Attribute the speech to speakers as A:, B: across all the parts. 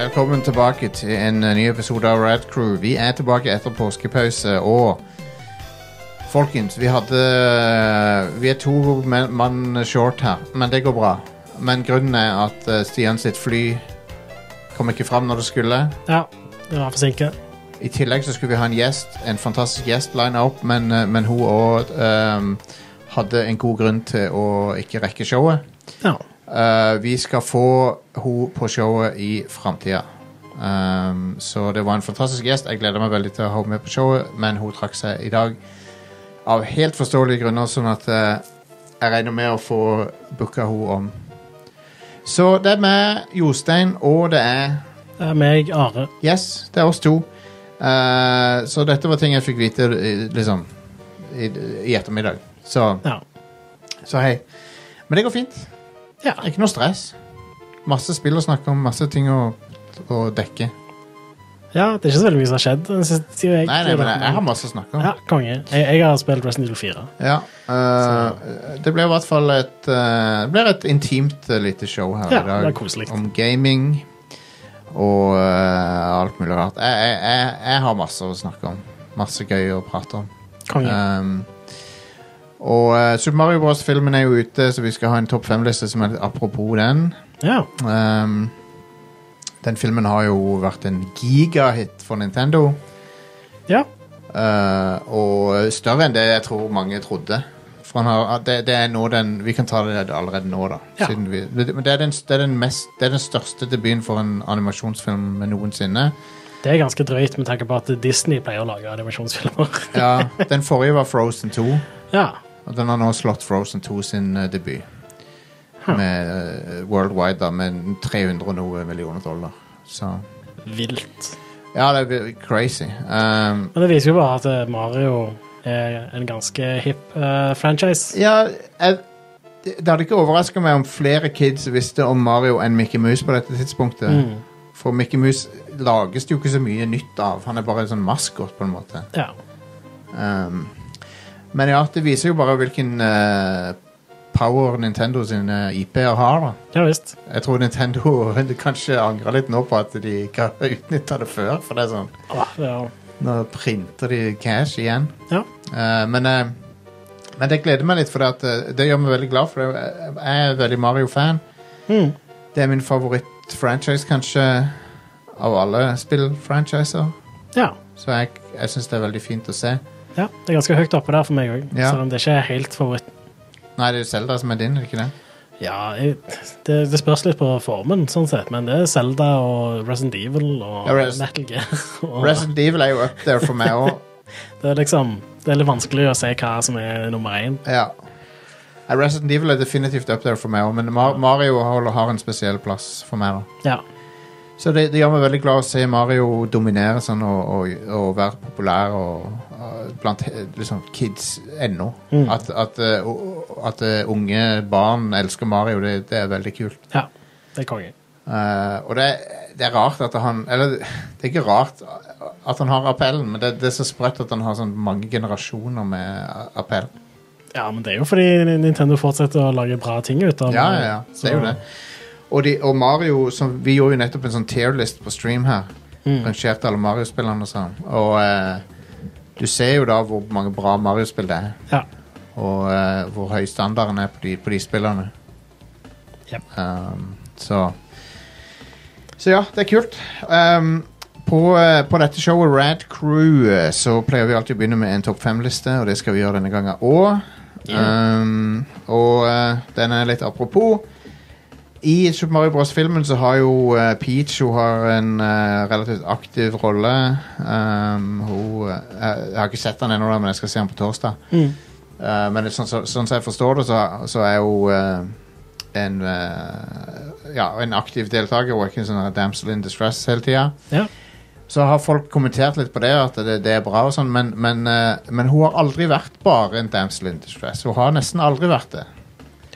A: Velkommen tilbake til en eh, ny episode av Rad Crew. Vi er tilbake etter påskepause, og folkens, vi hadde eh, Vi er to men- mann short her, men det går bra. Men grunnen er at eh, Stian sitt fly kom ikke fram når det skulle.
B: Ja, det var forsinket.
A: I tillegg så skulle vi ha en gjest, en fantastisk gjest lina opp, men, eh, men hun òg hadde en god grunn til å ikke rekke showet.
B: Ja.
A: Eh, vi skal få henne på showet i framtida. Um, så det var en fantastisk gjest. Jeg gleder meg veldig til å ha henne med på showet, men hun trakk seg i dag av helt forståelige grunner, sånn at eh, jeg regner med å få booka henne om. Så det er meg, Jostein, og det er
B: Det er meg, Are.
A: Yes, det er oss to. Eh, så dette var ting jeg fikk vite eh, liksom i, i ettermiddag. Så,
B: Ja.
A: så hei. Men det går fint.
B: ja.
A: Det er Ikke noe stress. Masse spill å snakke om, masse ting å, å dekke.
B: ja det er ikke så veldig mye som har skjedd. den siste tiden. Jeg,
A: Nei, nei, men jeg, jeg har masse å snakke om.
B: Ja, konge. Jeg, jeg har spilt Resident Evil 4.
A: Ja, eh, det blir i hvert fall et, eh, det blir et intimt eh, lite show her
B: Ja,
A: i dag.
B: det er koselig.
A: Om gaming og eh, alt mulig rart. Jeg, jeg, jeg, jeg har masse å snakke om. Masse gøy å prate om.
B: Konge.
A: Um, og eh, Super Mario Bros.-filmen er jo ute, så vi skal ha en topp fem-liste som er apropos den.
B: Ja.
A: Ehm, den filmen har jo vært en gigahit for Nintendo.
B: ja.
A: eh, og større enn det jeg tror mange trodde. For han har, at det, det er nå den Vi kan ta det allerede nå, da.
B: Ja.
A: Siden vi, det, men det, er den, det, er den mest, det er den største debuten for en animasjonsfilm noensinne.
B: Det er ganske drøyt med tanke på at Disney pleier å lage animasjonsfilmer.
A: Ja, den forrige var Frozen 2,
B: Ja.
A: og den har nå slått Frozen 2 sin eh, debut.
B: Huh.
A: Med eh, Worldwide, da, med 300 og noe millioner dollar. Så
B: Vilt.
A: Ja, det er crazy. Um,
B: Men det viser jo bare at eh, Mario er en ganske hipp eh, franchise.
A: Ja, jeg, det det hadde ikke overraska meg om flere kids visste om Mario enn Mickey Mouse på dette tidspunktet.
B: Mm.
A: For Mickey Mouse lages det jo ikke så mye nytt av. Han er bare en sånn maskot, på en måte.
B: Ja.
A: Um, men ja, det viser jo bare hvilken eh, power Nintendo sine IP-er har. da.
B: ja visst.
A: Jeg tror Nintendo kanskje angrer litt nå på at de ikke har utnytta det før. For det er sånn
B: Åh, det er-
A: Nå printer de cash igjen.
B: Ja.
A: Eh, men, eh, men det gleder meg litt, for det, at, eh, det gjør meg veldig glad. For jeg er veldig Mario-fan.
B: Mm.
A: Det er min favoritt-franchise, kanskje, av alle spill-franchiser.
B: ja.
A: Så jeg, jeg syns det er veldig fint å se.
B: Ja, det er ganske høyt oppe der for meg òg,
A: Ja.
B: selv om det ikke er helt favoritt.
A: Nei, det er jo Zelda som er din, er det ikke det?
B: Ja, jeg- det, det spørs litt på formen, sånn sett, men det er Zelda og Resident Evil og
A: Ja, Res-
B: Metal Gear. Og
A: Resident Evil er jo up there for meg òg.
B: det, er liksom, det er litt vanskelig å se hva som er nummer én.
A: Ja. Ja, Resident Evil er definitivt up there for meg òg, men Mar Mario har, har en spesiell plass for meg. da
B: Ja,
A: Så det, det gjør meg veldig glad å se Mario dominere sånn og, og, og være populær og, og blant eh, liksom, kids ennå.
B: Mm.
A: At, at, eh, o- o- at eh, unge barn elsker Mario, det, det er veldig kult.
B: ja, det er konge.
A: Eh, og det, det er rart at han Eller det er ikke rart at han har appellen, men det, det er så sprøtt at han har sånn mange generasjoner med appell.
B: Ja, men det er jo fordi Nintendo fortsetter å lage bra ting ut av
A: Ja, ja, ja. Det er jo det. Og, de, og Mario som, Vi gjorde jo nettopp en sånn tierlist på stream her.
B: Mm.
A: Rangerte alle Mario-spillene og sånn. Og eh, du ser jo da hvor mange bra Mario-spill det er.
B: Ja.
A: Og eh, hvor høy standarden er på de, på de spillene.
B: Jep.
A: Um, så Så ja, det er kult. Um, på, eh, på dette showet Rad Crew eh, så pleier vi alltid å begynne med en topp fem-liste, og det skal vi gjøre denne gangen òg. Um, og eh, den er litt apropos. I Super Mario Bros.-filmen så har jo eh, Peach hun har en eh, relativt aktiv rolle. Um, hun eh, Jeg har ikke sett den ennå, da, men jeg skal se den på torsdag.
B: Mm.
A: Eh, men det, sånn som sånn, som jeg forstår det, så, så er hun eh, en eh, Ja, en aktiv deltaker og ikke en sånn damsel in distress hele tida.
B: Ja.
A: Så har folk kommentert litt på det, at det, det er bra og sånn, men, men, eh, men hun har aldri vært bare en damsel in distress. Hun har nesten aldri vært det.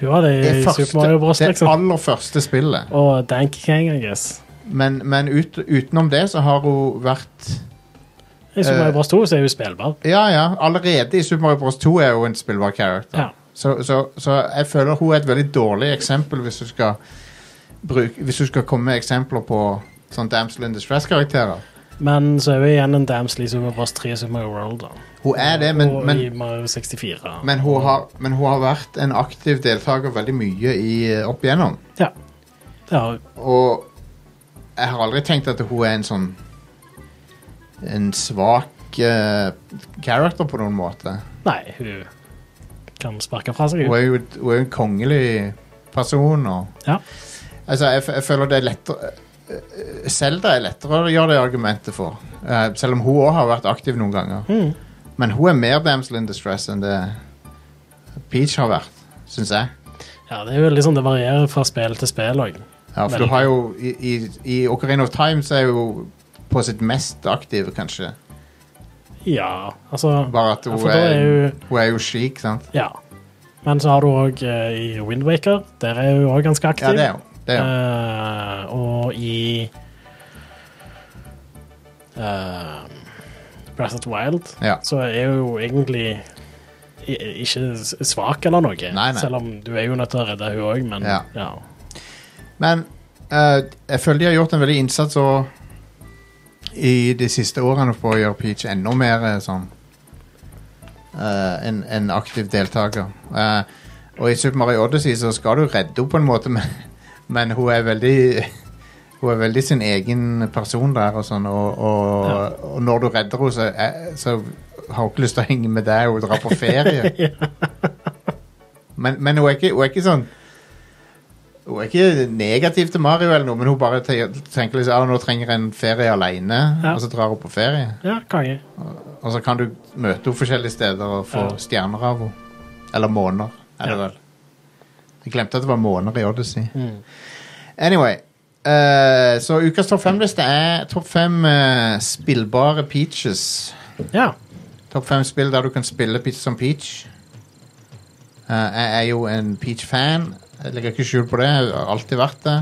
B: Du har det i Super Mario Bros.
A: det
B: Liksom.
A: aller første spillet.
B: Og Dank Kang, I guess.
A: Men, men ut, utenom det så har hun vært
B: I Super
A: Eh,
B: Mario Bros. 2 så er hun spillbar.
A: Ja, ja, allerede i Super Mario Bros. 2 er hun en spillbar character.
B: Ja.
A: Så, så, så jeg føler hun er et veldig dårlig eksempel hvis du skal, bruke, hvis du skal komme med eksempler på Sånn Damsel in Distress-karakterer.
B: Men så er vi igjen en Damsley Super Bros 3 Super Mario World. Da.
A: Hun er det, men,
B: og i
A: men,
B: Mario 64.
A: men, hun har, men hun har vært en aktiv deltaker veldig mye i, eh, opp igjennom.
B: Ja. Det har
A: Og jeg har aldri tenkt at hun er en sånn En svak eh, character på noen måte.
B: Nei, hun kan sparke fra seg.
A: Hun
B: Hun.
A: er jo hun er jo en kongelig person. Og,
B: Ja.
A: altså, jeg, f- jeg føler det er lettere Selda er lettere å gjøre det argumentet for. Eh, selv om hun òg har vært aktiv noen ganger.
B: Mm.
A: Men hun er mer damsel in distress enn det Peach har vært, syns jeg.
B: ja, det er jo liksom det varierer fra spill til spill òg.
A: Ja, for
B: Veldig.
A: du har jo i, i, I Ocarina of Time så er hun på sitt mest aktive, kanskje.
B: Ja, altså
A: Bare at hun
B: ja, for da
A: er,
B: er hun
A: Hun er jo chic, sant?
B: Ja. Men så har du òg i Windwaker. Der er hun òg ganske aktiv.
A: Ja, det er hun. Det er hun.
B: Eh, og i uh, Breath of the Wild
A: Ja.
B: så er hun jo egentlig i- ikke s- svak eller noe.
A: nei.
B: Selv om du er jo nødt til å redde hun òg, men
A: Ja.
B: ja.
A: Men eh, jeg føler de har gjort en veldig innsats og i de siste årene for å gjøre Peach enda mer eh, sånn eh, en, en aktiv deltaker. Eh, og i Super Mario Odyssey så skal du redde henne på en måte, men, men hun er veldig hun er veldig sin egen person der og sånn, og, og, og når du redder henne, så, er- så har hun ikke lyst til å henge med deg og dra på ferie. men, men hun er ikke, hun er ikke sånn hun er ikke negativ til Mario, eller noe, men hun bare te- tenker liksom, at nå trenger jeg en ferie alene,
B: Ja.
A: og så drar hun på ferie.
B: ja konge.
A: Og så kan du møte henne forskjellige steder og få
B: Ja.
A: stjerner av henne. Eller måner, er det
B: Ja.
A: vel. Jeg glemte at det var måner i Odyssey.
B: Mm.
A: Anyway, eh, så ukas topp fem-liste er topp fem eh, spillbare peaches.
B: Ja.
A: Topp fem spill der du kan spille Peach som Peach. Eh, jeg er jo en Peach-fan. Jeg legger ikke skjul på det. Jeg har alltid vært det.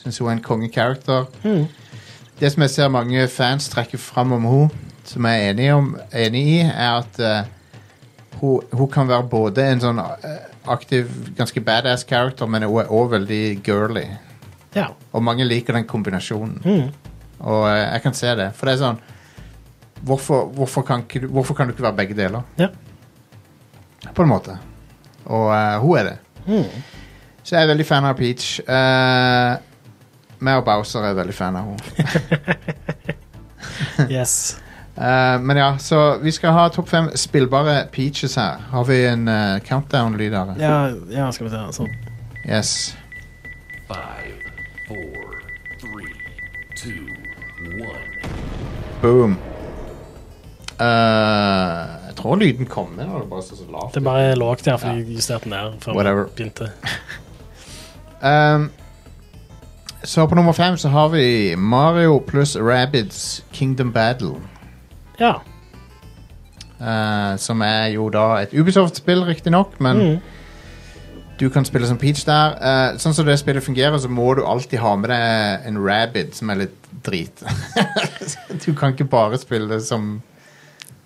A: Syns hun er en konge-character.
B: Mm.
A: Det som jeg ser mange fans trekke fram om henne, som jeg er enig, om, enig i, er at eh, hun, hun kan være både en sånn eh, aktiv, ganske badass character, men hun er òg veldig girly.
B: ja.
A: Og mange liker den kombinasjonen.
B: Mm.
A: Og eh, jeg kan se det. For det er sånn Hvorfor, hvorfor, kan, ikke du- hvorfor kan du ikke være begge deler?
B: Ja.
A: På en måte. Og eh, hun er det.
B: Mm.
A: Så jeg er veldig fan av Peach. Uh, meg og Bowser er veldig fan av henne.
B: Yes.
A: Eh, men ja, så vi skal ha topp fem spillbare peaches her. Har vi en eh, countdown-lyd her?
B: Ja, ja, skal vi se. Sånn.
A: Yes.
C: Five, four, three, two, one.
A: Boom. Eh, jeg tror lyden kommer når det bare står så lavt.
B: Det er bare lågt her, for jeg justerte den ned før
A: Whatever.
B: vi begynte.
A: Ehm, så på nummer fem så har vi Mario pluss Rabbids Kingdom Battle.
B: Ja.
A: eh, som er jo da et Ubisoft-spill, riktignok, men
B: Mm.
A: du kan spille som Peach der. Eh, sånn som det spillet fungerer, så må du alltid ha med deg en rabbit som er litt drit. du kan ikke bare spille som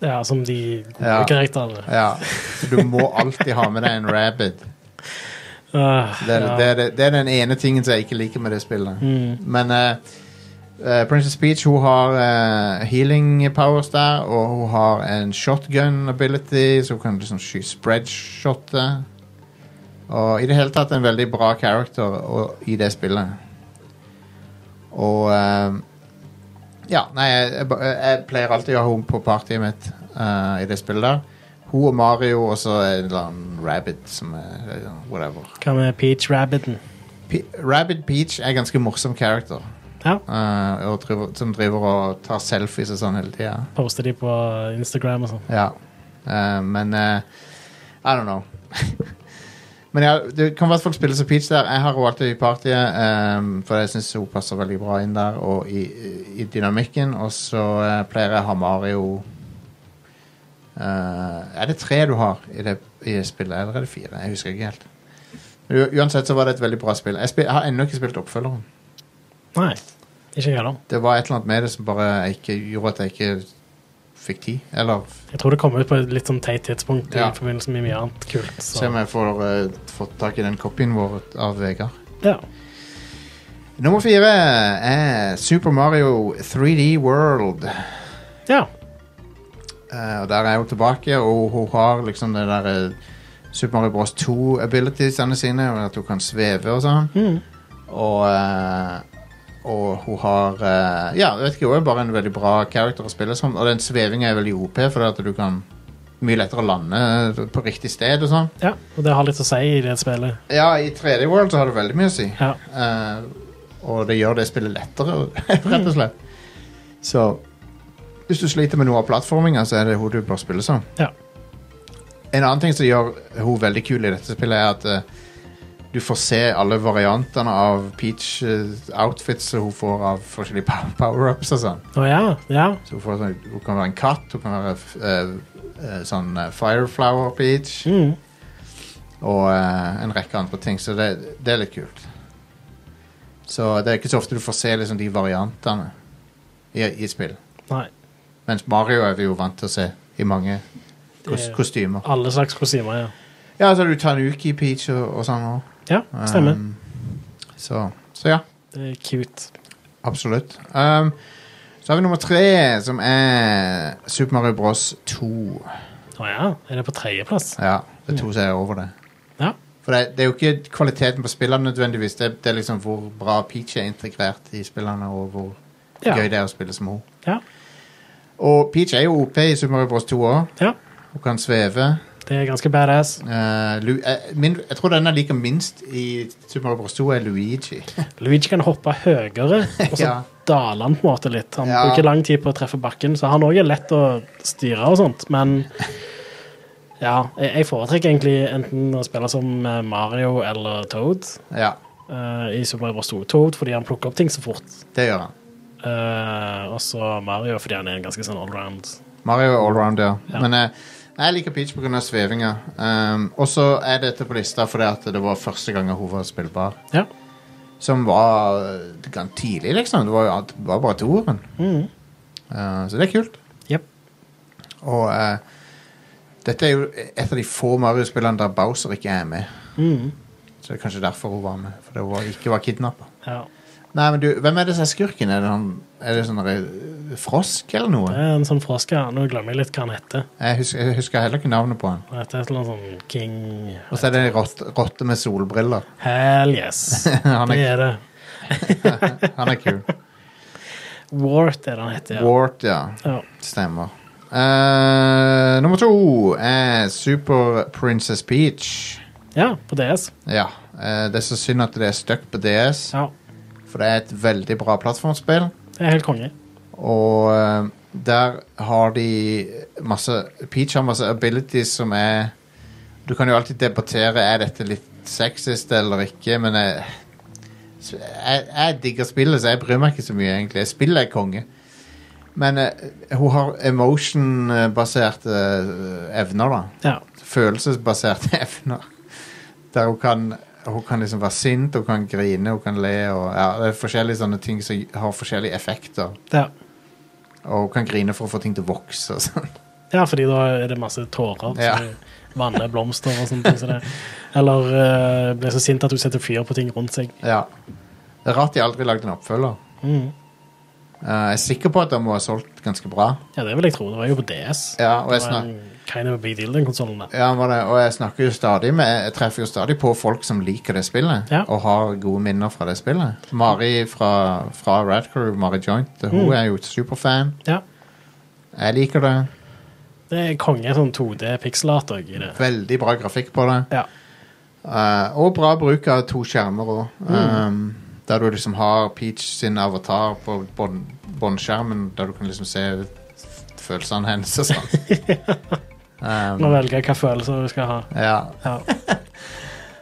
B: ja, som de gode
A: Ja.
B: karakterene.
A: Ja. Så du må alltid ha med deg en rabbit.
B: Ah,
A: Det, er-
B: ja.
A: det, er det, det er den ene tingen som jeg ikke liker med det spillet. Men eh, eh, Princess Peach hun har eh, healing powers der, og hun har en shotgun ability, så hun kan liksom sky spreadshotte. Og i det hele tatt en veldig bra character og, i det spillet. Og eh, Ja, nei, jeg, jeg, ba- jeg pleier alltid å ha henne på partyet mitt eh, i det spillet der. Hun og Mario og så en eller annen rabbit som er eh, whatever.
B: Hva med Peach Rabbiten?
A: Pe Rabbit Peach er en ganske morsom character.
B: Ja.
A: eh, og driver, som driver og tar selfies og sånn hele tida.
B: Poster de på Instagram og sånn.
A: Ja. Eh, men eh, I don't know. men ja, du kan i hvert fall spille som Peach der. Jeg har henne alltid i partyet, eh, for jeg syns hun passer veldig bra inn der og i, i- i dynamikken. Og så eh, pleier jeg å ha Mario eh, Er det tre du har i det i spillet, eller er det fire? Jeg husker ikke helt. U uansett så var det et veldig bra spill. Jeg, spil jeg har ennå ikke spilt oppfølgeren.
B: Nei, ikke jeg heller.
A: Det var et eller annet med det som bare jeg ikke, gjorde at jeg ikke fikk tid. Eller f-
B: Jeg tror det kom ut på et litt sånn teit tidspunkt
A: Ja.
B: i forbindelse med mye annet kult.
A: se
B: Så.
A: om jeg får eh, fått tak i den kopien vår av Vegard.
B: Ja.
A: Nummer fire er Super Mario 3D World.
B: Ja.
A: Eh, og der er hun tilbake, og hun har liksom det der eh, Super Mario Bros. 2-abilitiesene sine, og at hun kan sveve og sånn.
B: Mm.
A: Og, eh, og hun har eh, Ja, jeg vet ikke, hun er bare en veldig bra character å spille som. Og den svevinga er veldig OP, for at du kan mye lettere lande på riktig sted og sånn.
B: ja. Og det har litt å si i det spillet.
A: Ja, i 3D World så har det veldig mye å si.
B: Ja.
A: Eh, og det gjør det spillet lettere, rett og slett. Så hvis du sliter med noe av plattforminga, så er det hun du bør spille som.
B: Ja.
A: En annen ting som gjør hun veldig kul i dette spillet, er at eh, du får se alle variantene av Peach-outfits som hun får av forskjellige pow- power-ups og sånn.
B: Å ja. Ja.
A: Så hun, får sånn, hun kan være en katt, hun kan være f- eh, eh, sånn eh, Fireflower Peach
B: Mm.
A: og eh, en rekke andre ting, så det, det er litt kult. Så det er ikke så ofte du får se liksom, de variantene i, i spill.
B: Nei.
A: Mens Mario er vi jo vant til å se i mange kos
B: Det-
A: kostymer.
B: Alle slags kostymer, ja.
A: Ja, så har du Tanuki Peach og, og sånn òg.
B: Ja, stemmer.
A: Um. så, så ja,
B: Det er cute.
A: absolutt. Um, så har vi nummer tre, som er Super Mario Bros. 2.
B: Å ja. Er det på tredjeplass?
A: Ja, det er to som er over det.
B: Ja.
A: For det, det er jo ikke kvaliteten på spillene nødvendigvis, det, det er liksom hvor bra Peach er integrert i spillene, og hvor
B: Ja.
A: gøy det er å spille som henne.
B: Ja.
A: Og Peach er jo OP i Super Mario Bros. 2 òg.
B: ja.
A: Hun kan sveve.
B: Det er ganske badass.
A: Eh, Lu eh, min, jeg tror den jeg liker minst i Super Mario Bros. 2, er Luigi.
B: Luigi kan hoppe høyere, og så
A: Ja.
B: daler han på en måte litt. Han
A: Ja.
B: bruker lang tid på å treffe bakken, så han òg er lett å styre og sånt, men ja, jeg jeg foretrekker egentlig enten å spille som eh, Mario eller Toad
A: ja,
B: eh, i Super Mario Bros. 2 Toad, fordi han plukker opp ting så fort.
A: det gjør han.
B: Eh, og så Mario, fordi han er en ganske sånn allround.
A: Mario er allrounder.
B: Ja.
A: Men eh, jeg liker Peach pga. svevinga. Um, og så er dette på lista fordi at det var første gang hun var spillbar.
B: Ja.
A: Som var eh, gan- tidlig, liksom. Det var, jo- det var bare toeren.
B: Mm.
A: Uh, så det er kult.
B: Jep.
A: Og eh, dette er jo et av de få Mario-spillene der Bowser ikke er med.
B: Mm.
A: Så det er kanskje derfor hun var med. Fordi hun var, ikke var kidnappa.
B: Ja.
A: Nei, men du, hvem er det som er skurken? Er det, han, er det sånn der, eh, frosk eller
B: Det
A: noe?
B: er en sånn froske. Nå glemmer jeg litt hva han heter.
A: Jeg husker, jeg husker heller ikke navnet på han.
B: Han heter et eller annet sånn King
A: Og så er det ei rotte, rotte med solbriller.
B: Hell yes.
A: Han
B: Det
A: er,
B: er det.
A: han er kul.
B: Wart er det han heter. Ja.
A: Wart, ja.
B: Ja.
A: Stemmer. Eh, nummer to er Super Princess Peach.
B: ja, på DS.
A: Ja. eh, det er så synd at det er stuck på DS,
B: Ja.
A: for det er et veldig bra plattformspill.
B: Det er helt konge.
A: Og eh, der har de masse Peach har masse abilities som er Du kan jo alltid debattere er dette litt sexist eller ikke, men jeg, så jeg, jeg digger spillet, så jeg bryr meg ikke så mye, egentlig. Spillet er konge. Men eh, hun har emotion-baserte eh, evner, da
B: Ja.
A: følelsesbaserte evner. Der hun kan, hun kan liksom være sint, hun kan grine, hun kan le. Og, ja, det er forskjellige sånne ting som har forskjellige effekter.
B: Ja.
A: Og hun kan grine for å få ting til å vokse. Og sånn.
B: ja, fordi da er det masse tårer.
A: Ja.
B: Så du vanner blomster og sånt. Så det. Eller eh, blir så sint at du setter fyr på ting rundt seg.
A: ja. Det er rart de aldri lagde en oppfølger.
B: Mm.
A: Eh, jeg er sikker på at de må ha solgt ganske bra.
B: Ja, det vil jeg tro. Det var jo på DS.
A: Ja, og
B: det
A: jeg
B: var en kind of a big deal, den konsollen der.
A: Ja, var det, og jeg snakker jo stadig med Jeg treffer jo stadig på folk som liker det spillet,
B: Ja.
A: og har gode minner fra det spillet. Mari fra, fra Rad Crew, Mari Joint, hun
B: Mm.
A: er jo superfan.
B: Ja.
A: Jeg liker det.
B: Det er konge sånn 2D-pikselat òg i det.
A: Veldig bra grafikk på det.
B: Ja.
A: Eh, og bra bruk av to skjermer òg.
B: Mm.
A: der du liksom har Peach sin avatar på bånd- båndskjermen, der du kan liksom se følelsene hennes og sånn.
B: Nå velger jeg hva følelser du skal ha.
A: Ja,
B: Ja.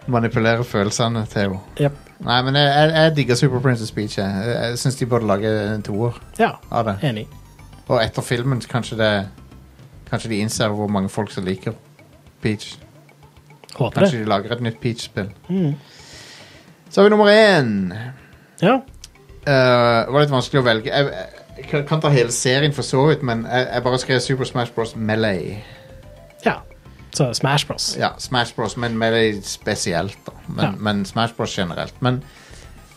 A: manipulere følelsene til henne.
B: Jep.
A: Nei, men jeg, jeg, jeg digger Super Princess Peach. Jeg, jeg, jeg syns de burde lage en toer
B: ja.
A: av det.
B: Enig.
A: Og etter filmen så kanskje det Kanskje de innser hvor mange folk som liker Peach.
B: Håper det.
A: Kanskje de lager et nytt Peach-spill.
B: Mm.
A: Så har vi nummer én.
B: Ja.
A: Eh, Det var litt vanskelig å velge. Jeg, jeg, kan- kan ta hele serien for så vidt, men jeg, jeg bare skrev Super Smash Bros. Melee.
B: ja. Så Smash Bros.
A: Ja, Smash Bros, men Melee spesielt, da. Men,
B: Ja.
A: men Smash Bros generelt. Men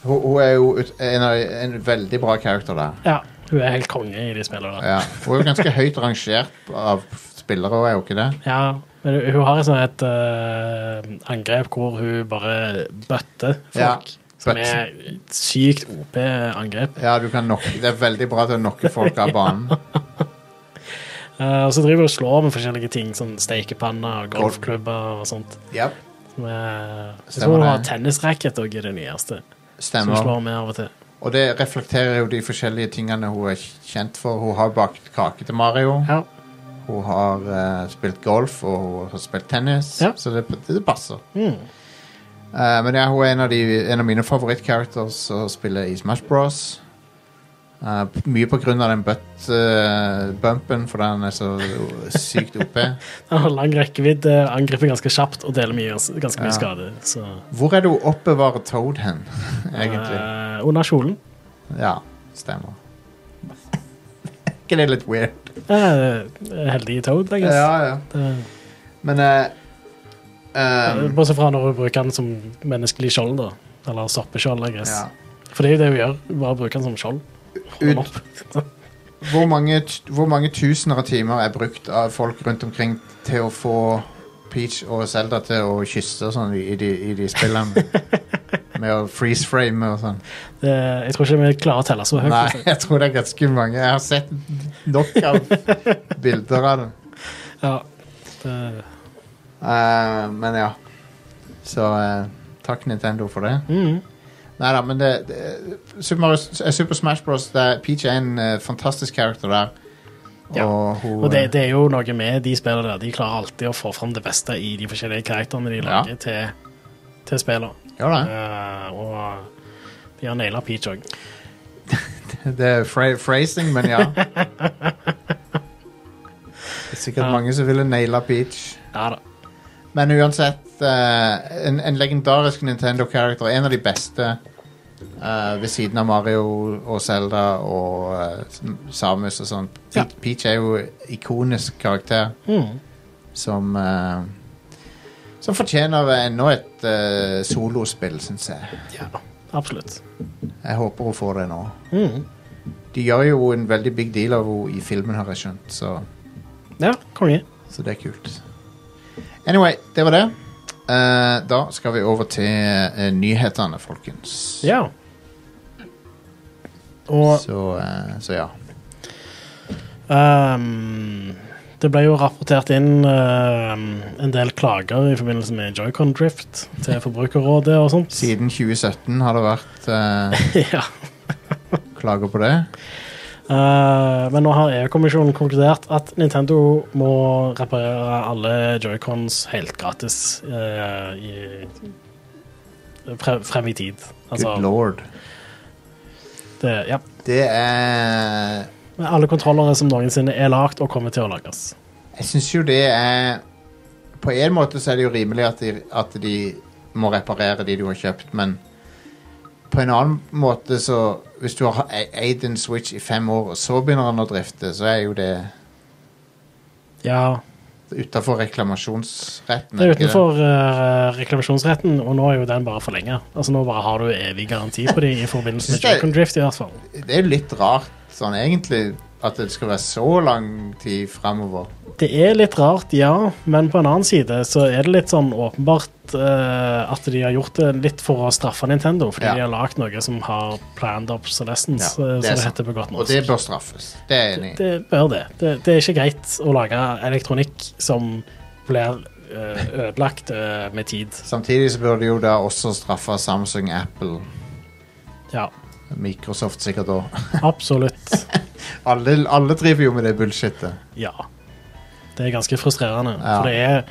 A: Hun, hun er jo ut, en, av- en veldig bra karakter der.
B: Ja, hun er helt konge i de spillene. der.
A: Ja. Hun er jo ganske høyt rangert av spillere, hun er jo ikke det?
B: Ja, men hun- hun har et sånt et eh, angrep hvor hun bare bøtter
A: Ja,
B: folk. Som
A: bøtter.
B: er et sykt OP-angrep.
A: Ja, du kan nok, Det er veldig bra til å knocke folk av banen.
B: Eh, og så driver hun og slår med forskjellige ting, sånn stekepanner og golfklubber og sånt.
A: Yep.
B: Som er, jeg
A: Stemmer
B: tror hun har
A: det.
B: tennisracket òg i det nyeste, som hun
A: Stemmer.
B: slår med av og til.
A: Og det reflekterer jo de forskjellige tingene hun er kjent for. Hun har bakt kake til Mario,
B: Ja,
A: hun har eh, spilt golf og hun har spilt tennis,
B: Ja.
A: så det, det passer.
B: Mm.
A: Eh, men ja, hun er en av, de, en av mine favorittcharacters å spille i Smash Bros. Eh, p- mye på grunn av den butt-bumpen, for den er så sykt oppe.
B: Den har lang rekkevidde, angriper ganske kjapt og deler mye, ganske mye
A: Ja.
B: skade. Så,
A: Hvor er det hun oppbevarer Toad hen, egentlig?
B: eh, under kjolen.
A: Ja, stemmer. ikke det litt weird?
B: Eh, heldig toad, I guess.
A: ja.
B: Det-
A: Men eh, ehm,
B: Bortsett fra når hun bruker den som menneskelig skjold, da. Eller soppeskjold, I guess.
A: ja.
B: For det er jo det hun gjør. Hun bare bruker den som skjold. Holder den
A: Ut-
B: opp.
A: hvor, mange, t- hvor mange tusener av timer er brukt av folk rundt omkring til å få Peach og Zelda til å kysse og sånn i, i, de, i de spillene? Med å freeze frame og sånn.
B: Det, jeg tror ikke vi klarer å telle så høyt.
A: Nei,
B: altså.
A: jeg tror det er ganske mange. Jeg har sett nok av bilder av det.
B: Ja, det,
A: Eh, men ja. Så eh, takk, Nintendo, for det.
B: mm,
A: Nei da, men det, det Super, Mario, eh, Super Smash Bros. Der Peach er en eh, fantastisk character der. Og
B: Ja,
A: hun
B: og det,
A: eh,
B: det er jo noe med de spillene der. De klarer alltid å få fram det beste i de forskjellige karakterene de
A: Ja.
B: lager til, til spillene.
A: gjør det.
B: Eh, og de har naila Peach òg.
A: Det er fra phrasing, men ja. Det er sikkert
B: Ja.
A: mange som ville naila Peach.
B: Ja da.
A: Men uansett, eh, en, en legendarisk Nintendo-character. En av de beste eh, ved siden av Mario og Zelda og eh, Samus og sånn. Pe-
B: Ja.
A: Peach er jo ikonisk karakter.
B: Mm.
A: som eh, Som fortjener enda et eh, solospill, syns jeg.
B: Ja, absolutt.
A: Jeg håper hun får det nå.
B: Mm.
A: De gjør jo en veldig big deal av henne i filmen, har jeg skjønt, så,
B: Ja, konge.
A: så det er kult. Anyway, det var det. Eh, da skal vi over til eh, nyhetene, folkens.
B: Ja. Og
A: Så, eh, så ja.
B: ehm, det ble jo rapportert inn ehm, en del klager i forbindelse med Joy-Con Drift til Forbrukerrådet og sånt.
A: Siden 2017 har det vært eh,
B: ja.
A: klager på det.
B: Eh, men nå har EU-kommisjonen konkludert at Nintendo må reparere alle Joy-Cons helt gratis eh, i, fre, frem i tid. Altså,
A: Good lord.
B: det, ja.
A: Det er
B: Med alle kontrollere som noensinne er lagd og kommer til å lages.
A: Jeg syns jo det er På en måte så er det jo rimelig at de, at de må reparere de du har kjøpt, men på en annen måte så Hvis du har e- eid en Switch i fem år, og så begynner den å drifte, så er jo det
B: Ja,
A: utafor reklamasjonsretten.
B: det er
A: ikke det?
B: utenfor eh, reklamasjonsretten, og nå er jo den bare forlenga. Altså, nå bare har du evig garanti på dem i forbindelse med
A: Synes det-
B: Joy-Con Drift, i hvert fall.
A: Det er jo litt rart sånn egentlig at det skal være så lang tid framover.
B: Det er litt rart, ja, men på en annen side så er det litt sånn åpenbart eh, at de har gjort det litt for å straffe Nintendo, fordi
A: Ja.
B: de har lagd noe som har planned obsolescence,
A: Ja, det er
B: eh, som det
A: sant.
B: heter på godt
A: Og det
B: norsk.
A: bør straffes. Det er jeg enig i.
B: Det bør det. det. Det er ikke greit å lage elektronikk som blir eh, ødelagt eh, med tid.
A: Samtidig så burde jo da også straffe Samsung, Apple,
B: Ja,
A: Microsoft sikkert òg.
B: absolutt.
A: Alle, alle driver jo med det bullshitet.
B: Ja. Det er ganske frustrerende,
A: Ja.
B: for det er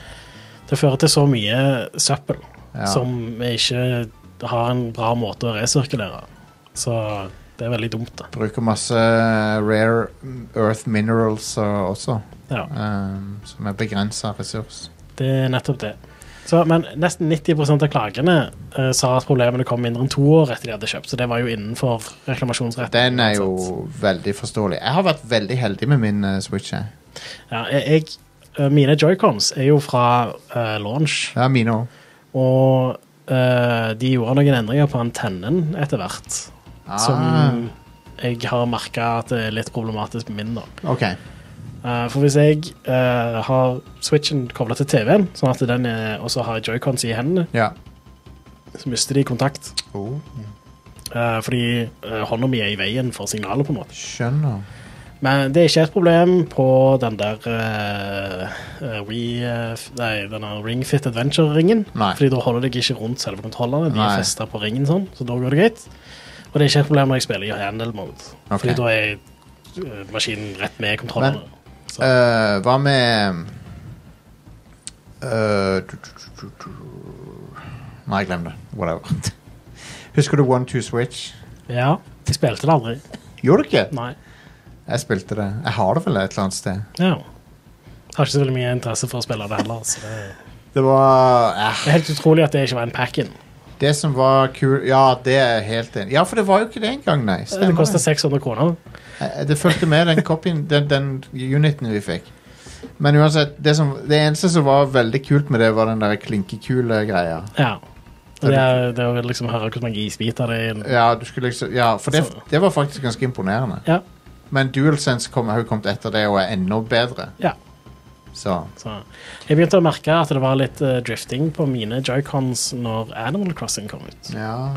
B: Det fører til så mye søppel
A: Ja.
B: som vi ikke har en bra måte å resirkulere. Så det er veldig dumt, da.
A: Bruker masse rare earth minerals og- også,
B: Ja,
A: um, som er begrensa ressurs.
B: det er nettopp det. Så, men nesten 90 av klagene eh, sa at problemene kom mindre enn to år etter de hadde kjøpt, så det var jo innenfor reklamasjonsretten.
A: Den er
B: uansett.
A: jo veldig forståelig. Jeg har vært veldig heldig med min eh, Switch. Jeg.
B: ja, jeg, jeg- eh, Mine joycons er jo fra eh, launch,
A: Ja, mine òg.
B: og eh, eh, de gjorde noen endringer på antennen etter hvert.
A: Ah,
B: Som jeg har merka at det er litt problematisk med min. da.
A: Ah, OK.
B: Eh, for hvis jeg eh, har switchen kobla til TV-en, sånn at den er, og så har jeg joycons i hendene,
A: Ja.
B: så mister de kontakt.
A: Oh,
B: Eh, fordi eh, hånda mi er i veien for signalet, på en måte.
A: skjønner.
B: Men det er ikke et problem på den der eh, eh, Wii, eh, f- nei, den der Ring Fit Adventure-ringen.
A: Nei.
B: Fordi da holder deg ikke rundt selve kontrollene. De
A: Nei.
B: er festa på ringen, sånn, så da går det greit. Og det er ikke et problem når jeg spiller i handle mode.
A: Ok.
B: Fordi da er eh, maskinen rett med kontrollene. Så,
A: Eh, hva med eh, tu- tu- tu- tu- tu- Nei, glem det. Whatever. Husker du One Two Switch?
B: ja. Jeg spilte det aldri.
A: Gjorde du ikke?
B: Nei.
A: Jeg spilte det. Jeg har det vel et eller annet sted.
B: Ja. Har ikke så veldig mye interesse for å spille det heller. Så det
A: Det var eh,
B: det er helt utrolig at det ikke var en pack-in.
A: Det som var kul Ja, det er jeg helt enig Ja, for det var jo ikke det engang, nei. Stemmer
B: Det koster
A: det.
B: 600 kroner.
A: Eh, Det fulgte med den copyen, den, den uniten vi fikk. Men uansett, det, som, det eneste som var veldig kult med det, var den der klinkekule-greia.
B: Ja.
A: Er
B: Og det er, det er å liksom høre hvor mange isbiter det er. i en-
A: Ja, du skulle liksom Ja, for det, det var faktisk ganske imponerende.
B: Ja.
A: Men DualSense kom, har jo kommet etter det og er enda bedre.
B: ja.
A: Så
B: Så jeg begynte å merke at det var litt eh, drifting på mine joycons når Animal Crossing kom ut.
A: Ja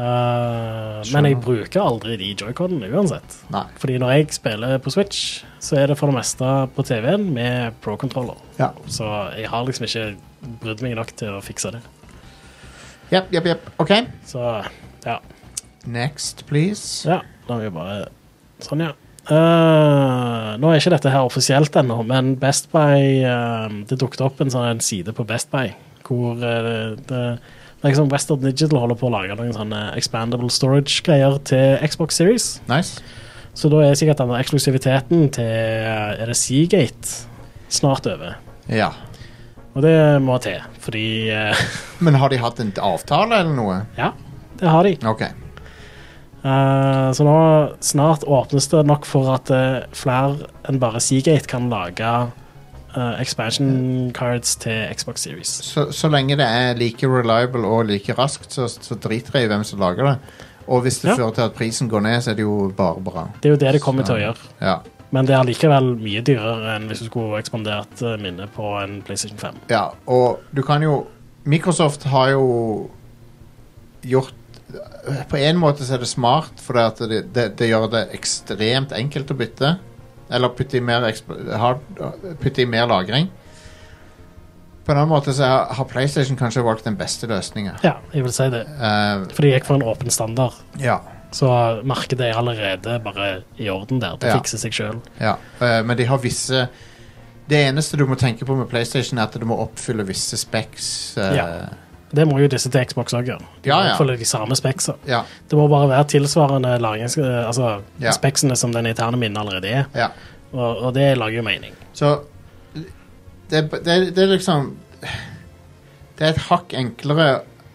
B: Eh, men jeg bruker aldri de joyconene uansett.
A: Nei.
B: Fordi når jeg spiller på Switch, så er det for det meste på TV-en med pro-controller.
A: Ja.
B: Så jeg har liksom ikke brydd meg nok til å fikse det.
A: Jepp, jepp, jepp. OK.
B: Så ja.
A: Next, please.
B: Ja, da er vi bare Sånn, ja. Eh, nå er ikke dette her offisielt ennå, men Best Buy eh, Det dukket opp en sånn en side på Best Buy hvor eh, det, det er liksom Western Digital holder på å lage noen sånne expandable storage-greier til Xbox Series.
A: Nice.
B: Så da er sikkert den der eksklusiviteten til eh, Er det Seagate snart over.
A: Ja.
B: Og det må til, fordi eh,
A: Men har de hatt en avtale eller noe?
B: Ja, det har de.
A: OK.
B: Eh, så nå snart åpnes det nok for at eh, flere enn bare Seagate kan lage eh, expansion cards til Xbox Series.
A: så, så lenge det er like reliable og like raskt, så, så driter jeg i hvem som lager det. Og hvis det
B: Ja.
A: fører til at prisen går ned, så er det jo bare bra.
B: Det er jo det det kommer til å gjøre,
A: Ja,
B: men det er allikevel mye dyrere enn hvis du skulle ekspandert eh, minnet på en PlayStation 5.
A: ja. Og du kan jo Microsoft har jo gjort På en måte så er det smart, for det, at det, det, det gjør det ekstremt enkelt å bytte. Eller putte i mer, eksp- hard, putte i mer lagring. På en annen måte så er- har PlayStation kanskje valgt den beste løsninga.
B: Ja, jeg vil si det. For de gikk for en åpen standard,
A: ja.
B: så markedet er allerede bare i orden der. Det
A: Ja.
B: fikser seg sjøl.
A: Ja, eh, men de har visse Det eneste du må tenke på med PlayStation, er at du må oppfylle visse specs. eh,
B: Ja. Det må jo disse til Xbox òg gjøre. De
A: Ja, ja.
B: Oppfyller de samme speksa.
A: ja.
B: Det må bare være tilsvarende larings, eh, altså,
A: Ja.
B: speksene som den interne minnen allerede er.
A: ja.
B: Og, og det lager jo mening.
A: Så det, det, det er liksom Det er et hakk enklere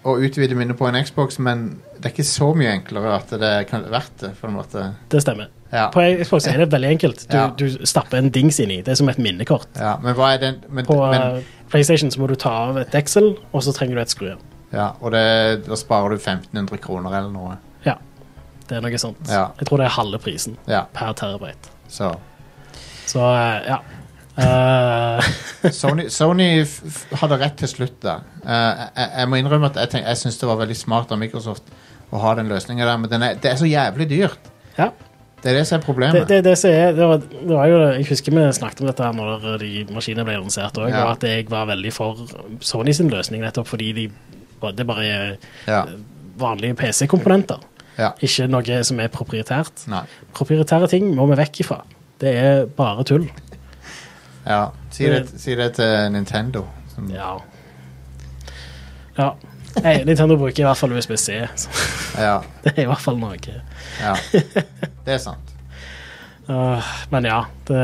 A: å utvide minnet på en Xbox, men det er ikke så mye enklere at det er kan- verdt det, på en måte.
B: Det stemmer.
A: Ja.
B: På Xbox er det veldig enkelt. Du,
A: Ja.
B: du stapper en dings inni. Det er som et minnekort.
A: Ja, men hva er den men,
B: På
A: men,
B: eh, PlayStation så må du ta av et deksel, og så trenger du et skrujern.
A: ja, Og det, da sparer du 1500 kroner eller noe.
B: Ja. Det er noe sånt.
A: Ja.
B: Jeg tror det er halve prisen
A: Ja,
B: per terabyte.
A: så
B: Så eh, ja. Eh,
A: Sony, Sony f f hadde rett til slutt der. Eh, jeg, jeg må innrømme at jeg, tenk- jeg syns det var veldig smart av Microsoft å ha den løsninga der, men den er, det er så jævlig dyrt.
B: ja.
A: Det er det som er
B: Det,
A: problemet.
B: det, det, som er, det, var, det var jo Jeg husker vi snakket om dette her når de maskinene ble lansert òg,
A: Ja.
B: og at jeg var veldig for Sony sin løsning, nettopp fordi de, det bare er
A: Ja,
B: vanlige PC-komponenter.
A: ja.
B: Ikke noe som er proprietært.
A: Nei.
B: Proprietære ting må vi vekk ifra. Det er bare tull.
A: Ja. Si, det, si det til Nintendo. Som, ja.
B: Ja. ja. Nei, Nintendo bruker i hvert fall USBC. så
A: Ja,
B: Det er i hvert fall noe.
A: Det er sant.
B: Øh, men ja. Det,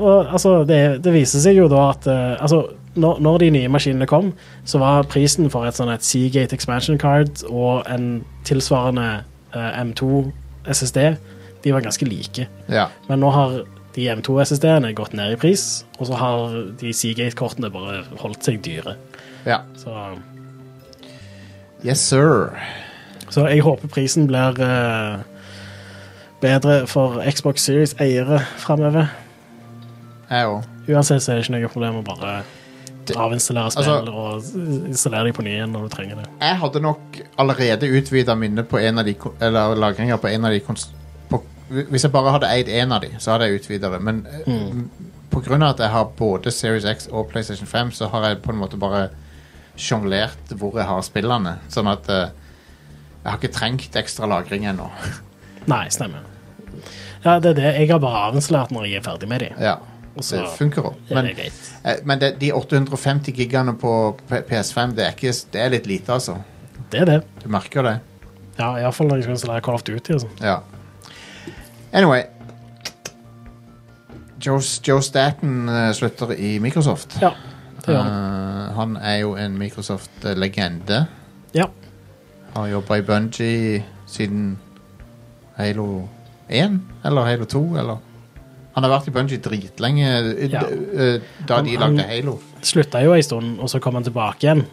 B: og, altså, det, det viser seg jo da at eh, altså, når, når de nye maskinene kom, så var prisen for et sånn et Seagate expansion card og en tilsvarende eh, M2 SSD, de var ganske like.
A: Ja.
B: Men nå har de M2-SSD-ene gått ned i pris, og så har de Seagate-kortene bare holdt seg dyre.
A: ja.
B: Så
A: Yes, sir.
B: Så jeg håper prisen blir eh, bedre for Xbox Series-eiere framover.
A: Jeg òg.
B: Uansett så er det ikke noe problem å bare
A: Det-
B: avinstallere spill
A: altså-
B: og installere dem på ny igjen når du trenger det.
A: Jeg hadde nok allerede utvida minnet på en av de ko- Eller lagringer på en av de konst- på, Hvis jeg bare hadde eid én av de, så hadde jeg utvida det. Men eh,
B: Mm.
A: m- på grunn av at jeg har både Series X og PlayStation 5, så har jeg på en måte bare sjonglert hvor jeg har spillene. Sånn at eh, jeg har ikke trengt ekstra lagring ennå.
B: Nei, stemmer. Ja, det er det. Jeg har bare avinstallert når jeg er ferdig med dem.
A: ja,
B: Så
A: det funker òg.
B: er det greit.
A: Eh, Men det, de 850 gigaene på P- PS5, det er, ikke, det er litt lite, altså.
B: Det er det.
A: Du merker det.
B: Ja, Iallfall når jeg skal installere Call of Duty og sånn.
A: Ja. Anyway. Joe, Joe Staten eh, slutter i Microsoft.
B: Ja, det gjør det.
A: Eh, han er jo en Microsoft-legende.
B: Ja.
A: Har jobba i Bungie siden Halo 1 eller Halo 2, eller Han har vært i Bungie dritlenge eh,
B: Ja.
A: d- eh, da
B: Han-
A: de
B: han-
A: lagde Halo.
B: Slutta jo ei stund, og så kom han tilbake igjen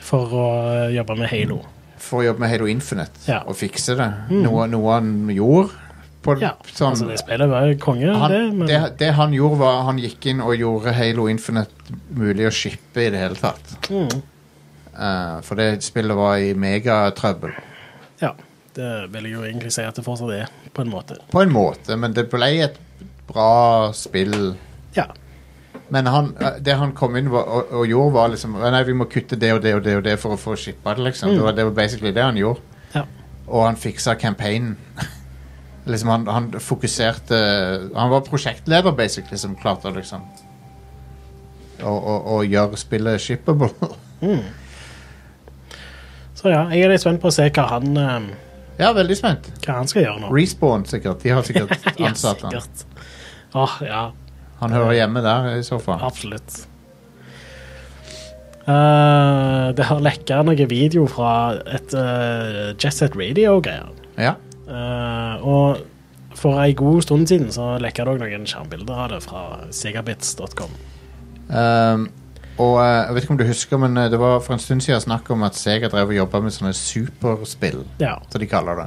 B: for å jobbe med Halo.
A: for å jobbe med Halo Infinite
B: Ja. Mm.
A: og fikse det. Noe, noe han gjorde. På,
B: Ja,
A: sånn,
B: altså det spillet var jo konge,
A: han,
B: det, men
A: det, det han gjorde, var han gikk inn og gjorde Halo Infinite mulig å shippe i det hele tatt.
B: mm,
A: Eh, for det spillet var i megatrøbbel.
B: Ja. Det vil jeg jo egentlig si at det fortsatt er, på en måte.
A: På en måte, men det ble et bra spill.
B: Ja.
A: Men han, eh, det han kom inn var, og, og gjorde, var liksom Nei, vi må kutte det og det og det og det for å få shippa det,
B: Mm.
A: liksom. Det, var, det var basically det han gjorde.
B: ja.
A: Og han fiksa campaignen. liksom han, han fokuserte Han var prosjektleder, basically, som klarte å liksom Å, å, å gjøre spillet shippable.
B: Så ja, jeg er litt spent på å se hva han, eh,
A: ja, veldig spent.
B: hva han skal gjøre nå.
A: Respawn, sikkert. De har sikkert ansatt
B: ja,
A: han.
B: sikkert. Åh, ja,
A: Han hører hjemme der, i så fall.
B: absolutt. Eh, det har lekka noe video fra et uh, Jet Set Radio-greier.
A: Ja.
B: Eh, og for ei god stund siden så lekka det òg noen skjermbilder av det fra segabits.com.
A: Ehm, og eh, jeg vet ikke om du husker, men eh, det var for en stund siden snakk om at Sega drev og jobba med sånne superspill,
B: Ja.
A: som de kaller det.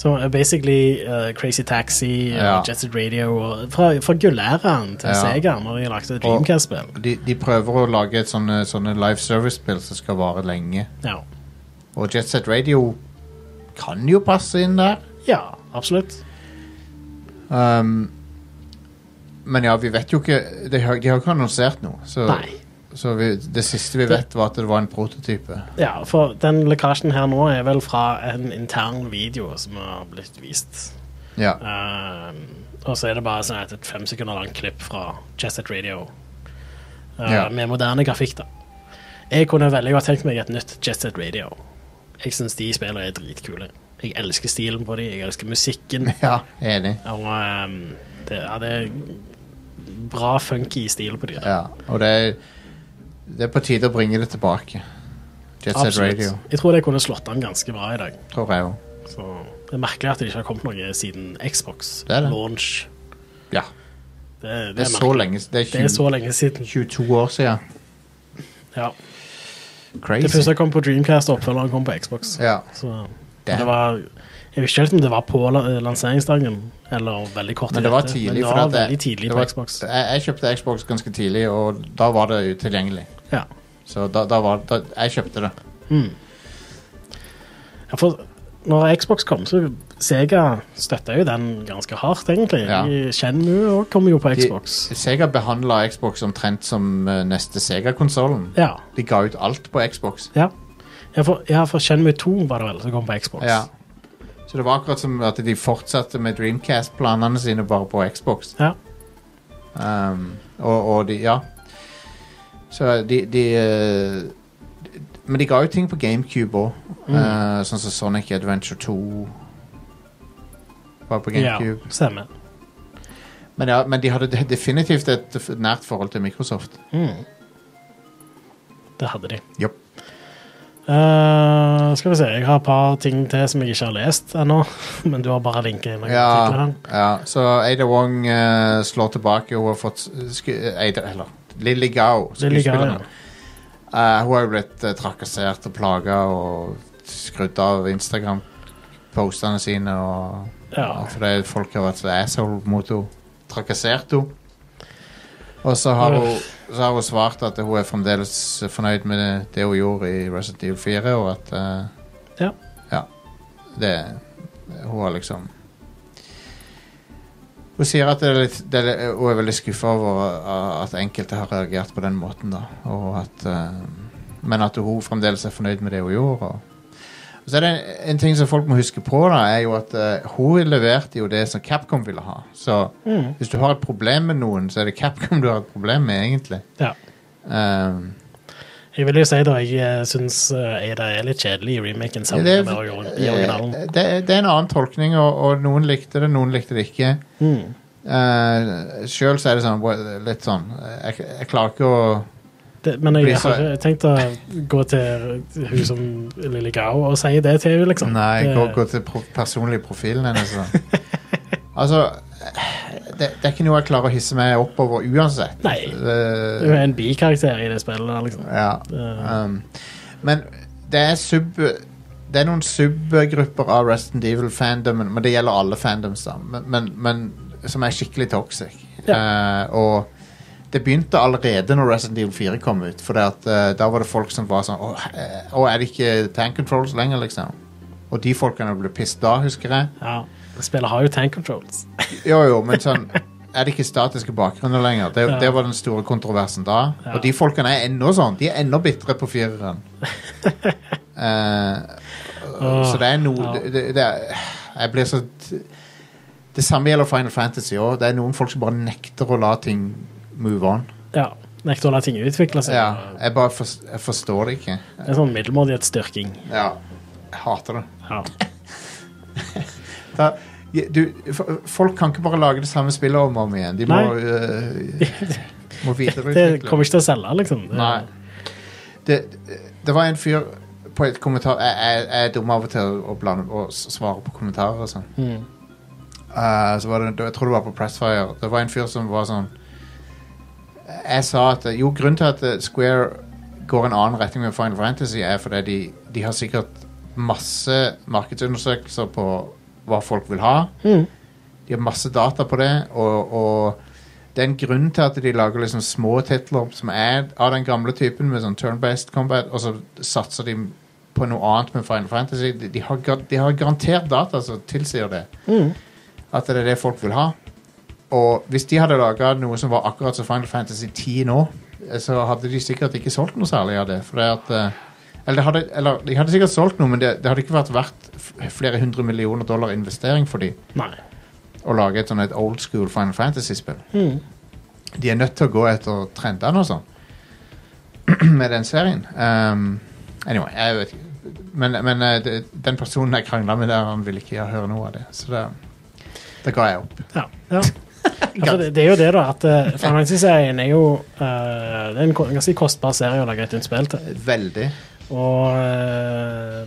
B: Så eh, basically eh, Crazy Taxi,
A: Ja.
B: ja. Jetset Radio og Fra, fra gullæren til
A: Ja.
B: Segaen når de lagde Dreamcast-spill.
A: De, de prøver å lage et sånne, sånne live service-spill som skal vare lenge.
B: Ja.
A: Og Jet Set Radio kan jo passe inn der.
B: ja, absolutt.
A: Um, men ja, vi vet jo ikke De har, de har ikke annonsert noe. Så,
B: Nei.
A: så vi, det siste vi vet, var at det var en prototype.
B: Ja, for den lekkasjen her nå er vel fra en intern video som har blitt vist.
A: Ja.
B: Ehm, og så er det bare sånn et, et fem sekunder langt klipp fra Jetset Radio. Eh,
A: Ja.
B: Med moderne grafikk, da. Jeg kunne veldig godt tenkt meg et nytt Jetset Radio. Jeg syns de spillene er dritkule. Jeg elsker stilen på dem, jeg elsker musikken.
A: ja enig.
B: Og ehm, det, ja, det er bra funky stil på dem.
A: Ja. Og det er, det er på tide å bringe det tilbake. Jet Set Radio,
B: Jeg tror det kunne slått an ganske bra i dag.
A: tror jeg òg.
B: Så det er merkelig at det ikke har kommet noe siden Xbox
A: Det er det.
B: launch.
A: Ja.
B: Det, det, er
A: Det er så
B: merkelig.
A: lenge Det er, 20,
B: det er så lenge siden.
A: 22 år siden.
B: Ja. Det
A: Crazy.
B: første kom på Dreamcast, og oppfølgeren kom på Xbox.
A: Ja.
B: Så
A: Damn.
B: det var Jeg vet ikke helt om det var på la- lanseringsdagen, eller veldig kort
A: Men det var
B: etter,
A: tidlig.
B: Men det
A: for
B: var
A: at jeg-
B: veldig tidlig
A: det
B: på
A: var-
B: Xbox.
A: Jeg, jeg kjøpte Xbox ganske tidlig, og da var det utilgjengelig.
B: Ja.
A: Så da, da var da, Jeg kjøpte det.
B: Ja, for når Xbox kom, så Sega støtta jo den ganske hardt, egentlig.
A: Ja.
B: Ja. Shenmue òg kom jo på Xbox.
A: De, Sega behandla Xbox omtrent som eh, neste Sega-konsollen.
B: Ja.
A: De ga ut alt på Xbox.
B: Ja. Ja, for, ja, for Shenmue 2 var det vel som kom på Xbox.
A: Ja. Så det var akkurat som at de fortsatte med Dreamcast-planene sine bare på Xbox.
B: Ja.
A: Um, og, og de Ja. Så de, de eh, de- Men de ga ut ting på GameCube òg. sånn som Sonic Adventure 2 var på
B: ja
A: GameCube.
B: stemmer.
A: Men, ja, men de hadde de- definitivt et f- nært forhold til Microsoft.
B: Mm. Det hadde de.
A: Yep.
B: Eh, skal vi se, jeg har et par ting til som jeg ikke har lest ennå. Men du har bare linket inn. noen artikler
A: Ja,
B: her.
A: ja. Så Ada Wong eh, slår tilbake. Hun har fått sku, Ada, eh, Eller Lilly Gao,
B: Lily Gao,
A: skuespilleren. Eh, hun har jo blitt eh, trakassert og plaga og skrudd av Instagram-postene sine. Og,
B: Ja.
A: og fordi folk har vært så asshole mot henne. Trakassert henne. Og så har, hun, så har hun svart at hun er fremdeles fornøyd med det, det hun gjorde i Resident Evil 4, og at eh,
B: Ja.
A: ja. Det Hun har liksom hun sier at det er litt, det er, hun er veldig skuffa over uh, at enkelte har reagert på den måten. da og at, uh, Men at hun fremdeles er fornøyd med det hun gjorde. Og. Så er det en, en ting som folk må huske på, da er jo at uh, hun leverte jo det som Capcom ville ha. Så
B: Mm.
A: hvis du har et problem med noen, så er det Capcom du har et problem med, egentlig.
B: ja.
A: Um,
B: Jeg vil jo si da, jeg eh, syns Ada er litt kjedelig i remaken sammen
A: det, eh,
B: med ori- i originalen.
A: det, det, det er en annen tolkning, og, og noen likte det, noen likte det ikke.
B: Mm.
A: Uh, Sjøl så er det sånn, well, litt sånn jeg, jeg klarer ikke å
B: Det, men jeg
A: Blir så-
B: har ikke tenkt å gå til hun som Lilly Gao og si det til henne, liksom.
A: Nei,
B: det,
A: gå, gå til pro personlig profilen hennes. da. altså det, det er ikke noe jeg klarer å hisse meg oppover uansett.
B: Nei. Hun
A: Det,
B: er en bikarakter i det spillet, der, liksom.
A: ja.
B: Det-
A: Um, men det er sub... Det er noen subgrupper av Resident Evil-fandomen, men det gjelder alle fandoms, da, men, men, men som er skikkelig toxic. Eh, og det begynte allerede når Resident Evil 4 kom ut, for at, eh, da var det folk som var sånn Å, eh, å, er det ikke tank controls lenger, liksom? Og de folkene ble pissed da, husker jeg.
B: Ja. Spillet har jo tank controls.
A: Jo, jo, men sånn Er det ikke statiske bakgrunner lenger? Det,
B: Ja.
A: det var den store kontroversen da.
B: Ja.
A: Og de folkene er ennå sånn. De er ennå bitre på fireren. Eh, så det er noe
B: ja.
A: det, det er, Jeg blir så Det samme gjelder Final Fantasy òg. Det er noen folk som bare nekter å la ting move on.
B: Ja. Nekter å la ting utvikle seg.
A: Ja, jeg bare forst- jeg forstår det ikke.
B: Det er sånn middelmådighetsstyrking.
A: Ja, jeg hater det.
B: Ja.
A: Da, du, f- folk kan ikke bare lage det samme spillet om og om igjen. De må,
B: Nei.
A: uh, må
B: Det
A: videreutvikle.
B: kommer ikke til å selge, liksom. Det,
A: Nei. Det, det var en fyr på et kommentar Jeg, jeg, jeg er dum av og til å blande og s- svare på kommentarer og sånn.
B: Mm.
A: Eh, så var det, jeg tror det var på Pressfire. Det var en fyr som var sånn Jeg sa at eh, jo, grunnen til at eh, Square går en annen retning med Final Fantasy, er fordi de, de har sikkert masse markedsundersøkelser på hva folk vil ha.
B: Mm.
A: De har masse data på det, og, og det er en grunn til at de lager liksom små titler som er av den gamle typen, med sånn turn-based combat, og så satser de på noe annet med Final Fantasy. De, de, har, gar- de har garantert data som tilsier det.
B: Mm.
A: At det er det folk vil ha. Og hvis de hadde laga noe som var akkurat som Final Fantasy 10 nå, eh, så hadde de sikkert ikke solgt noe særlig av det. For det at, eh, eller, det hadde, eller de hadde sikkert solgt noe, men det, det hadde ikke vært verdt f- flere hundre millioner dollar investering for de
B: Nei.
A: å lage et sånn et old school Final Fantasy-spill.
B: Mm.
A: De er nødt til å gå etter trendene og sånn med den serien. Um, anyway, jeg vet ikke. Men, men eh, det, den personen jeg krangla med der, han ville ikke høre noe av det. Så da, da ga jeg opp.
B: Ja. ja. Altså, det, det er jo det, da. At uh, Final Fantasy-serien er jo eh, Det er en ko- ganske kostbar serie å lage et nytt spill til.
A: Veldig.
B: Og eh,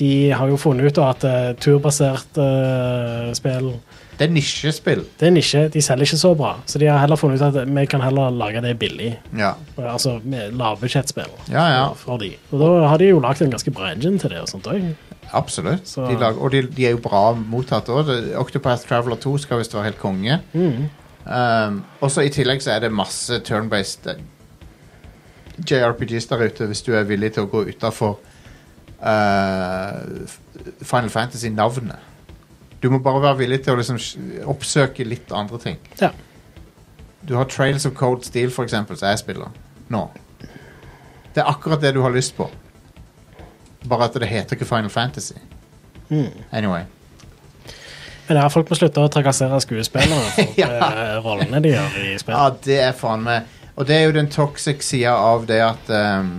B: de har jo funnet ut da, at eh, turbasert eh, spill
A: Det er nisjespill.
B: Det er nisje, de selger ikke så bra. Så de har heller funnet ut at vi kan heller lage det billig.
A: Ja.
B: Eh, Altså med lavbudsjettspill.
A: Ja, ja.
B: for- For de. Og da har de jo lagd en ganske bra engine til det og sånt òg.
A: Absolutt.
B: Så-
A: De lager, og de, de er jo bra mottatt òg. Octopath Traveler 2 skal visst være helt konge. Um, og så I tillegg så er det masse turn-based eh, JRPGs der ute, hvis du er villig til å gå utafor Final Fantasy-navnet. Du må bare være villig til å liksom sj- oppsøke litt andre ting.
B: Ja.
A: Du har Trails of Cold Steel, for eksempel, som jeg spiller nå. Det er akkurat det du har lyst på. Bare at det heter ikke Final Fantasy. Anyway.
B: Men ja, folk må slutte å trakassere skuespillere for
A: Ja.
B: eh, rollene de gjør i spill.
A: Ja, det er faen meg Og det er jo den toxic sida av det at ehm,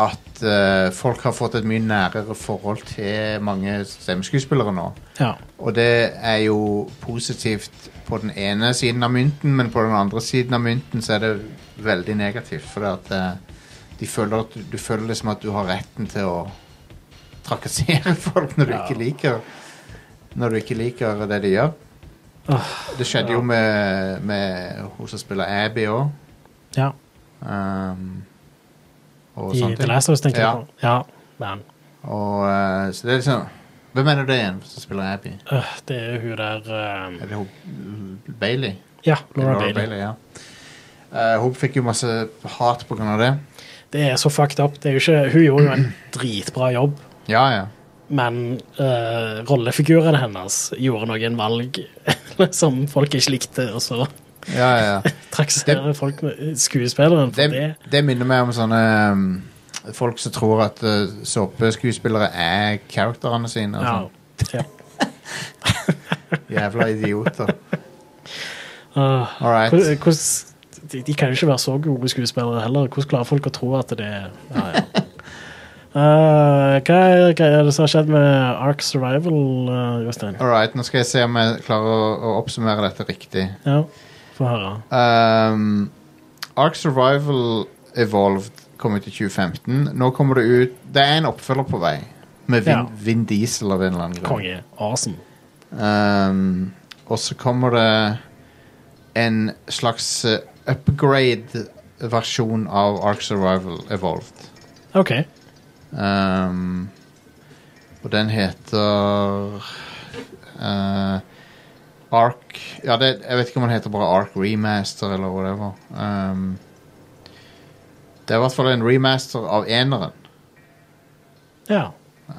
A: At eh, folk har fått et mye nærere forhold til mange stemmeskuespillere nå.
B: Ja.
A: Og det er jo positivt på den ene siden av mynten, men på den andre siden av mynten så er det veldig negativt. For at, eh, de føler at du, du føler liksom at du har retten til å trakassere folk når du
B: Ja.
A: ikke liker Når du ikke liker det de gjør. Det skjedde jo med, med hun som spiller Abby òg.
B: ja.
A: Um, ehm, og
B: I
A: sånne
B: The
A: ting.
B: Last of Us, tenker
A: Ja.
B: jeg på. Ja, man.
A: Og, eh, så det er liksom Hvem er nå det igjen som spiller Abby?
B: Øh, det er hun der eh,
A: Er det hun Bailey?
B: Ja, Laura
A: Laura
B: Bailey.
A: Bailey, ja. Eh, hun fikk jo masse hat på grunn av det.
B: Det er så fucked up. Det er jo ikke, hun gjorde jo en dritbra jobb,
A: Ja, ja.
B: men eh, rollefiguren hennes gjorde noen valg som folk ikke likte, og så
A: ja, ja, ja.
B: trakasserer folk med eh, skuespilleren for det.
A: Det, det minner meg om sånne um, folk som tror at eh, såpeskuespillere er karakterene sine. Og
B: Ja.
A: sånn.
B: ja.
A: Jævla idioter.
B: Ah,
A: All right.
B: hvor- hvordan- de, de kan jo ikke være så gode skuespillere heller. Hvordan klarer folk å tro at det er ja, ja. Eh, hva, er, hva er det som har skjedd med Ark Survival, eh, Jostein?
A: All right, nå skal jeg se om jeg klarer å, å oppsummere dette riktig.
B: Ja, få høre.
A: Um, Ark Survival Evolved kom ut i 2015. Nå kommer det ut Det er en oppfølger på vei. Med Vin,
B: Ja.
A: Vin Diesel av en eller annen grunn.
B: Konge. Awesome.
A: Um, og så kommer det en slags eh, upgrade-versjon av Ark Survival Evolved.
B: OK.
A: Um, og den heter eh, Ark Ja, det, jeg vet ikke om den heter bare Ark Remaster eller whatever. Um, det er i hvert fall en remaster av eneren.
B: Ja.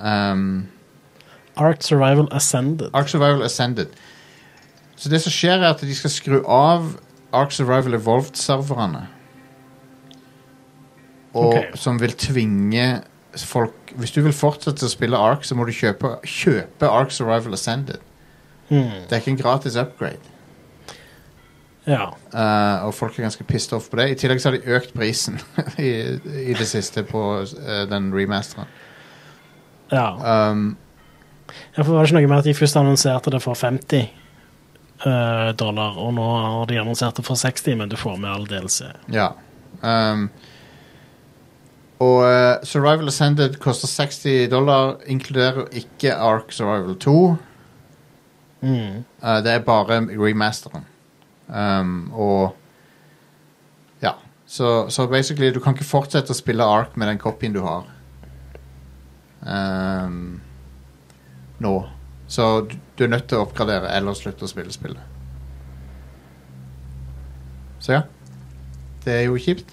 A: Um,
B: Ark Survival Ascended.
A: Ark Survival Ascended. Så det som skjer, er at de skal skru av Ark Survival Evolved-serverne. Og
B: Ok.
A: som vil tvinge folk Hvis du vil fortsette å spille Ark, så må du kjøpe, kjøpe Ark Survival Ascended.
B: Hmm.
A: Det er ikke en gratis upgrade.
B: Ja.
A: Eh, og folk er ganske pissed off på det. I tillegg så har de økt prisen i, i det siste på eh, den remasteren.
B: ja.
A: Um,
B: Ja, for det var ikke noe med at de først annonserte det for 50 eh, dollar, og nå har de annonsert det for 60, men du får med all delelse.
A: Ja. Um, og eh, Survival Ascended koster 60 dollar, inkluderer ikke Ark Survival 2.
B: Mm.
A: Eh, det er bare remasteren. Um, og Ja. Så, så basically, du kan ikke fortsette å spille Ark med den kopien du har. Um, nå. Så du, du er nødt til å oppgradere eller slutte å spille spillet. Så ja. Det er jo kjipt.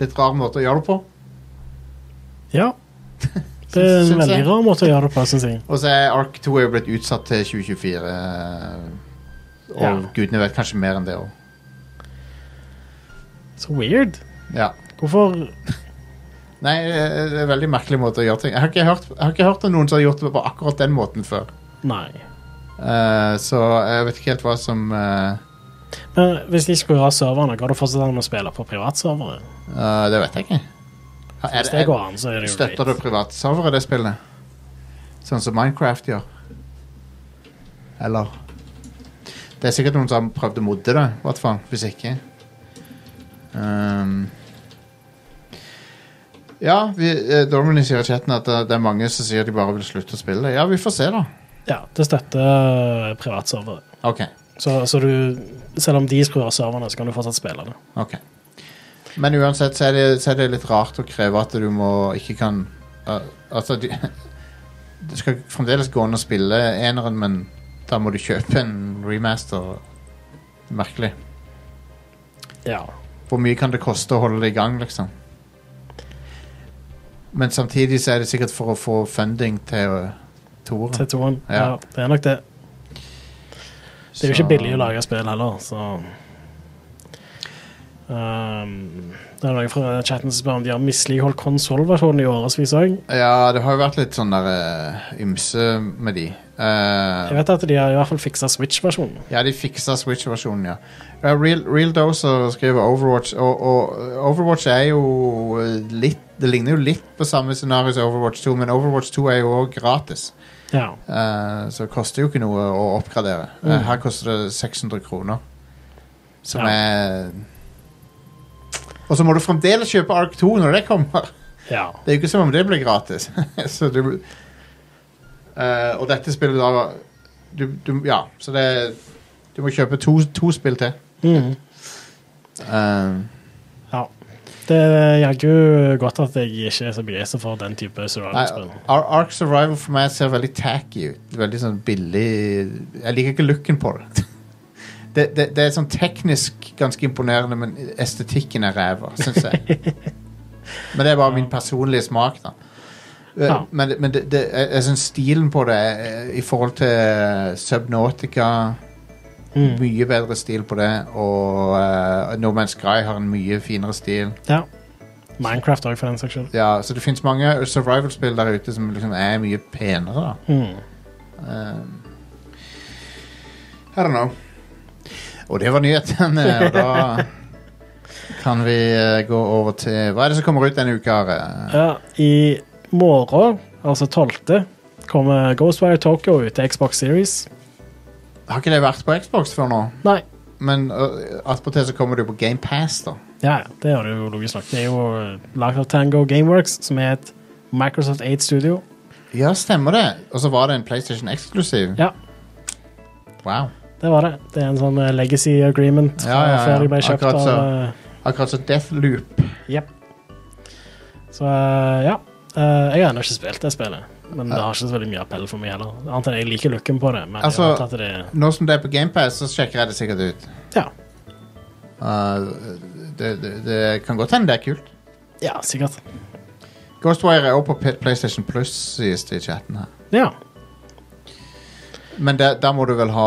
A: Litt rar måte å gjøre det på.
B: Ja. Det er en
A: Syns
B: veldig
A: jeg.
B: rar måte å gjøre det på, syns jeg.
A: Og så er Ark 2 er jo blitt utsatt til 2024. eh, Og
B: Ja.
A: gudene vet kanskje mer enn det òg.
B: Så weird.
A: Ja.
B: Hvorfor
A: Nei, eh, det er en veldig merkelig måte å gjøre ting Jeg har ikke hørt, jeg har ikke hørt om noen som har gjort det på akkurat den måten før.
B: Nei.
A: Eh, så jeg vet ikke helt hva som eh,
B: Men hvis de skulle ha serverne, går det fortsatt an å spille på privatservere?
A: eh, Det vet jeg ikke. Er,
B: Hvis det
A: er,
B: går an, så er det jo
A: støtter det
B: greit.
A: privatservere, det spillet? Sånn som Minecraft gjør? Eller Det er sikkert noen som har prøvd å modde det, i hvert fall. Hvis ikke. Ehm. ja, vi, eh, Dormany sier i chatten at eh, det, det er mange som sier de bare vil slutte å spille. Ja, vi får se, da.
B: Ja, det støtter eh, privatservere.
A: Ok,
B: Så, så du Selv om de skrur av serverne, så kan du fortsatt spille det.
A: ok Men uansett så er, det, så er det litt rart å kreve at du må ikke kan uh, Altså de, Det skal fremdeles gå an å spille eneren Men da må du kjøpe en remaster Merkelig
B: Ja.
A: Hvor mye kan det koste å holde det i gang liksom Men samtidig så er det sikkert for å få funding til uh, Toren
B: Til toen.
A: Ja.
B: Ja, det er nok det. Det er
A: Så-
B: jo ikke billig å lage spill heller, så Ehm, Det er noen fra chatten som spør om de har misligholdt konsollversjonen i årevis òg.
A: Ja, det har jo vært litt sånn der uh, Ymse med de Eh,
B: Jeg vet at de har i hvert fall fiksa Switch-versjonen.
A: Ja, de fiksa Switch-versjonen, ja. ja. Real, Real Dozer skriver Overwatch, og, og Overwatch er jo eh, litt Det ligner jo litt på samme scenario som Overwatch 2, men Overwatch 2 er jo òg gratis.
B: Ja.
A: Eh, så det koster jo ikke noe å oppgradere. Eh,
B: Mm.
A: her koster det 600 kroner. Som
B: Ja.
A: er Og så må du fremdeles kjøpe Ark 2 når det kommer!
B: ja.
A: Det er jo ikke som om det blir gratis. så du Eh, Og dette spillet da du, du, Ja, så det Du må kjøpe to, to spill til.
B: Mhm.
A: Eh,
B: Mm. ja. det er jaggu godt at jeg ikke er så begeistra for den type surround-spill.
A: Ar Ark Survival for meg ser veldig tacky ut. Veldig sånn billig Jeg liker ikke looken på det. Det, det, det er sånn teknisk ganske imponerende, men estetikken er ræva, syns jeg. Men det er bare min personlige smak, da. Eh,
B: Ja.
A: Men, men det, det, jeg, jeg syns stilen på det eh, i forhold til eh, Subnautica
B: Mm.
A: Mye bedre stil på det, og eh, No Man's Sky har en mye finere stil.
B: Ja. Minecraft òg, for den saks skyld.
A: Ja, så det fins mange survival-spill der ute som liksom er mye penere, da.
B: Mm.
A: Um, I don't know. Og det var nyhetene, og da kan vi eh, gå over til Hva er det som kommer ut denne uka? Are?
B: Ja, I morgen, altså 12., kommer Ghostwire Tokyo ut til Xbox Series.
A: Har ikke det vært på Xbox før nå?
B: Nei.
A: Men eh, attpåtil så kommer det jo på GamePass, da.
B: Ja, ja, det gjør det jo logisk nok. Det er jo lagd av Tango Gameworks, som er et Microsoft 8-studio.
A: Ja, stemmer det. Og så var det en PlayStation eksklusiv.
B: Ja.
A: Wow.
B: Det var det. Det er en sånn eh, legacy agreement
A: Ja, ja, ja.
B: før de ble kjøpt
A: Akkurat
B: av
A: så. Akkurat som Deathloop.
B: eh, Jepp. Så eh, ja. Eh, jeg har ennå ikke spilt det spillet, men det har ikke så veldig mye appell for meg heller. Annet enn jeg liker looken på det, men
A: Altså-
B: jeg har tatt det
A: Nå som det er på GamePass, så sjekker jeg det sikkert ut.
B: Ja,
A: Uh, det, det, det kan godt hende det er kult.
B: ja sikkert.
A: Ghostwire er også på P- PlayStation Plus, sies det i chatten her.
B: Ja.
A: Men da- da må du vel ha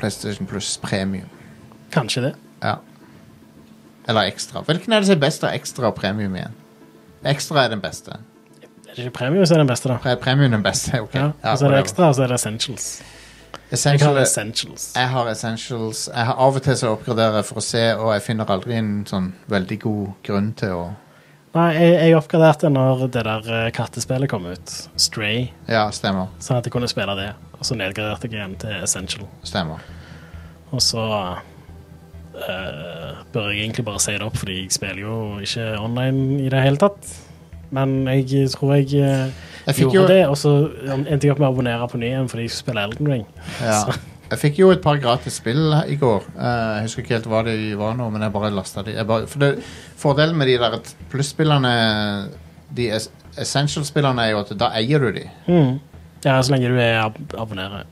A: PlayStation Plus premium.
B: Kanskje det.
A: Ja. Eller ekstra. Hvilken er det som er best av ekstra og premium igjen? Ekstra er den beste.
B: Er det ikke premium som er den beste, da?
A: Pre premium er den beste, ok.
B: Ja,
A: Ja,
B: og så er
A: whatever.
B: det ekstra, og så er det essentials. Jeg
A: Essential
B: har
A: er-
B: essentials.
A: jeg har essentials. Jeg har av og til så oppgraderer jeg for å se, og jeg finner aldri en sånn veldig god grunn til å
B: Nei, jeg, jeg oppgraderte når det der eh, kattespillet kom ut, Stray,
A: Ja, stemmer.
B: sånn at jeg kunne spille det. Og så nedgraderte jeg igjen til essential.
A: Stemmer.
B: Og så eh, bør jeg egentlig bare si det opp, fordi jeg spiller jo ikke online i det hele tatt. Men jeg tror jeg, eh,
A: Jeg fikk
B: gjorde
A: jo,
B: det, og så endte jeg opp med å abonnere på ny igjen fordi jeg skulle spille Elden Ring.
A: ja. jeg fikk jo et par gratis spill i går. Eh, Jeg husker ikke helt hva de var nå, men jeg bare lasta de. Jeg bare, for det, fordelen med de der plusspillene De es- essential-spillene er jo at da eier du de.
B: Mm. Ja, så lenge du er ab abonnerer.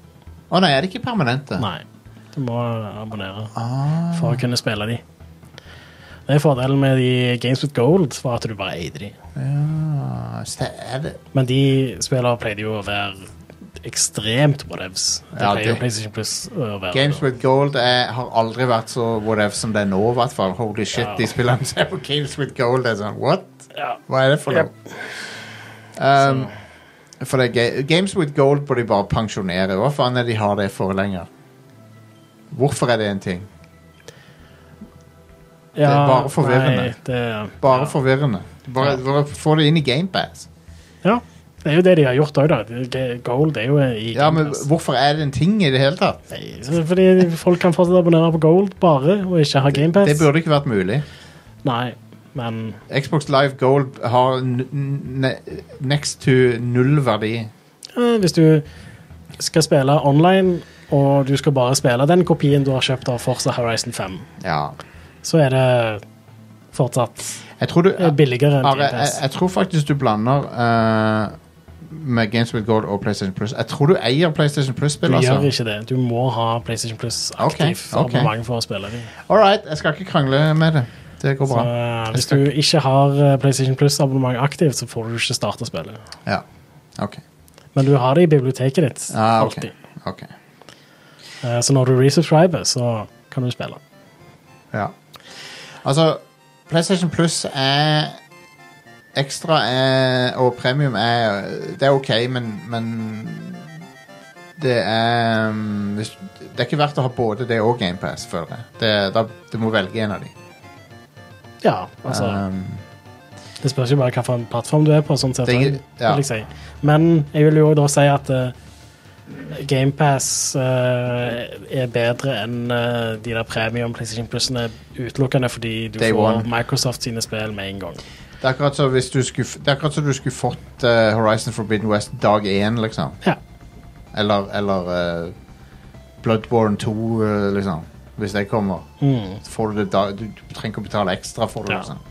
A: Å nei, er de ikke permanente?
B: Nei, du må abonnere.
A: Ah,
B: for å kunne spille de. Det er fordelen med de Games with Gold, var at du bare eide de.
A: ja. Så det er det
B: Men de spillere pleide jo å være ekstremt whatevs. Det
A: Ja,
B: pleier jo
A: det-
B: PlayStation Plus å være.
A: Games with Gold er, har aldri vært så whatever som det er nå, i hvert fall. Holy shit,
B: Ja.
A: de spillene som er på Games with Gold er sånn What?
B: Ja.
A: Hva er det for noe? Um, for det er ga Games with Gold burde de bare pensjonere. Hva faen er det de har det for lenger? Hvorfor er det en ting? er
B: Ja,
A: bare forvirrende.
B: Nei, det,
A: Bare
B: ja.
A: forvirrende. Bare,
B: Ja.
A: bare få det inn i GamePass.
B: Ja, det er jo det de har gjort òg, da. Det- Ga- Gold er jo i
A: Ja, men
B: Gamepass.
A: hvorfor er det en ting i det hele tatt?
B: Nei, så- Fordi folk kan fortsatt abonnere på Gold bare, og ikke ha GamePass.
A: Det burde ikke vært mulig.
B: Nei, men
A: Xbox Live Gold har n- n- ne- next to null verdi.
B: Eh, Hvis du skal spille online, og du skal bare spille den kopien du har kjøpt av Forza Horizon 5,
A: Ja.
B: så er det fortsatt
A: Jeg tror, du,
B: eh, billigere enn
A: Are, jeg,
B: TPS.
A: jeg tror faktisk du blander eh, med Games with Gold og PlayStation Plus. Jeg tror du eier PlayStation
B: Du
A: Plus-spill,
B: gjør
A: altså.
B: ikke det. Du må ha PlayStation Plus aktiv
A: Ok, ok.
B: abonnement for å spille dem.
A: All right, jeg skal ikke krangle med det. Det går
B: Så
A: bra.
B: eh, hvis du ikke har eh, PlayStation Plus-abonnement aktivt, så får du ikke starte spillet.
A: Ja. Ok.
B: Men du har det i biblioteket ditt.
A: Ah, ok.
B: alltid.
A: ok.
B: Eh, Så når du resubscriber, så kan du spille.
A: Ja. Altså, PlayStation Plus er Ekstra er, og premium er Det er ok, men, men det er um, hvis, Det er ikke verdt å ha både det og GamePass, føler jeg. Det, da, du må velge en av de.
B: Ja, altså...
A: Um,
B: Det spørs jo bare hvilken plattform du er på, sånn sett.
A: Det er ikke-
B: også,
A: ja.
B: vil jeg si. Men jeg vil jo da si at eh, GamePass eh, er bedre enn eh, de der premium PlayStation Plus-ene utelukkende fordi du
A: Day
B: får
A: one.
B: Microsoft sine spill med en gang.
A: Det er akkurat som hvis du skulle, f- det er akkurat som du skulle fått eh, Horizon Forbidden West dag én, liksom.
B: Ja.
A: Eller, eller eh, Bloodborne 2, eh, liksom. Hvis det kommer.
B: Mm.
A: Så får du det da Du du trenger ikke å betale ekstra for det.
B: Ja.
A: Liksom.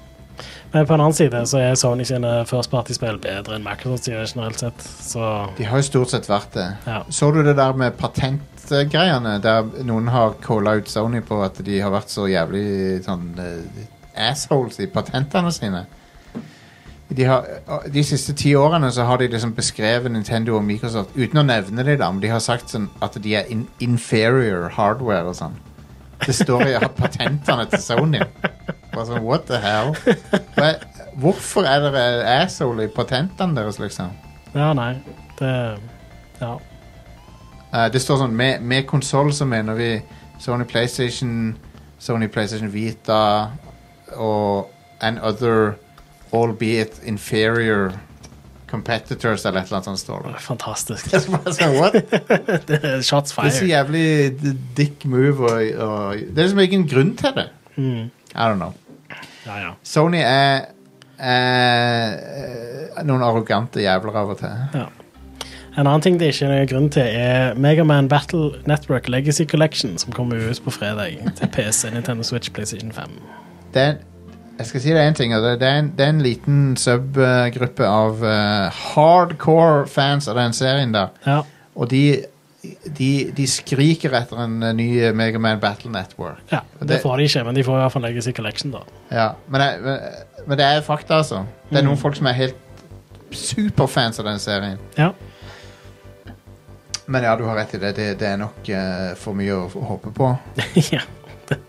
B: Men på en annen side så er Sony sine first party-spill bedre enn Microsoft sine generelt sett. Så
A: De har jo stort sett vært det.
B: ja.
A: Så du det der med patentgreiene, der noen har calla ut Sony på at de har vært så jævlig sånn eh, assholes i patentene sine? De, har, eh, de siste ti årene så har de liksom beskrevet Nintendo og Microsoft uten å nevne det, da, men de har sagt sånn at de er in inferior hardware og sånn. Det står i patentene til Sony. Bare sånn, what the hell? Hva, hvorfor er dere asshole i patentene deres, liksom?
B: ja, nei. Det Ja.
A: Eh, det står sånn Med, med konsoll så mener vi Sony PlayStation, Sony PlayStation Vita og and other albeit inferior competitors eller et eller annet sånt står det.
B: Fantastisk.
A: Det er så bare sånn, what? Det
B: Det er Shots
A: er så
B: fired.
A: jævlig d- dick move og, og Det er liksom ingen grunn til det.
B: Mm.
A: I don't know.
B: Ja, ja.
A: Sony er, er noen arrogante jævler av og til.
B: ja. En annen ting det ikke er grunn til, er Megaman Battle Network Legacy Collection, som kommer ut på fredag til PC, Nintendo Switch, PlayStation 5.
A: det er, jeg skal si det en ting, og det, det, er, en, det er en liten subgruppe av eh, hardcore fans av den serien der.
B: Ja.
A: Og de, de, de skriker etter en eh, ny Megaman Battle Network.
B: ja. Det får de ikke, men de får i hvert fall Legacy Collection, da.
A: Ja, men, jeg, men- men det er fakta, altså. Det er noen folk som er helt superfans av den serien.
B: Ja.
A: Men ja, du har rett i det. Det, det er nok eh, for mye å, å håpe på.
B: ja. Det-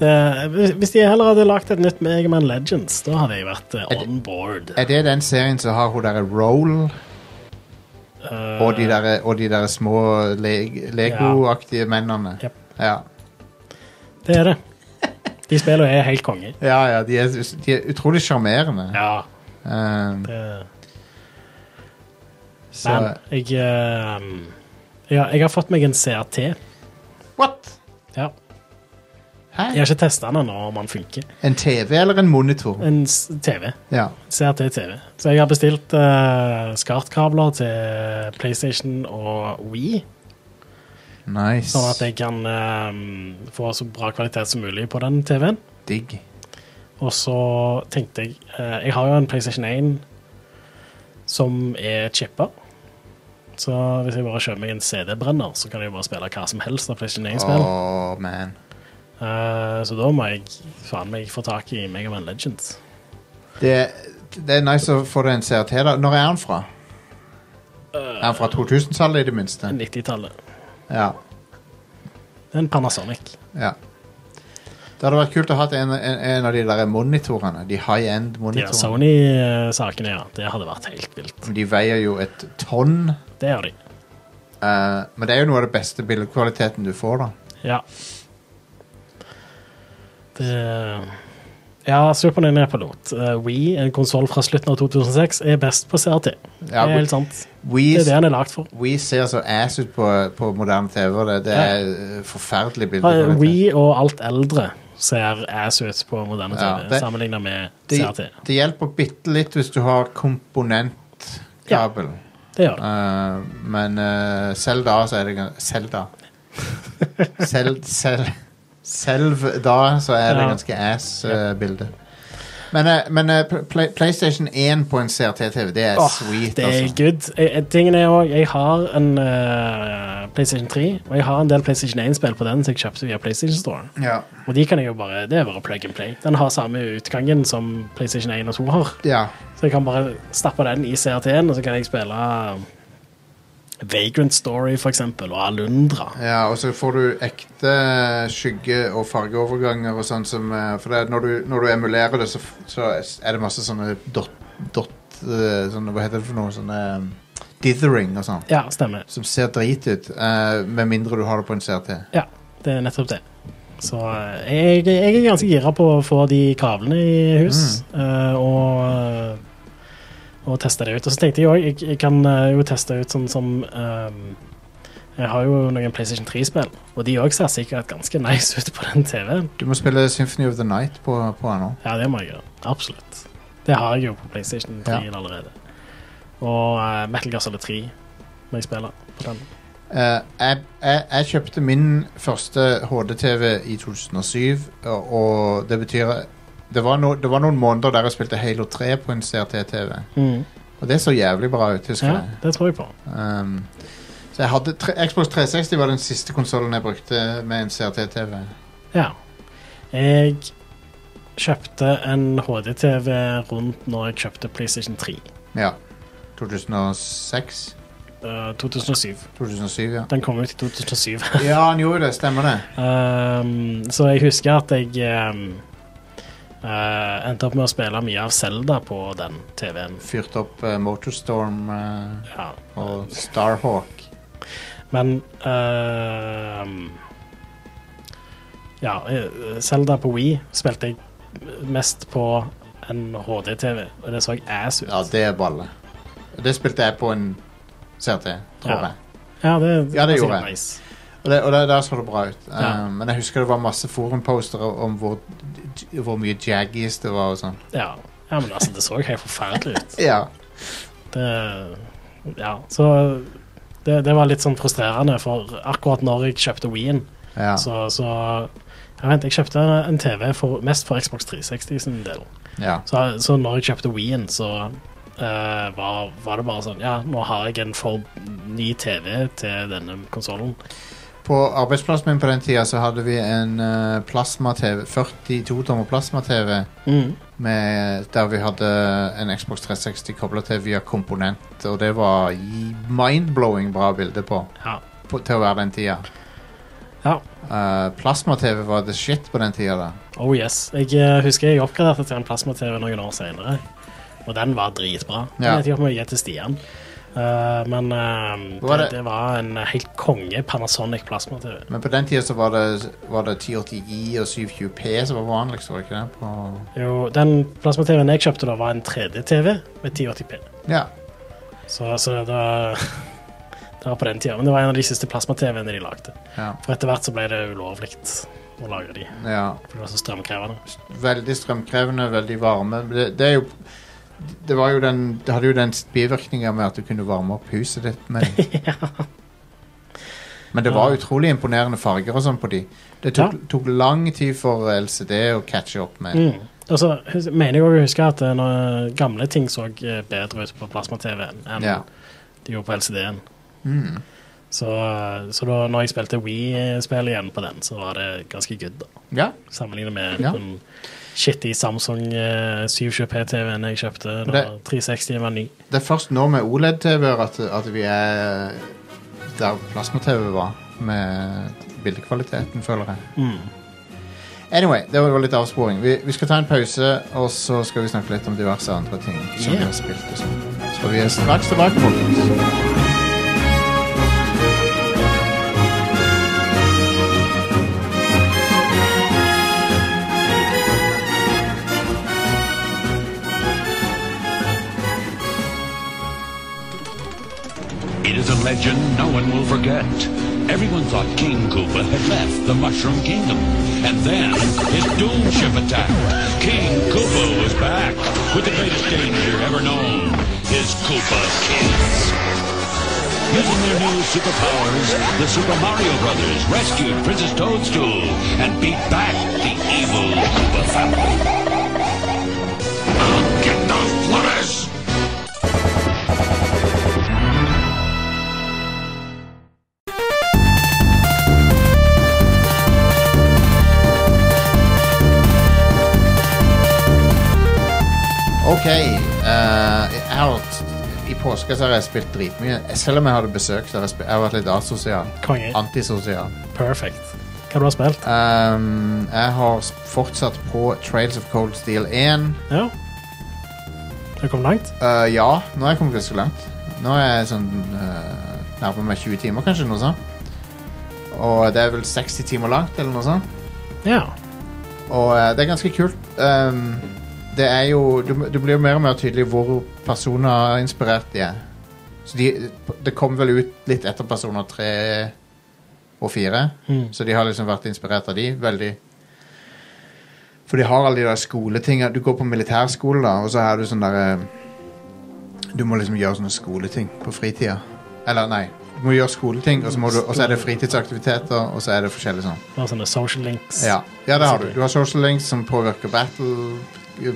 B: det- hvis- Hvis de heller hadde lagd et nytt Megaman Legends, da hadde jeg vært eh,
A: Er det-
B: on board.
A: Er det den serien som har hun derre Roll
B: Eh,
A: og de derre de der små le, Lego-aktige mennene?
B: Jep.
A: Ja.
B: Det er det. De spillene er helt konge.
A: Ja, ja, de er, de er utrolig sjarmerende.
B: Ja,
A: Um,
B: det
A: så
B: Men jeg, ehm, ja, jeg har fått meg en CRT.
A: What?
B: Ja. Jeg
A: Hæ?
B: har ikke testa den ennå, om den funker.
A: En TV eller en monitor?
B: En s- TV.
A: Ja.
B: CRT-TV. Så jeg har bestilt uh, SCART-kabler til PlayStation og Wii,
A: Nice.
B: sånn at jeg kan ehm, få så bra kvalitet som mulig på den TV-en.
A: Digg.
B: Og så tenkte jeg eh, Jeg har jo en PlayStation 1 som er chippa. Så hvis jeg bare kjøper meg en CD-brenner, så kan jeg jo bare spille hva som helst av PlayStation 1-spill.
A: Åh, man.
B: så da må jeg faen meg få tak i Megaman Legends.
A: Det, det er nice å få deg en CRT. da. Når er han fra?
B: Eh.
A: Er han fra 2000-tallet, i det minste?
B: 90-tallet.
A: Ja.
B: Det er En Panasonic.
A: ja. Det hadde vært kult å ha hatt en, en, en av de der monitorene. De
B: De der
A: high-end-monitorene.
B: Sony-sakene, ja. Det hadde vært helt vilt.
A: De veier jo et tonn.
B: Det gjør de.
A: eh, men det er jo noe av det beste bildekvaliteten du får, da.
B: Ja. Det Ja, Super Nintendo er pilot. Uh, Wii, en konsoll fra slutten av 2006, er best på CRT. det
A: Ja,
B: er
A: Wii-
B: helt sant.
A: We
B: Det er det han er lagd for.
A: We ser så ass ut på, på moderne TV. og Det, det er eh, forferdelig
B: Uh,
A: bildekvalitet.
B: We og alt eldre ser ass ut på moderne
A: Ja,
B: TV
A: det-
B: sammenlignet med
A: det,
B: CRT.
A: det hjelper bitte litt hvis du har komponentkabel.
B: Det gjør det.
A: Eh, men eh, selv da så er det gan- Selv da. selv, selv, selv da så er det
B: Ja.
A: ganske ass eh, bilde. Men, eh, men eh, Pl- Play, PlayStation 1 på en CRT-TV, det er
B: Åh,
A: sweet,
B: det er
A: altså.
B: good. Jeg, jeg- tingen er også, jeg har en eh, PlayStation 3, og jeg har en del PlayStation 1-spill på den som jeg kjøpte via PlayStation Store.
A: Ja.
B: Og de kan jeg jo bare, det er bare plug and play. Den har samme utgangen som PlayStation 1 og 2 har.
A: ja.
B: Så jeg kan bare stappe den i CRT-en, og så kan jeg spille eh, Vagrant Story, for eksempel, og Alundra.
A: Ja, og så får du ekte skygge- og fargeoverganger og sånn som eh, For det, er når, du, når du emulerer det, så, f- så er det masse sånne dot, dot eh, sånne, Hva heter det for noe? Sånne um, dithering og sånn.
B: Ja, stemmer.
A: Som ser drit ut. eh, med mindre du har det på en CRT.
B: Ja, det er nettopp det. Så eh, jeg, jeg er ganske gira på å få de kablene i hus eh, og, eh, og teste det ut. Og så tenkte jeg òg jeg, jeg kan eh, jo teste ut sånn som ehm, Jeg har jo noen PlayStation 3-spill, og de òg ser sikkert ganske nice ut på den TV-en.
A: Du må spille Symphony of the Night på, på den nå.
B: Ja, det må jeg gjøre. Absolutt. Det har jeg jo på PlayStation 3 allerede. Og eh, Metal Gear Solid 3 må jeg spille på den.
A: Eh, jeg, jeg, jeg kjøpte min første HD-TV i 2007, og, og det betyr det, var no, det var noen måneder der jeg spilte Halo 3 på en CRT-TV.
B: Mm.
A: Og det så jævlig bra ut, husker
B: Ja,
A: jeg.
B: det tror jeg på.
A: Um, så jeg hadde tre, Xbox 360 var den siste konsollen jeg brukte med en CRT-TV.
B: Ja. Jeg kjøpte en HDTV rundt når jeg kjøpte PlayStation 3.
A: Ja. 2006?
B: eh, 2007.
A: 2007, ja.
B: Den kom ut i 2007.
A: Ja, han gjorde det. Stemmer det.
B: Ehm, så jeg husker at jeg ehm, eh, endte opp med å spille mye av Zelda på den TV-en.
A: Fyrte opp eh, Motorstorm eh,
B: Ja.
A: og Starhawk.
B: Men ehm, Ja, eh, Zelda på Wii spilte jeg mest på en HD-TV, og det så ass ut.
A: Ja, det er balle. Det spilte jeg på en CRT, tror
B: Ja.
A: jeg.
B: Ja, det,
A: Ja, det
B: var
A: gjorde
B: sikkert
A: jeg.
B: Nice.
A: Og, det, og det, der så det bra ut. Um,
B: Ja.
A: Men jeg husker det var masse forumpostere om hvor, hvor mye jaggies det var og sånn.
B: Ja. ja, men altså, det så helt forferdelig ut.
A: Ja.
B: Det, ja, så det, det var litt sånn frustrerende, for akkurat når jeg kjøpte Wien,
A: Ja.
B: så, så ja, vent, jeg kjøpte en TV for, mest for Xbox 360 sin del.
A: ja.
B: Så, så når jeg kjøpte Wien, så eh, var, var det bare sånn Ja, nå har jeg en for ny TV til denne konsollen.
A: På arbeidsplassen min på den tida så hadde vi en eh, plasma-TV, 42-tommer plasma-TV, Mm. med- der vi hadde en Xbox 360 kobla til via komponent, og det var i- mind-blowing bra bilde på,
B: Ja.
A: på til å være den tida.
B: ja.
A: Eh, plasma-TV var the shit på den tida da.
B: Oh yes. Jeg eh, husker jeg oppgraderte til en plasma-TV noen år senere, og den var dritbra. Den
A: Ja.
B: vet ikke om jeg gir til Stian. Eh, men eh,
A: Hva var
B: det,
A: det?
B: det var en helt konge Panasonic plasma-TV.
A: Men på den tida så var det, var det 1080i og 720p som var vanligst, var det ikke det? På
B: Jo, den plasma-TV-en jeg kjøpte da, var en 3D-TV med 1080p.
A: Ja.
B: Så, så det var Det var på den tida. Men det var en av de siste plasma-TV-ene de lagde.
A: ja,
B: For etter hvert så ble det ulovlig å lage de,
A: ja.
B: for det var så strømkrevende.
A: Veldig strømkrevende, veldig varme. Det, det er jo det, var jo den, det hadde jo den bivirkninga med at du kunne varme opp huset ditt med den. Men det var utrolig imponerende farger og sånn på de. Det tok, tok lang tid for LCD å catche opp med.
B: Mm. Og så hus- mener jeg også å huske at eh, når gamle ting så eh, bedre ut på plasma-TV-en enn
A: Ja.
B: de gjorde på LCD-en.
A: Mm.
B: Så, eh, så da når jeg spilte Wii-spill igjen på den, så var det ganske good, da.
A: Ja.
B: Sammenlignet med
A: Ja.
B: den shitty Samsung eh, 720p-TV-en jeg kjøpte da
A: det-
B: 360 var ny.
A: Det er først nå med E OLED-TV-er at, at vi er der plasma-TV var, med bildekvaliteten, føler jeg.
B: Mm.
A: Anyway, det var litt avsporing. Vi, vi skal ta en pause, og så skal vi snakke litt om diverse andre ting. Som
B: Yeah.
A: vi har spilt og sånn. Så vi er straks tilbake, folkens.
C: It is a legend no one will forget. Everyone thought King Koopa had left the Mushroom Kingdom. And then his doom ship attacked. King Koopa was back with the greatest danger ever known. His Koopa kids. Using their new superpowers, the Super Mario Brothers rescued Princess Toadstool and beat back the evil Koopa family. I'll get the flourish!
A: OK. eh, jeg har, t- I påska så har jeg spilt dritmye. Selv om jeg hadde besøk, så har jeg, spil- jeg har vært litt asosial.
B: Konge.
A: Antisosial.
B: Perfect. Hva du har spilt?
A: Um, jeg har s- fortsatt på Trails of Cold Steel 1.
B: Ja. Har du kommet langt?
A: Eh, ja, nå er jeg kommet ganske langt. Nå er jeg sånn uh, nærmer meg 20 timer, kanskje, noe sånt. Og det er vel 60 timer langt, eller noe sånt.
B: Ja.
A: Og eh, det er ganske kult. Ehm, det er jo du, du blir jo mer og mer tydelig hvor personer inspirert de er. Så de, det kom vel ut litt etter personer tre og fire.
B: Mm.
A: Så de har liksom vært inspirert av de veldig. For de har alle de der skoletinga. Du går på militærskole, da, og så er du sånn der eh, Du må liksom gjøre sånne skoleting på fritida. Eller nei, Du må gjøre skoleting, og så, må du, og så er det fritidsaktiviteter, og så er det forskjellig sånn.
B: Bare sånne social links.
A: Ja, ja det har du. Du har social links som påvirker battle,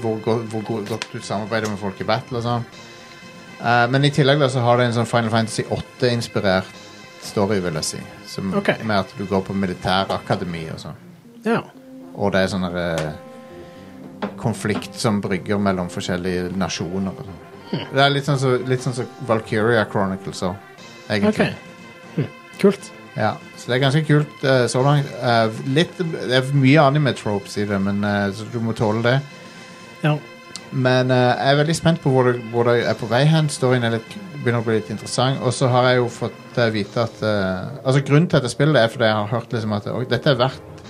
A: hvor, go- hvor go- godt du samarbeider med folk i battle og sånn. Eh, men i tillegg da, så har det en sånn Final Fantasy 8-inspirert story, vil jeg si. Som,
B: Ok.
A: Med at du går på militærakademi og sånn.
B: Ja.
A: Og det er sånn eh, konflikt som brygger mellom forskjellige nasjoner og sånn. Det er litt sånn som så, sånn som Valkyria Chronicles òg,
B: OK.
A: egentlig.
B: Hm. Kult.
A: Ja, så det er ganske kult eh, så langt. Eh, litt, det er mye anime-tropes i det, men, eh, så du må tåle det.
B: Ja.
A: Men eh, jeg er veldig spent på hvor det, hvor det er på vei hen. Storyen er litt, begynner å bli litt interessant. Og så har jeg jo fått eh, vite at eh, Altså Grunnen til at jeg spiller det, er fordi jeg har hørt liksom at oi, dette er verdt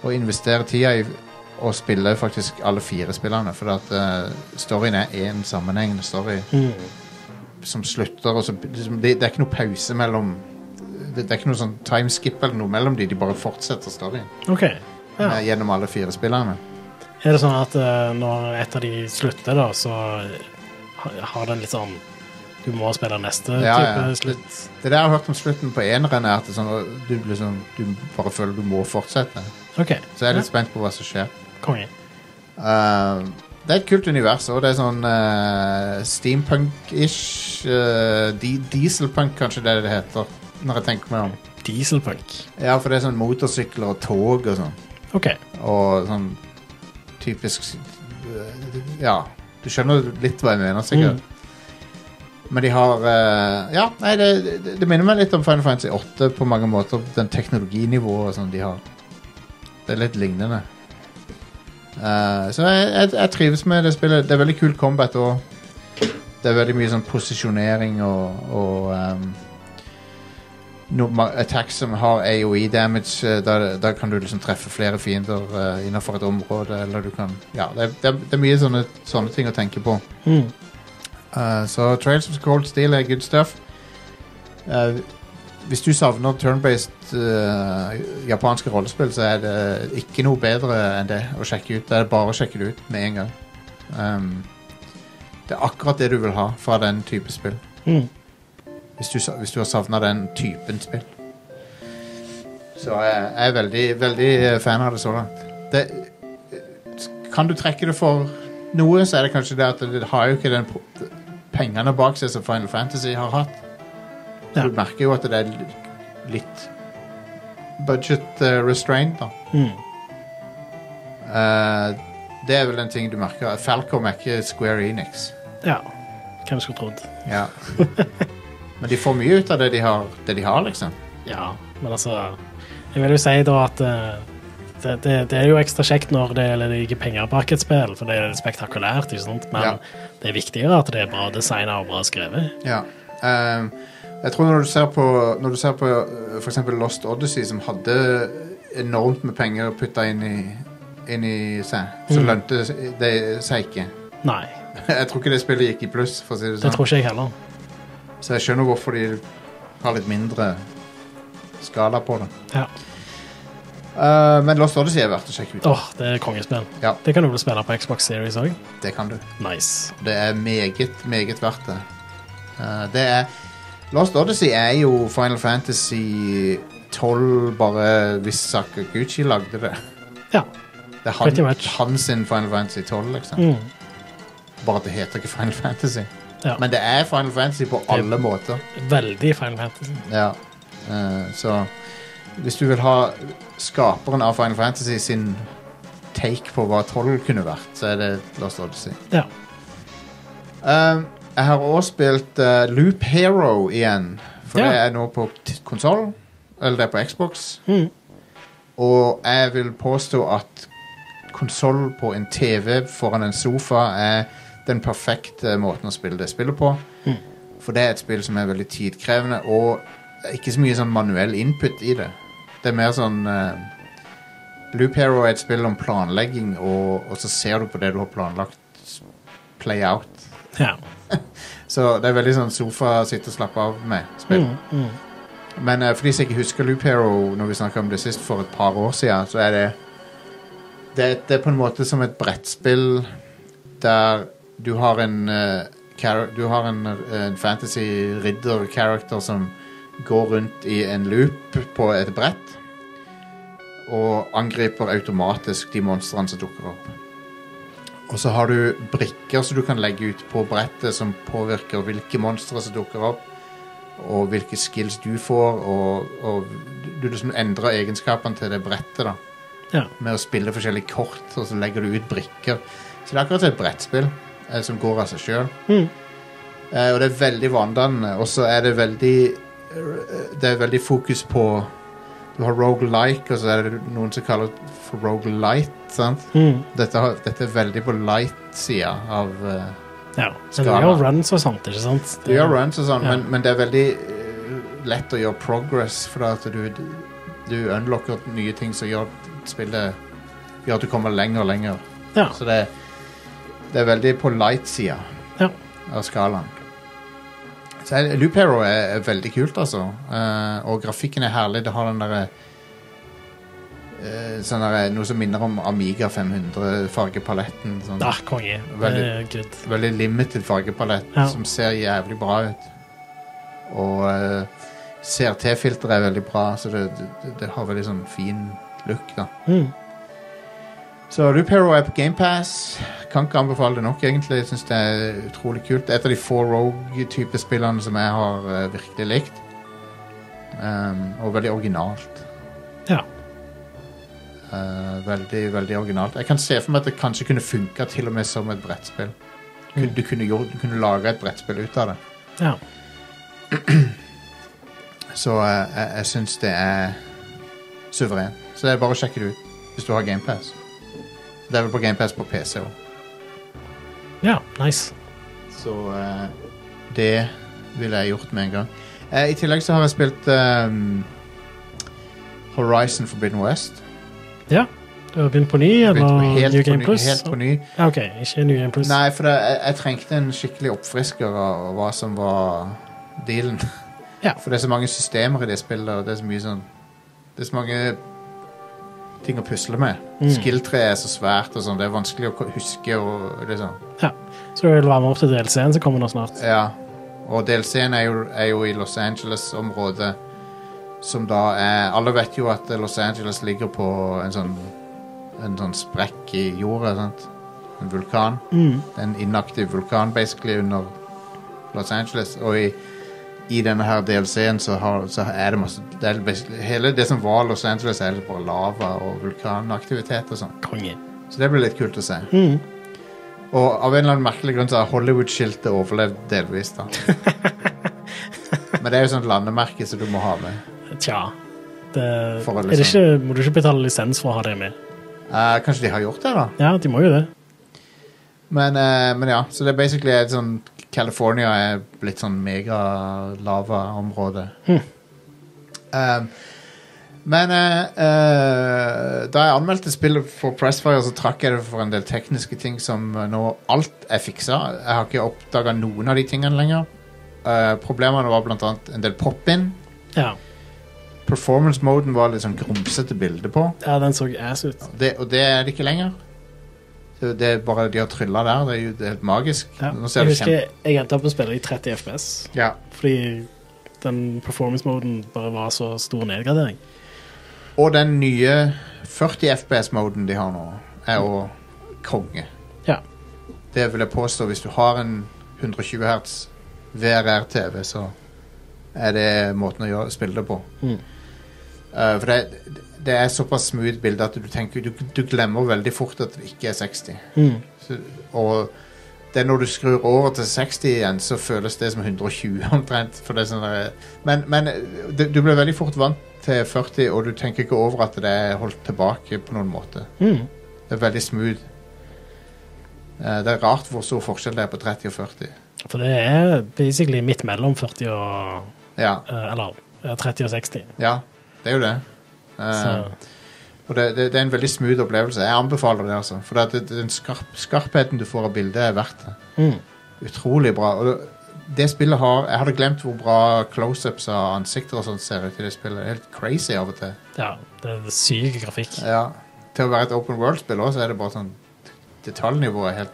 A: å investere tida i å spille faktisk alle fire spillerne. For at eh, storyen er én sammenhengende story som slutter. Og så, liksom, det, det er ikke noe pause mellom det, det er ikke noe sånn timeskip eller noe mellom de, de bare fortsetter storyen
B: OK. Ja.
A: eh, gjennom alle fire spillerne.
B: Er det sånn at eh, når et av de slutter, da, så ha- har den litt sånn Du må spille neste
A: Ja,
B: type
A: ja.
B: slutt?
A: Det der jeg har hørt om slutten på eneren, er at det er sånn, øh, du, blir sånn, du bare føler du må fortsette.
B: OK.
A: Så jeg er litt spent på hva som skjer.
B: Ja, konge.
A: Uh, det er et kult univers, og det er sånn uh, steampunk-ish. Uh, di dieselpunk, kanskje det er det det heter, når jeg tenker meg om.
B: Dieselpunk.
A: Ja, for det er sånn motorsykler og tog og sånn.
B: OK.
A: Og sånn typisk øh, Ja, du skjønner litt hva jeg mener, sikkert. Men de har øh, Ja, nei, det, det, det minner meg litt om Final Fantasy 8 på mange måter. Den teknologinivået som de har. Det er litt lignende. Eh, så jeg, jeg, jeg trives med det spillet. Det er veldig kul combat òg. Det er veldig mye sånn posisjonering og, og ehm, no, ma- attacks som har AOE damage. eh, Da, da kan du liksom treffe flere fiender eh, innenfor et område, eller du kan Ja, det, er- det, er- det er mye sånne, sånne ting å tenke på.
B: Mm.
A: Eh, så Trails of Cold Steel er good stuff. Eh, hvis du savner turn-based eh, japanske rollespill, så er det ikke noe bedre enn det å sjekke ut. Det er bare å sjekke det ut med en gang. Um, det er akkurat det du vil ha fra den type spill.
B: Mm.
A: Hvis du, sa- hvis du har savna den typen spill. Så jeg, jeg er veldig, veldig eh, fan av det så langt. Det, eh, kan du trekke det for noe, så er det kanskje det at det har jo ikke den pro- pengene bak seg som Final Fantasy har hatt.
B: Ja.
A: Du merker jo at det er li- litt budget eh, restraint, da.
B: Mm.
A: Eh, det er vel en ting du merker. Falcom er ikke Square Enix.
B: Ja. Hvem skulle trodd?
A: Ja. Men de får mye ut av det de har, det de har liksom.
B: Ja, men altså Jeg vil jo si da at eh, det, det, det er jo ekstra kjekt når det ligger penger bak et spill, for det er spektakulært, ikke sant? men
A: Ja.
B: det er viktigere at det er bra designa og bra skrevet.
A: Ja. Ehm, jeg tror når du ser på, når du ser på øh, for eksempel Lost Odyssey, som hadde enormt med penger putta inn i, inn i seg, så
B: Mm.
A: lønte det seg ikke.
B: Nei,
A: Jeg tror ikke det spillet gikk i pluss, for å si det
B: det
A: sånn.
B: tror ikke jeg heller.
A: Så jeg skjønner hvorfor de har litt mindre skala på det.
B: Ja.
A: Eh, men Lost Odyssey er verdt å sjekke ut.
B: Åh, det er kongespill.
A: Ja.
B: Det kan du vel spille på Xbox Series òg.
A: Det kan du.
B: Nice.
A: Det er meget, meget verdt det. Eh, det er Lost Odyssey er jo Final Fantasy 12, bare hvis Sakaguchi lagde det.
B: Ja.
A: Det er
B: Pretty
A: han,
B: much.
A: han sin Final Fantasy 12, liksom.
B: Mm.
A: Bare at det heter ikke Final Fantasy.
B: ja.
A: Men det er Final Fantasy på alle måter.
B: Veldig Final Fantasy.
A: Ja. Eh, så hvis du vil ha skaperen av Final Fantasy sin take på hva 12 kunne vært, så er det Lost Odyssey.
B: Ja.
A: Um, jeg har også spilt eh, Loop Hero igjen. For
B: Ja.
A: det er nå på konsoll. Eller det er på Xbox.
B: Mm.
A: Og jeg vil påstå at konsoll på en TV foran en sofa er den perfekte måten å spille det spillet på.
B: Mm.
A: For det er et spill som er veldig tidkrevende, og det er ikke så mye sånn manuell input i det. Det er mer sånn eh, Loop Hero er et spill om planlegging, og, og så ser du på det du har planlagt, play out.
B: ja.
A: Så det er veldig sånn sofa sitte og slappe av med spill.
B: Mm. Mm.
A: Men eh, for de som ikke husker Loop Hero når vi snakket om det sist for et par år siden, så er det det, det er på en måte som et brettspill der du har en eh, char- du har en, eh, en fantasy ridder character som går rundt i en loop på et brett og angriper automatisk de monstrene som dukker opp. Og så har du brikker som du kan legge ut på brettet som påvirker hvilke monstre som dukker opp, og hvilke skills du får, og, og du liksom endrer egenskapene til det brettet da,
B: Ja.
A: med å spille forskjellige kort, og så legger du ut brikker. Så det er akkurat et brettspill eh, som går av seg sjøl.
B: Mm.
A: Eh, og det er veldig vanedannende. Og så er det veldig eh, Det er veldig fokus på Du har roguelike, og så er det noen som kaller det for roguelite. Sant?
B: Mm.
A: Dette, har- dette er veldig på light-sida av eh,
B: ja. Men det
A: Skala.
B: er jo runs og sånt, ikke sant?
A: Du gjør runs og sånn,
B: Ja.
A: men, men det er veldig eh, lett å gjøre progress, for at du, du unlocker nye ting som gjør spillet Gjør at du kommer lenger og lenger.
B: Ja.
A: Så det, det er veldig på light-sida
B: Ja.
A: av skalaen. Så jeg- Loop Hero er, er veldig kult, altså. Eh, og grafikken er herlig. Det har den derre eh, sånn derre- Noe som minner om Amiga 500-fargepaletten. Sånn.
B: Da, Ah, konge. Det er
A: Veldig.
B: good.
A: Veldig limited fargepalett
B: Ja.
A: som ser jævlig bra ut. Og eh, CRT-filteret er veldig bra, så det, det, det har veldig sånn fin look, da.
B: Mm.
A: Så Loop Hero er på GamePass. Kan ikke anbefale det nok, egentlig. Jeg synes det er utrolig kult. Det er Et av de få Rogue-type spillene som jeg har eh, virkelig likt. Um, og veldig originalt.
B: Ja.
A: Eh, veldig, veldig originalt. Jeg kan se for meg at det kanskje kunne funka til og med som et brettspill. Du,
B: Mm.
A: du, kunne gjort, du kunne laga et brettspill ut av det.
B: ja.
A: Så eh, jeg, jeg syns det er suveren. Så det er bare å sjekke det ut hvis du har GamePass. Det er vel på GamePass på PC òg.
B: Ja, nice.
A: Så eh, det ville jeg gjort med en gang. Eh, I tillegg så har jeg spilt ehm, Horizon Forbidden West.
B: Ja. Du har begynt på ny,
A: Begynt
B: eller
A: på- helt
B: New
A: på
B: Game
A: ny-
B: Plus?
A: Helt på ny.
B: Ja, OK, ikke New Game Plus.
A: Nei, for det, jeg, jeg trengte en skikkelig oppfrisker av av hva som var dealen.
B: Ja.
A: For det er så mange systemer i det spillet, og det er så mye sånn Det er så mange ting å pusle med.
B: Mm.
A: Skill-treet er så svært, og sånn, det er vanskelig å ko- huske. og det er sånn.
B: Ja. Så du vil være med opp til DLC-en som kommer nå snart?
A: Ja. Og DLC-en er, jo- er jo i Los Angeles-området, som da er Alle vet jo at Los Angeles ligger på en sånn, en sånn sprekk i jorda. Sant? En vulkan.
B: Mm.
A: Det er en inaktiv vulkan basically under Los Angeles. Og i, i denne her DLC-en så, har, så er det masse det er basically- Hele det som var Los Angeles, er bare lava og vulkanaktivitet og sånn.
B: Konge.
A: Så det blir litt kult å se.
B: Mm.
A: Og av en eller annen merkelig grunn så har Hollywood-skiltet overlevd delvis, da. Men det er jo sånt landemerke som du må ha med.
B: Tja. Det,
A: For å
B: er det ikke, må du ikke betale lisens for å ha det med?
A: Eh, kanskje de har gjort det, da?
B: Ja, de må jo det.
A: Men, eh, men ja, så det er basically et sånn California er blitt sånn mega-lava-område. Um, men eh, eh, da jeg anmeldte spillet for Pressfire, så trakk jeg det for en del tekniske ting som eh, nå alt er fiksa. Jeg har ikke oppdaga noen av de tingene lenger. Eh, problemene var blant annet en del pop-in.
B: Ja.
A: Performance-moden var litt sånn grumsete bilde på.
B: ja, den så ass ut.
A: Det, og det er det ikke lenger. Det, det er bare de har trylla der. Det er jo det er helt magisk.
B: Ja.
A: Nå ser
B: Jeg
A: det
B: husker
A: kjempe...
B: jeg endte opp med å spille i 30 FPS
A: Ja.
B: fordi den performance-moden bare var så stor nedgradering.
A: Og den nye 40 FPS-moden de har nå, er jo konge.
B: Ja.
A: Det vil jeg påstå. Hvis du har en 120 hertz VRR-TV, så er det måten å gjøre, spille det på.
B: Mm.
A: Eh, for det, det er såpass smooth bilde at du tenker du, du glemmer veldig fort at det ikke er 60.
B: Mm.
A: Så, og det er når du skrur over til 60 igjen, så føles det som 120 omtrent. For det er sånn der, men men det, du blir veldig fort vant til 40, og du tenker ikke over at det er holdt tilbake på noen måte.
B: Mm.
A: Det er veldig smooth. Eh, Det er rart hvor stor forskjell det er på 30 og 40.
B: For det er basically midt mellom 40 og
A: Ja,
B: eh, Eller eh, 30 og 60.
A: ja det er jo det. Eh,
B: Så
A: og det, det, det er en veldig smooth opplevelse. Jeg anbefaler det, altså. For det, det, den skarp, skarpheten du får av bildet, er verdt det.
B: mm.
A: Utrolig bra. Og det- det spillet har Jeg hadde glemt hvor bra close-ups av ansikter og sånt ser ut i det spillet. Det er Helt crazy av og til.
B: Ja, det er syk grafikk.
A: Ja. Til å være et open world-spill også, så er det bare sånn Detaljnivået er helt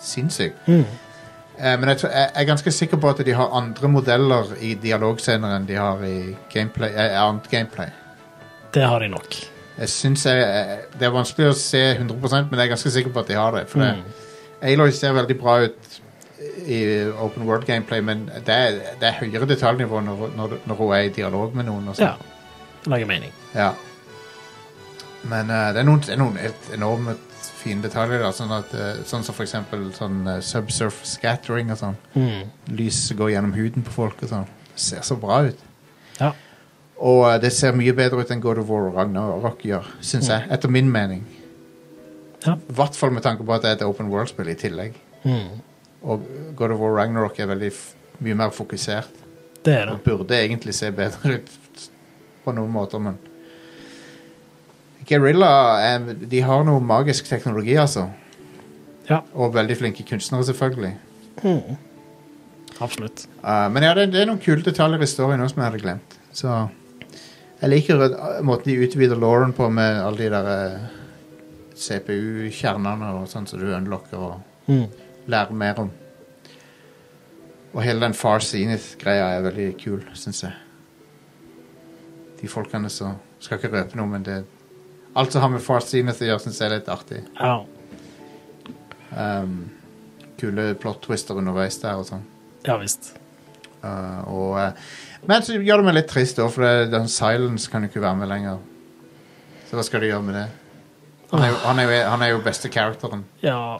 A: sinnssykt.
B: Mm.
A: Eh, men jeg, tror- jeg jeg er ganske sikker på at de har andre modeller i dialogscener enn de har i gameplay, eh, annet gameplay.
B: Det har de nok.
A: Jeg synes jeg, jeg, Det er vanskelig å se 100 men jeg er ganske sikker på at de har det. For det, Aloy ser veldig bra ut i open world gameplay, men det er, det er høyere detaljnivå når, når, når hun er i dialog med noen. Og sånn.
B: Ja. Det lager mening.
A: Ja. Men eh, det, er noen, det er noen helt enorme fine detaljer. Da, sånn, at, eh, sånn som for eksempel sånn eh, subsurface scattering og sånn. Lys som går gjennom huden på folk og sånn. Det ser så bra ut.
B: Ja.
A: Og eh, det ser mye bedre ut enn God of War og Ragnarok gjør, syns jeg. Etter min mening.
B: Ja.
A: I hvert fall med tanke på at det er et open world-spill i tillegg. Og God of War og Ragnarok er veldig f mye mer fokusert.
B: Det er det.
A: Og burde egentlig se bedre ut på noen måter, men Guerrilla eh, de har noe magisk teknologi, altså.
B: Ja,
A: Og veldig flinke kunstnere, selvfølgelig.
B: absolutt.
A: Eh, men ja, det, det er noen kule detaljer i storyen også som jeg hadde glemt. Så jeg liker eh, måten de utvider Lauren på med alle de der eh, CPU-kjernene og sånn som du unlocker og lærer mer om. Og hele den Far Zenith-greia er veldig kul, syns jeg. De folkene som Skal ikke røpe noe, men det Alt som har med Far Zenith å gjøre, syns jeg er litt artig.
B: Ja.
A: Um, kule plot-twister underveis der og sånn.
B: ja visst.
A: Uh, og, uh, men så gjør det meg litt trist, da, for det, den Silence kan jo ikke være med lenger. Så hva skal de gjøre med det? Han er jo, han er jo, han er jo beste characteren,
B: Ja.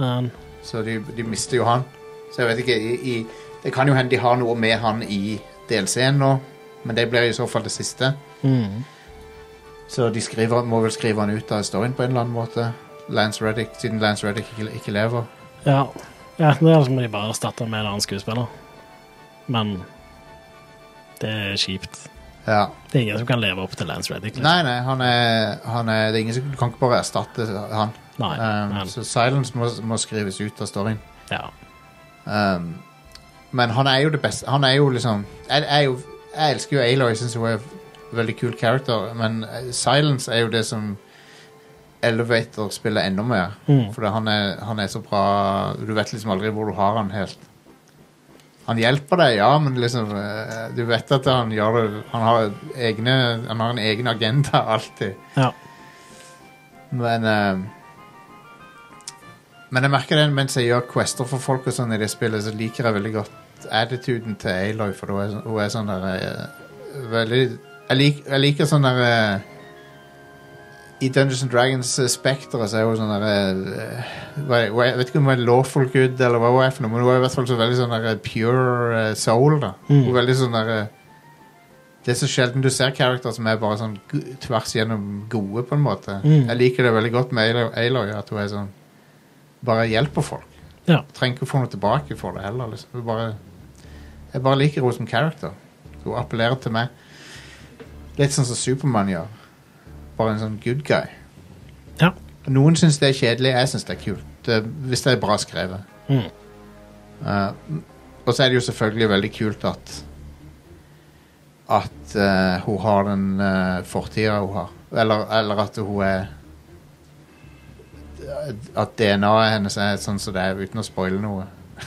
B: Men
A: så de, de mister jo han. Så jeg vet ikke i, i, Det kan jo hende de har noe med han i DLC-en nå, men det blir i så fall det siste.
B: mm.
A: Så de skriver, må vel skrive han ut av storyen på en eller annen måte. Lance Reddick, siden Lance Reddick ikke, ikke lever.
B: ja. ja det er altså må de bare erstatte med en annen skuespiller. Men det er kjipt.
A: Ja.
B: Det er ingen som kan leve opp til Lance Reddick. liksom.
A: Nei, nei, han er, han er det er ingen, som- Du kan ikke bare erstatte han.
B: Nei,
A: Um,
B: men,
A: Så Silence må, må skrives ut av storyen.
B: ja.
A: Um, men han er jo det beste Han er jo liksom Jeg, jeg, er jo, jeg elsker jo Aloy, syns hun er en veldig kul character, men eh, Silence er jo det som Elevator spiller enda mer.
B: Mm.
A: For han er, han er så bra Du vet liksom aldri hvor du har han helt. Han hjelper deg, ja, men liksom eh, Du vet at han gjør det Han har, egne, han har en egen agenda alltid.
B: ja.
A: Men eh, Men jeg merker det mens jeg gjør quester for folk og sånn i det spillet, så liker jeg veldig godt attituden til Aloy, for hun er, sånn- hun er sånn der eh, Veldig Jeg, lik, jeg liker sånn der eh, I Dungeons and Dragons eh, spekteret så er hun sånn der eh, hva er- hva er- Jeg vet ikke om hun er lawful good eller hva hun er for noe, men hun er i hvert fall så veldig sånn der eh, pure eh, soul, da. Hun er veldig sånn der eh, det er så sjelden du ser karakterer som er bare sånn gu- tvers gjennom gode, på en måte. Jeg liker det veldig godt med Aloy- Aloy, at hun er sånn Bare hjelper folk.
B: Ja.
A: Trenger ikke å få noe tilbake for det heller. Liksom. Hun bare, jeg bare liker henne som character. Hun appellerer til meg. Litt sånn som Supermann gjør. Bare en sånn good guy.
B: ja.
A: Noen syns det er kjedelig, jeg syns det er kult. Det, hvis det er bra skrevet.
B: Mm.
A: Eh, og så er det jo selvfølgelig veldig kult at at eh, hun har den uh, fortida hun har. Eller, eller at hun er At DNA-et hennes er sånn som det er, uten å spoile noe.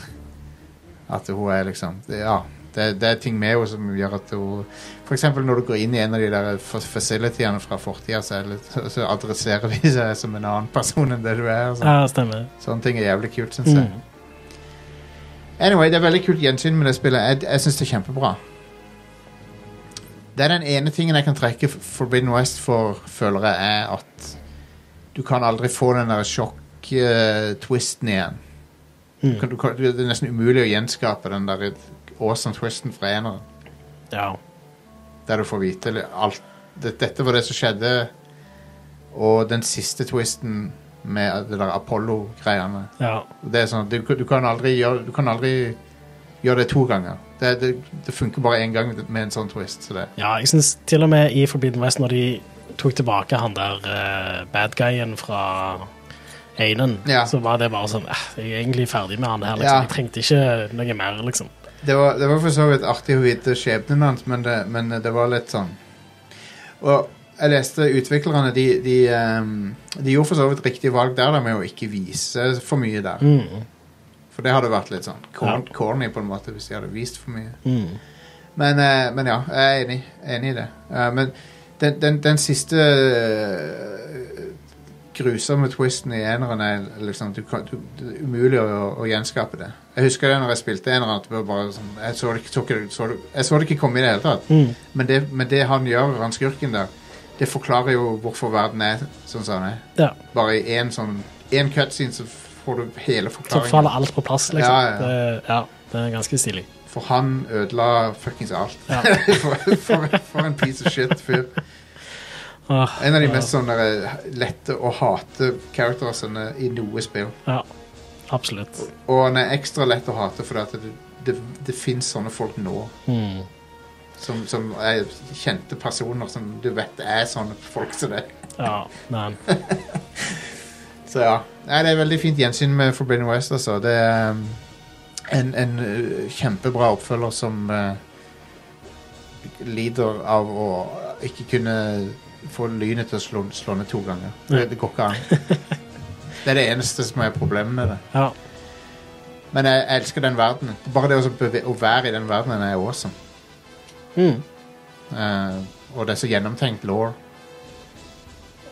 A: At hun er liksom Ja. Det, det er ting med henne som gjør at hun For eksempel når du går inn i en av de der fa- facilityene fra fortida, så, er det litt- så adresserer de seg som en annen person enn det du er. og sånn.
B: ja, stemmer.
A: Sånne ting er jævlig kult, syns jeg.
B: Mm.
A: Anyway, det er veldig kult gjensyn med det spillet. Jeg, jeg syns det er kjempebra. Det er den ene tingen jeg kan trekke F- Forbidden West for, føler jeg, er at du kan aldri få den der sjokk-twisten igjen. Du kan, du kan, det er nesten umulig å gjenskape den der awesome twisten fra eneren,
B: Ja.
A: der du får vite li- alt. Det- Dette var det som skjedde, og den siste twisten med det der Apollo-greiene.
B: ja.
A: Det er sånn, at du, du, kan aldri gjøre, du kan aldri gjøre det to ganger. Det, det, det funker bare én gang med en sånn twist. Så det.
B: Ja, jeg synes til og med i Forbidden West, når de tok tilbake han der eh, bad guyen fra Einen,
A: Ja.
B: så var det bare sånn eh, Jeg er egentlig ferdig med han her, liksom.
A: Ja.
B: Jeg trengte ikke noe mer, liksom.
A: Det, var, det var for så vidt artig å vite skjebnen hans, men det, men det var litt sånn Og jeg leste utviklerne De, de,
B: Mm,
A: ehm, de gjorde for så vidt riktig valg der da, med å ikke vise for mye der. For det hadde vært litt sånn corn,
B: Ja.
A: corny på en måte hvis de hadde vist for mye.
B: Mm.
A: Men, eh, men ja, jeg er enig, enig i det. Eh, men den, den, den siste eh, grusomme twisten i eneren er liksom du, kan- du, Det er umulig å, å gjenskape det. Jeg husker det når jeg spilte eneren. At det var bare sånn, jeg, så det, ikke- tok, det- så det, jeg så det ikke komme i det hele tatt.
B: Mm.
A: Men det, men det han gjør, han skurken der, det forklarer jo hvorfor verden er sånn som den er.
B: Ja.
A: Bare i én sånn en cutscene så får du hele
B: Så
A: forklaringen.
B: faller alt på plass, liksom.
A: Ja, ja, ja.
B: Det, ja, det er ganske stilig.
A: For han ødela fuckings alt.
B: Ja.
A: for, for, for en piece of shit fyr.
B: Åh,
A: En av de
B: ja.
A: mest sånne eh, lette å hate charactersene i noe spill.
B: Ja, absolutt.
A: Og han er ekstra lett å hate fordi at det, det, det fins sånne folk nå.
B: Mm.
A: Som, som er kjente personer som du vet er sånne folk som det.
B: Ja, men
A: Så ja. Nei, det er veldig fint gjensyn med Forbidden West, altså. Det er um, en, en uh, kjempebra oppfølger som uh, lider av å ikke kunne få lynet til å slå, slå ned to ganger. Det, det går ikke an. Det er det eneste som er problemet med det.
B: ja.
A: Men jeg, jeg elsker den verdenen. Bare det å så beve- å være i den verdenen er awesome.
B: Mm.
A: Eh, og det er så gjennomtenkt law.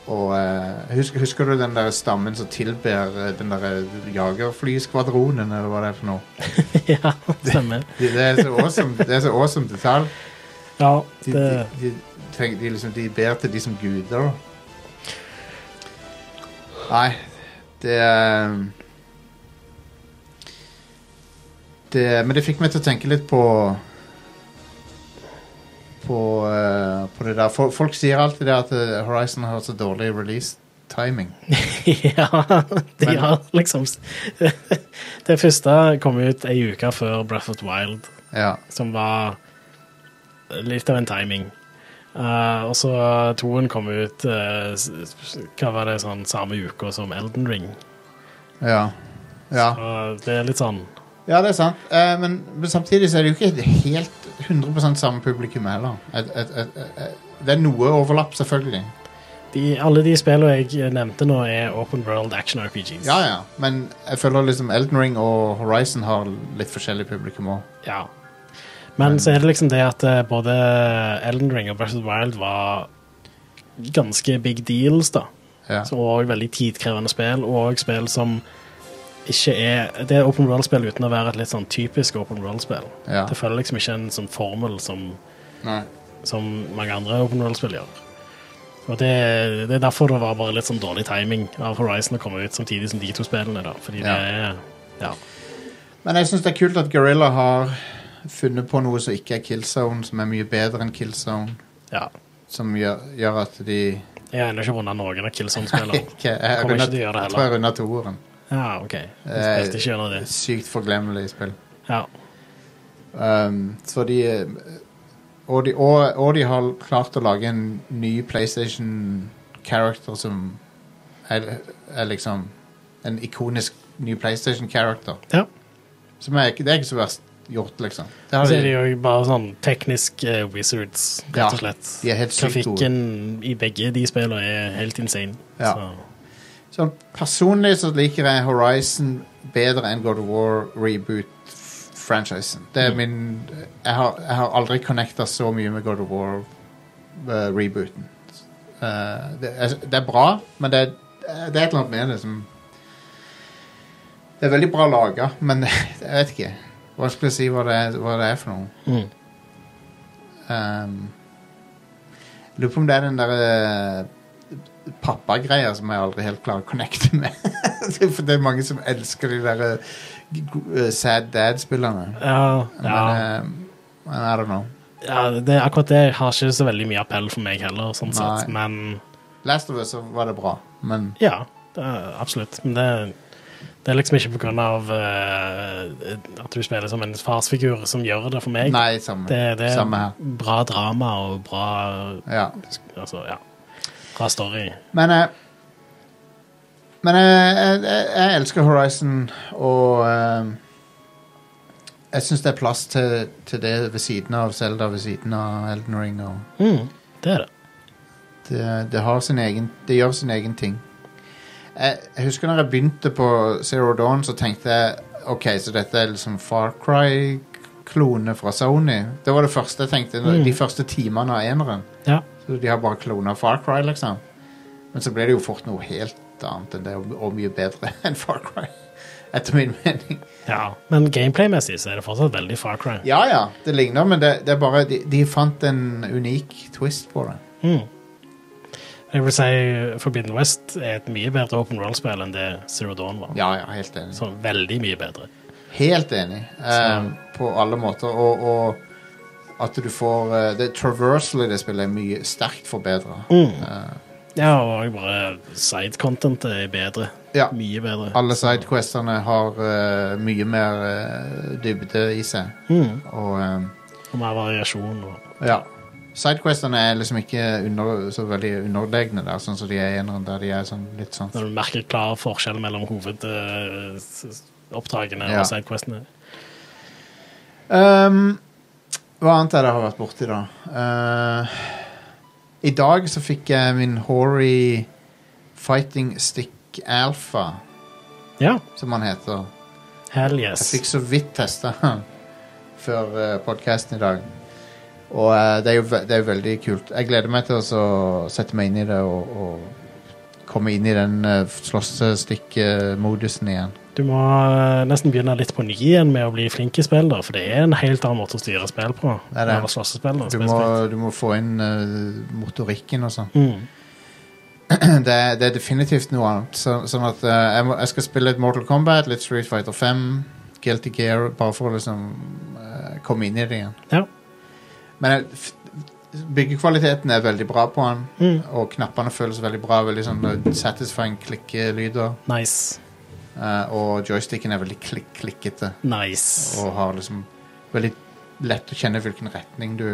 A: Og eh, husker, husker du den der stammen som tilber eh, den der jagerflyskvadronen, eller hva det er for noe?
B: ja, stemmer.
A: Det, det er så awesome, det er så awesome detalj.
B: Ja,
A: De,
B: det,
A: de, de, tenk- de, liksom, de ber til de som guder. Nei, det er det, Men det fikk meg til å tenke litt på på, eh, på det der. Fol- folk sier alltid det at eh, Horizon har så dårlig release-timing.
B: ja, de
A: Men-
B: har liksom Det første kom ut ei uke før Breath of the Wild,
A: Ja.
B: som var litt av en timing. Eh, og så toen kom ut eh, s- s- Hva var det sånn samme uka som Elden Ring.
A: Ja. ja.
B: Og det er litt sånn
A: Ja, det er sant. Eh, men, men samtidig så er det jo ikke helt 100 samme publikum heller. Et, et, et, et, et, det er noe overlapp, selvfølgelig.
B: de, Alle de spillene jeg nevnte nå, er open world action RPGs.
A: Ja, ja. Men jeg føler liksom Elden Ring og Horizon har litt forskjellig publikum òg.
B: Ja. Men så er det liksom det at eh, både Elden Ring og Breath of the Wild var ganske big deals, da.
A: Ja.
B: Så- Og veldig tidkrevende spill, og spill som ikke er Det er open world-spill uten å være et litt sånn typisk open world-spill.
A: Ja.
B: Det følger liksom ikke en sånn formel som,
A: Nei.
B: som mange andre open world-spill gjør. Og det, det er derfor det var bare litt sånn dårlig timing av Horizon å komme ut samtidig som de to spillene, da. Fordi
A: Ja.
B: det er Ja.
A: Men jeg syns det er kult at Gorilla har funnet på noe som ikke er Kill Zone, som er mye bedre enn Kill Zone.
B: ja.
A: Som gjør, gjør at de
B: Jeg har ennå ikke vunnet noen av Killzone-spillene.
A: ikke, jeg,
B: Kommer
A: rundet,
B: ikke til å gjøre det
A: jeg
B: heller.
A: tror jeg runda toeren.
B: Ja, OK. Jeg
A: Eh,
B: spilte ikke gjennom det.
A: Sykt forglemmelig spill.
B: Ja.
A: Um, så de eh, og de, og, og de har klart å lage en ny PlayStation-character som er, er liksom En ikonisk ny PlayStation-character.
B: ja.
A: Som er, ikke- det er ikke så verst gjort, liksom. Det har
B: Så er det
A: de,
B: jo bare sånn teknisk eh, wizards,
A: Ja,
B: rett og slett.
A: de er helt sykt gode.
B: Grafikken i begge de spillene er helt insane.
A: Ja.
B: Så,
A: sånn, personlig så liker jeg Horizon bedre enn God of War reboot-franchisen. Det
B: Mm.
A: er min Jeg har, jeg har aldri connecta så mye med God of War-rebooten. øh, det, er, det er bra, men det er, det er et eller annet med det som Det er veldig bra laga, men jeg vet ikke. Vanskelig å si hva det er, hva det er for noe.
B: mm.
A: Ehm, jeg lurer på om det er den der eh, pappagreia som jeg aldri helt klarer å connecte med. Det er For det er mange som elsker de der eh, g- g- eh, sad dad-spillerne.
B: ja,
A: Men
B: ja,
A: ehm, I don't know.
B: ja det, akkurat det har ikke så veldig mye appell for meg heller, sånn
A: Nei.
B: sett. Men
A: Last of Us så var det bra, men
B: ja, det er, absolutt. Men det, det er liksom ikke på grunn av eh, at du spiller som en farsfigur som gjør det for meg.
A: nei, samme,
B: Det, det er
A: samme her.
B: bra drama og bra
A: Ja.
B: Altså, ja. Bra story.
A: Men eh, Men eh, jeg, jeg, jeg elsker Horizon, og eh, jeg syns det er plass til, til det ved siden av Zelda, ved siden av Elden Ring og
B: Det er det.
A: Det, det, har sin egen, det gjør sin egen ting. Jeg, jeg husker når jeg begynte på Zero Dawn, så tenkte jeg OK, så dette er liksom Far Cry-klone fra Sony. Det var det første jeg tenkte. når-
B: Mm.
A: De første timene av eneren.
B: Ja.
A: Så de har bare klona Far Cry, liksom. Men så ble det jo fort noe helt annet enn det, og og mye bedre enn Far Cry. Etter min mening.
B: ja. Men gameplay-messig så er det fortsatt veldig Far Cry.
A: Ja ja, det ligner, men det, det er bare de, de fant en unik twist på det.
B: Mm. Jeg vil si Forbidden West er et mye bedre open world-spill enn det Zero Dawn var.
A: Ja ja, helt enig.
B: Så veldig mye bedre.
A: Helt enig. eh, på alle måter. Og, og at du får eh, det Traversal i det spillet er mye sterkt forbedra.
B: Mm. Ja, og bare side-contentet er bedre.
A: Ja.
B: Mye bedre.
A: Alle sidequestene har eh, mye mer eh, dybde i seg.
B: Mm.
A: Og eh,
B: Og mer variasjon. Og...
A: ja. Sidequestene er liksom ikke under, så veldig underlegne der, sånn som de er i eneren, der de er sånn litt sånn
B: Når du merker klar forskjell mellom hovedoppdragene
A: Ja.
B: og sidequestene.
A: Ehm, Hva annet er det jeg har vært borti, da? Eh, I dag så fikk jeg min Hori Fighting Stick Alpha,
B: Ja,
A: som han heter.
B: hell
A: Jeg
B: yes.
A: fikk så vidt testa han før uh, podkasten i dag. Og eh, det, er jo ve det er jo veldig kult. Jeg gleder meg til å så sette meg inn i det og, og komme inn i den uh, slåssestikk-modusen igjen.
B: Du må eh, nesten begynne litt på ny igjen med å bli flink i spill, da, for det er en helt annen måte å styre spill på.
A: Det er det.
B: Eller slåssespill, da,
A: Du må,
B: spesifikt.
A: du må få inn eh, motorikken og sånn.
B: Mm.
A: det, er- det er definitivt noe annet. Så, sånn at eh, jeg, må, jeg skal spille litt Mortal Kombat, litt Street Fighter 5, Guilty Gear, bare for å liksom eh, komme inn i det igjen.
B: Ja.
A: Men jeg- f- byggekvaliteten er veldig bra på den,
B: Mm.
A: og knappene føles veldig bra. Veldig sånn eh, satisfying klikkelyder.
B: Nice.
A: eh, og joysticken er veldig klikk klikkete
B: Nice.
A: og har liksom veldig lett å kjenne hvilken retning du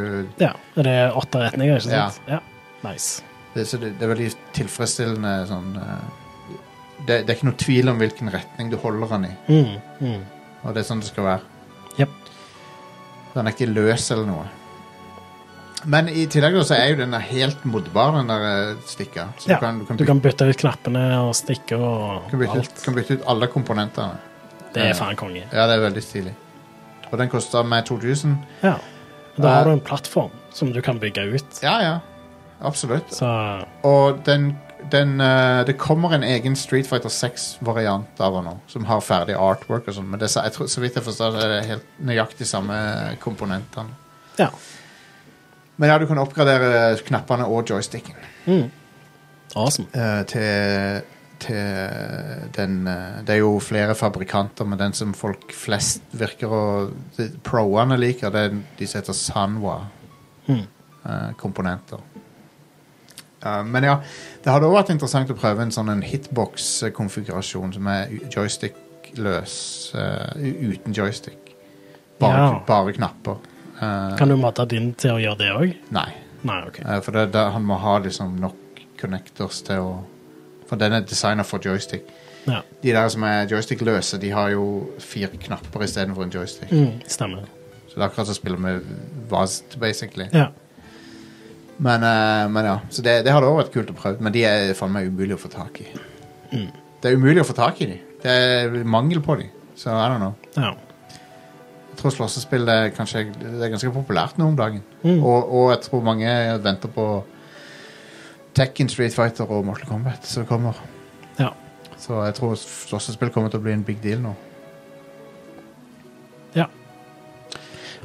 B: Ja, og det er åtte retninger, ikke sant? Ja. Nice.
A: Det, så det, det er veldig tilfredsstillende sånn eh, det, det er ikke noe tvil om hvilken retning du holder den i,
B: Mm. Mm.
A: og det er sånn det skal være.
B: Jep.
A: Den er ikke løs eller noe. Men i tillegg da, så er jo den der helt modbar, den der eh, stikka. Så
B: Ja,
A: du, kan, du, kan
B: Du
A: bytte,
B: kan bytte ut knappene og stikke og
A: kan, bytte,
B: alt.
A: kan bytte ut alle komponentene.
B: Det er faen konge.
A: Ja, det er veldig stilig. Og den kosta meg 2000.
B: Ja. Da
A: Eh.
B: har du en plattform som du kan bygge ut.
A: Ja, ja. Absolutt.
B: Så
A: Og den, den eh, Det kommer en egen Street Fighter 6-variant av den nå, som har ferdig artwork og sånn, men det, sa- jeg tror, så vidt jeg forstår, så er det helt nøyaktig samme komponentene.
B: ja.
A: Men ja, du kan oppgradere knappene og joysticken
B: Mm. Awesome.
A: eh, til, til den eh, Det er jo flere fabrikanter, men den som folk flest virker å de- Proene liker, det er den- de som heter Sanwa.
B: Mm.
A: eh, komponenter. Eh, men ja, det hadde også vært interessant å prøve en sånn en hitbox-konfigurasjon som er u- joystick-løs, eh, u- uten joystick. Bare,
B: Ja.
A: bare knapper. Eh,
B: Kan du modde din til å gjøre det òg?
A: Nei,
B: Nei, OK.
A: Eh, for det, det, han må ha liksom nok connectors til å For den er designa for joystick.
B: Ja.
A: De der som er joystick-løse, de har jo fire knapper istedenfor en joystick.
B: Mm. Stemmer.
A: Så det er akkurat som å spille med VAST, basically.
B: Ja.
A: Men, eh, men ja, så det, det hadde også vært kult å prøve, men de er faen meg umulig å få tak i.
B: Mm.
A: Det er umulig å få tak i de. Det er mangel på de. Så I don't know.
B: ja.
A: Jeg tror slåssespill er, kanskje, det er ganske populært nå om dagen.
B: Mm.
A: Og, og jeg tror mange venter på Tekken, Street Fighter og Mortal Kombat som kommer.
B: ja.
A: Så jeg tror slåssespill kommer til å bli en big deal nå.
B: Ja.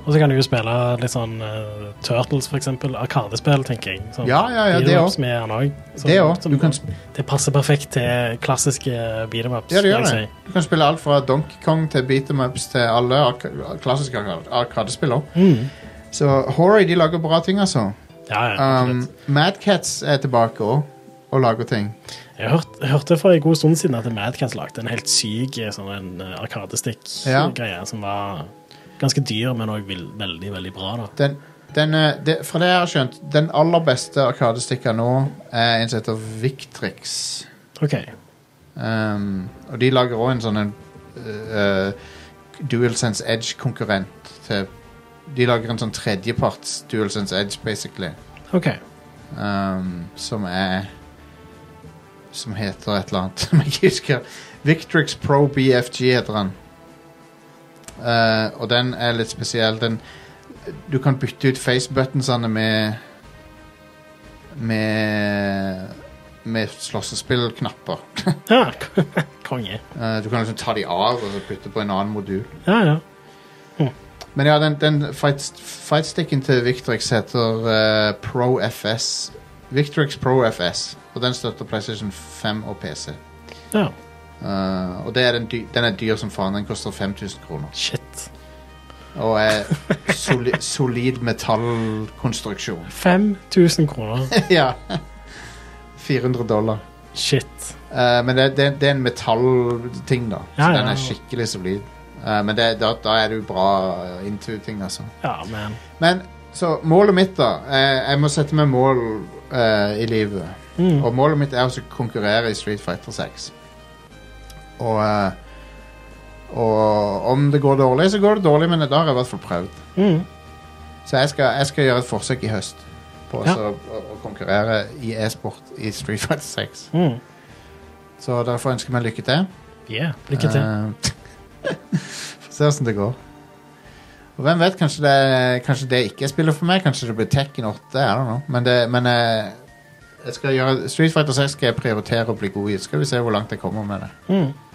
B: Og så kan du jo spille litt sånn eh, Turtles, for eksempel. Arkadespill, tenker jeg. Sånn
A: Ja, ja, ja, det
B: beat-em-ups
A: også.
B: med han også. Som-
A: Det også.
B: som-
A: Du kan sp-
B: Det passer perfekt til klassiske beat-em-ups.
A: Ja, det gjør
B: vil
A: det.
B: jeg
A: Du kan spille alt fra Donkey Kong til beat em ups til alle arka- klassiske arka- arkadespill også.
B: si. Mm.
A: Så Hori, de lager bra ting, altså.
B: Ja, ja.
A: Um,
B: absolutt.
A: Madcats er tilbake også, og lager ting.
B: jeg hørt, hørte for en god stund siden at Madcast lagde en helt syk eh, sånn en eh,
A: Ja.
B: arkadestikk-greie som var ganske dyr, men òg veldig, veldig bra. da.
A: Den, den, eh, det, fra det jeg har skjønt, den aller beste arkadestikka nå er en som heter Victrix.
B: OK.
A: Um, og de lager òg en sånn en eh, DualSense Edge-konkurrent til De lager en sånn tredjeparts DualSense Edge, basically,
B: ok.
A: um, som er Som heter et eller annet som jeg ikke husker. Victrix Pro BFG heter han. Eh, og den er litt spesiell. Den, du kan bytte ut facebuttonsene med Med Med slåssespillknapper.
B: Ja, konge.
A: Eh, du kan liksom ta de av og så putte på en annen modul.
B: Ja, ja.
A: Men ja, den, den fight, fightsticken til Victrix heter eh, Pro FS. Victrix Pro FS. Og den støtter PlayStation 5 og PC.
B: ja.
A: Eh, og det er den, dy den er dyr som faen. Den koster 5000 kroner.
B: Shit.
A: Og er soli solid metallkonstruksjon.
B: 5000 kroner.
A: ja. 400 dollar.
B: Shit.
A: Eh, men det, det, det er en metallting, da. Så
B: Ja, ja.
A: den er skikkelig solid. Eh, men det, da, da er du bra eh, into ting, altså.
B: Ja, men
A: Men så målet mitt, da eh, Jeg må sette meg mål eh, i livet.
B: mm.
A: Og målet mitt er også å konkurrere i Street Fighter 6. Og, eh, og om det går dårlig, så går det dårlig, men da har jeg i hvert fall prøvd.
B: Mm.
A: Så jeg skal, jeg skal gjøre et forsøk i høst på
B: Ja.
A: også å, å konkurrere i e-sport i Street Fighter 6.
B: Mm.
A: Så dere får ønske meg lykke til.
B: Yeah. Lykke til.
A: Eh, Får se åssen det går. Og hvem vet, kanskje det, kanskje det ikke er spillet for meg. Kanskje det blir Tekken 8. I don't know. Men, det, men eh, jeg skal gjøre, Street Fighter 6 skal jeg prioritere å bli god i. Så Skal vi se hvor langt jeg kommer med det.
B: Mm.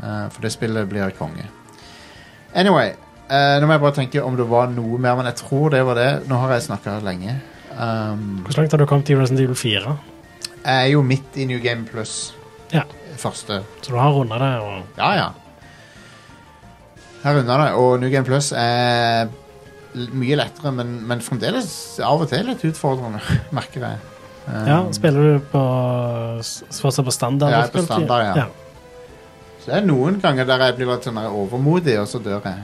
A: Eh, for det spillet blir konge. Anyway, eh, nå må jeg bare tenke om det var noe mer, men jeg tror det var det. Nå har jeg snakka lenge. Um,
B: Hvor langt har du kommet i Resident Evil 4?
A: jeg er jo midt i New Game Plus.
B: Ja.
A: Første.
B: Så du har runda det, og
A: Ja, ja. Her unna det. Og New Game Plus er l- mye lettere, men, men fremdeles av og til litt utfordrende, merker jeg. Um,
B: Ja, spiller du på s- fortsatt på standard?
A: Ja, på
B: spilte?
A: standard, ja. så det er noen ganger der jeg blir litt sånn der overmodig, og så dør jeg.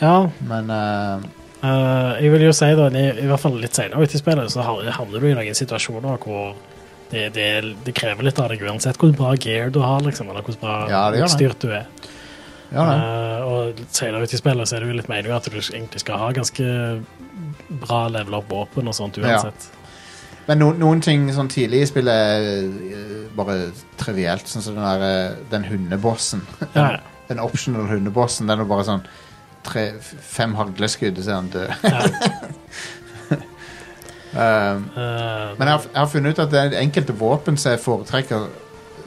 B: Ja,
A: Men eh,
B: eh, jeg vil jo si da, i, i hvert fall litt senere ut i spillet, så har- havner du i noen situasjoner hvor det, det, det krever litt av deg uansett hvor bra gear du har, liksom, eller hvor bra
A: Ja, det gjør det.
B: utstyrt du er.
A: ja da.
B: Eh, og litt senere ut i spillet så er det jo litt meningen at du egentlig skal ha ganske bra level up våpen og sånt
A: Ja.
B: uansett.
A: Men no, noen ting sånn tidlig i spillet er eh, bare trivielt, sånn som den, der, eh, den hundebossen.
B: Ja, ja.
A: Den optional hundebossen, den er bare sånn tre, f- fem hagleskudd, og så er han død.
B: ja.
A: Um,
B: Eh,
A: Men jeg har, jeg har funnet ut at det er enkelte våpen som jeg foretrekker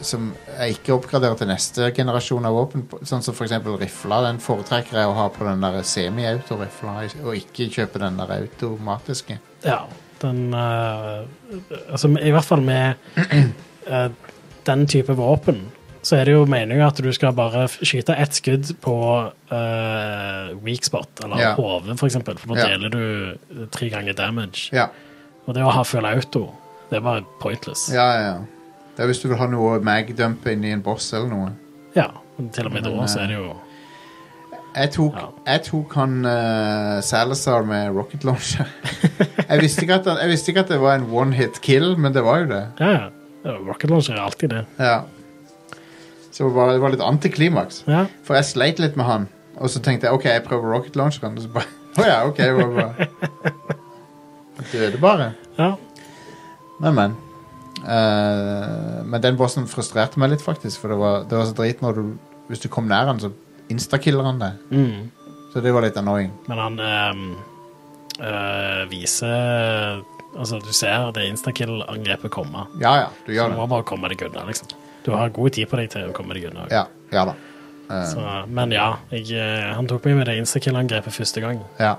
A: som jeg ikke oppgraderer til neste generasjon av våpen. Sånn som for eksempel rifla. Den foretrekker jeg å ha på den der semi-autorifla, og ikke kjøpe den der automatiske.
B: Ja, den eh, Altså, i hvert fall med eh, den type våpen, så er det jo meningen at du skal bare f- skyte ett skudd på eh, weak spot, eller
A: Ja.
B: hodet, for eksempel, for da
A: Ja.
B: deler du eh, tre ganger damage.
A: Ja,
B: Og det å ha full auto, det er bare pointless.
A: ja, ja. Det er hvis du vil ha noe mag-dump inni en boss eller noe.
B: Ja, men til og med
A: Men,
B: da så
A: eh,
B: er det jo
A: Jeg tok,
B: Ja.
A: jeg tok han eh, Salazar med rocket launcher. jeg, visste ikke at han, jeg visste ikke at det var en one-hit kill, men det var jo det.
B: Ja, ja. Rocket launcher er alltid det.
A: Ja. Så det var, det var litt antiklimaks.
B: Ja.
A: For jeg sleit litt med han, og så tenkte jeg OK, jeg prøver rocket launcheren. Og så bare Å ja, OK. det var bra. Han Døde bare.
B: ja.
A: Men, men. Eh, men den bossen frustrerte meg litt, faktisk. For det var, det var så drit når du Hvis du kom nær han, så instakiller han deg.
B: Mm.
A: Så det var litt annoying.
B: Men han ehm, øh, viser Altså, du ser det instakill-angrepet komme.
A: Ja ja, du
B: Så
A: gjør
B: du
A: det.
B: må bare komme deg unna, liksom. Du har god tid på deg til å komme deg unna.
A: Ja, ja da.
B: Så, men ja, jeg, eh, han tok meg med det instakill-angrepet første gang.
A: Ja.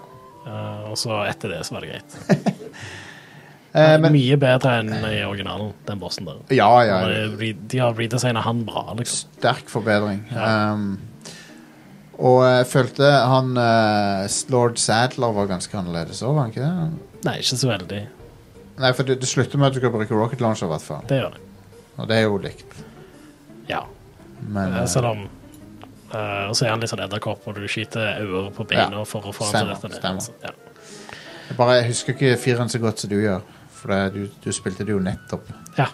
B: eh, og så etter det så var det greit.
A: Eh, men,
B: Mye bedre enn i originalen, den bossen der.
A: ja, ja,
B: Og
A: ja.
B: det- De har redesigna han bra, liksom.
A: Sterk forbedring.
B: Ja.
A: Um, og jeg følte han eh, Lord Sadler var ganske annerledes òg, var han ikke det?
B: Nei, ikke så veldig.
A: Nei, for det, det slutter med at du kan bruke rocket launcher, i hvert fall.
B: Det gjør det.
A: Og det er jo likt.
B: Ja.
A: Men
B: Eh,
A: eh,
B: Selv om eh, Og så er han litt sånn edderkopp, og du skyter øyne på beina for å få han til
A: Stemmer,
B: dette.
A: stemmer.
B: Så, ja.
A: eh, jeg bare jeg husker ikke fireren så godt som du gjør. For det, du, du spilte det jo nettopp.
B: ja,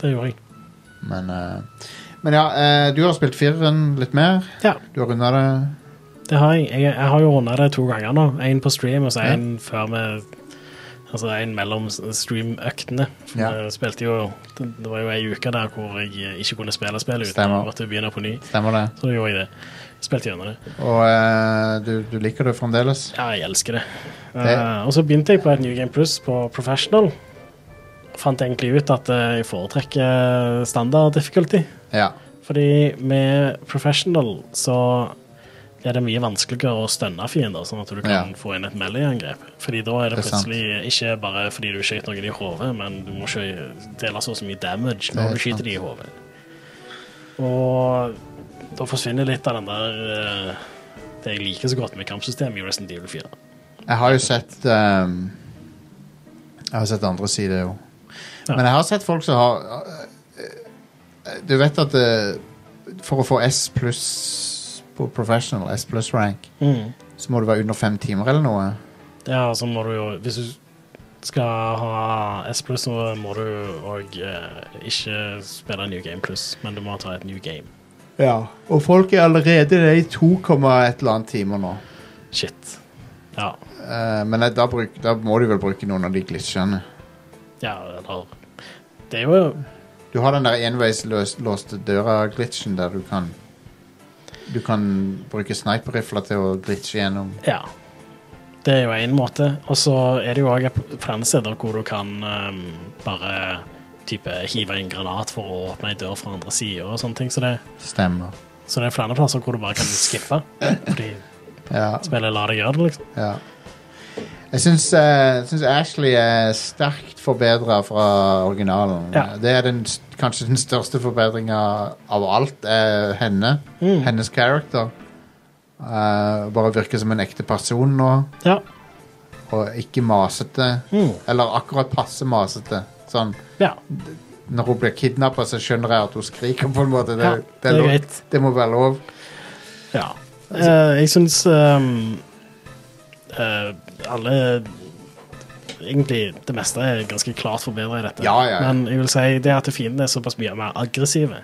B: det gjorde jeg.
A: Men, eh, men ja, eh, du har spilt fireren litt mer.
B: Ja,
A: Du har runda det.
B: det har jeg. Jeg, jeg har jo runda det to ganger nå. Én på stream og så
A: Ja.
B: én før vi Altså en mellom s- stream-øktene.
A: Ja.
B: Jeg Spilte jo Det det var jo ei uke der hvor jeg eh, ikke kunne spille spillet uten
A: Stemmer.
B: å måtte begynne på ny.
A: Stemmer det.
B: Så da gjorde jeg det. Spilte gjennom det.
A: Og eh, du, du liker det fremdeles?
B: Ja, jeg elsker det.
A: Det-
B: Eh, og så begynte jeg på et New Game Plus på Professional. Fant egentlig ut at eh, jeg foretrekker standard difficulty.
A: Ja.
B: Fordi med Professional så er det mye vanskeligere å stønne fiender, sånn at du kan
A: Ja.
B: få inn et melee-angrep. Fordi da er det,
A: Det er sant.
B: plutselig ikke bare fordi du skjøt noen i hodet, men du må ikke dele så og så mye
A: Det
B: damage
A: er
B: når du
A: sant.
B: skyter de i hodet. Og da forsvinner litt av den der eh, det jeg liker så godt med kampsystemet i Resident Evil 4.
A: Jeg har jo sett ehm, Jeg har sett andre sider jo.
B: Ja.
A: Men jeg har sett folk som har øh, øh, Du vet at øh, for å få S pluss på professional, S pluss rank, så må du være under fem timer eller noe.
B: Ja, så må du jo Hvis du skal ha S pluss, så må du òg eh, ikke spille New Game pluss, men du må ta et New Game.
A: Ja. Og folk er allerede nede i 2, et eller annet timer nå.
B: Shit. Ja.
A: Eh, men da, bruk, da må du vel bruke noen av de glitchene.
B: ja eller Det er jo
A: Du har den der enveislåste døra-glitchen der du kan Du kan bruke sniper-rifler til å glitche gjennom.
B: Ja. Det er jo én måte. Og så er det jo òg flere steder hvor du kan ehm, bare type hive en granat for å åpne ei dør fra andre sida og sånne ting. Så det,
A: Stemmer.
B: så det er flere plasser hvor du bare kan skippe. Fordi
A: Ja,
B: spillet lar deg gjøre det, liksom.
A: ja. Jeg syns, eh, syns Ashley er sterkt forbedra fra originalen.
B: Ja.
A: Det er den, s- kanskje den største forbedringa av alt. er henne.
B: Mm.
A: Hennes character. Eh, bare virker som en ekte person nå,
B: Ja.
A: og ikke masete.
B: Mm.
A: Eller akkurat passe masete. Sånn,
B: ja.
A: når hun blir kidnappa, så skjønner jeg at hun skriker, på en måte. Det,
B: Ja, det er
A: lov-
B: greit.
A: det må være lov.
B: Ja. Eh, jeg syns ehm, eh, alle Egentlig det meste er ganske klart forbedra i dette.
A: Ja, ja, ja.
B: Men jeg vil si det at fiendene er såpass mye mer aggressive.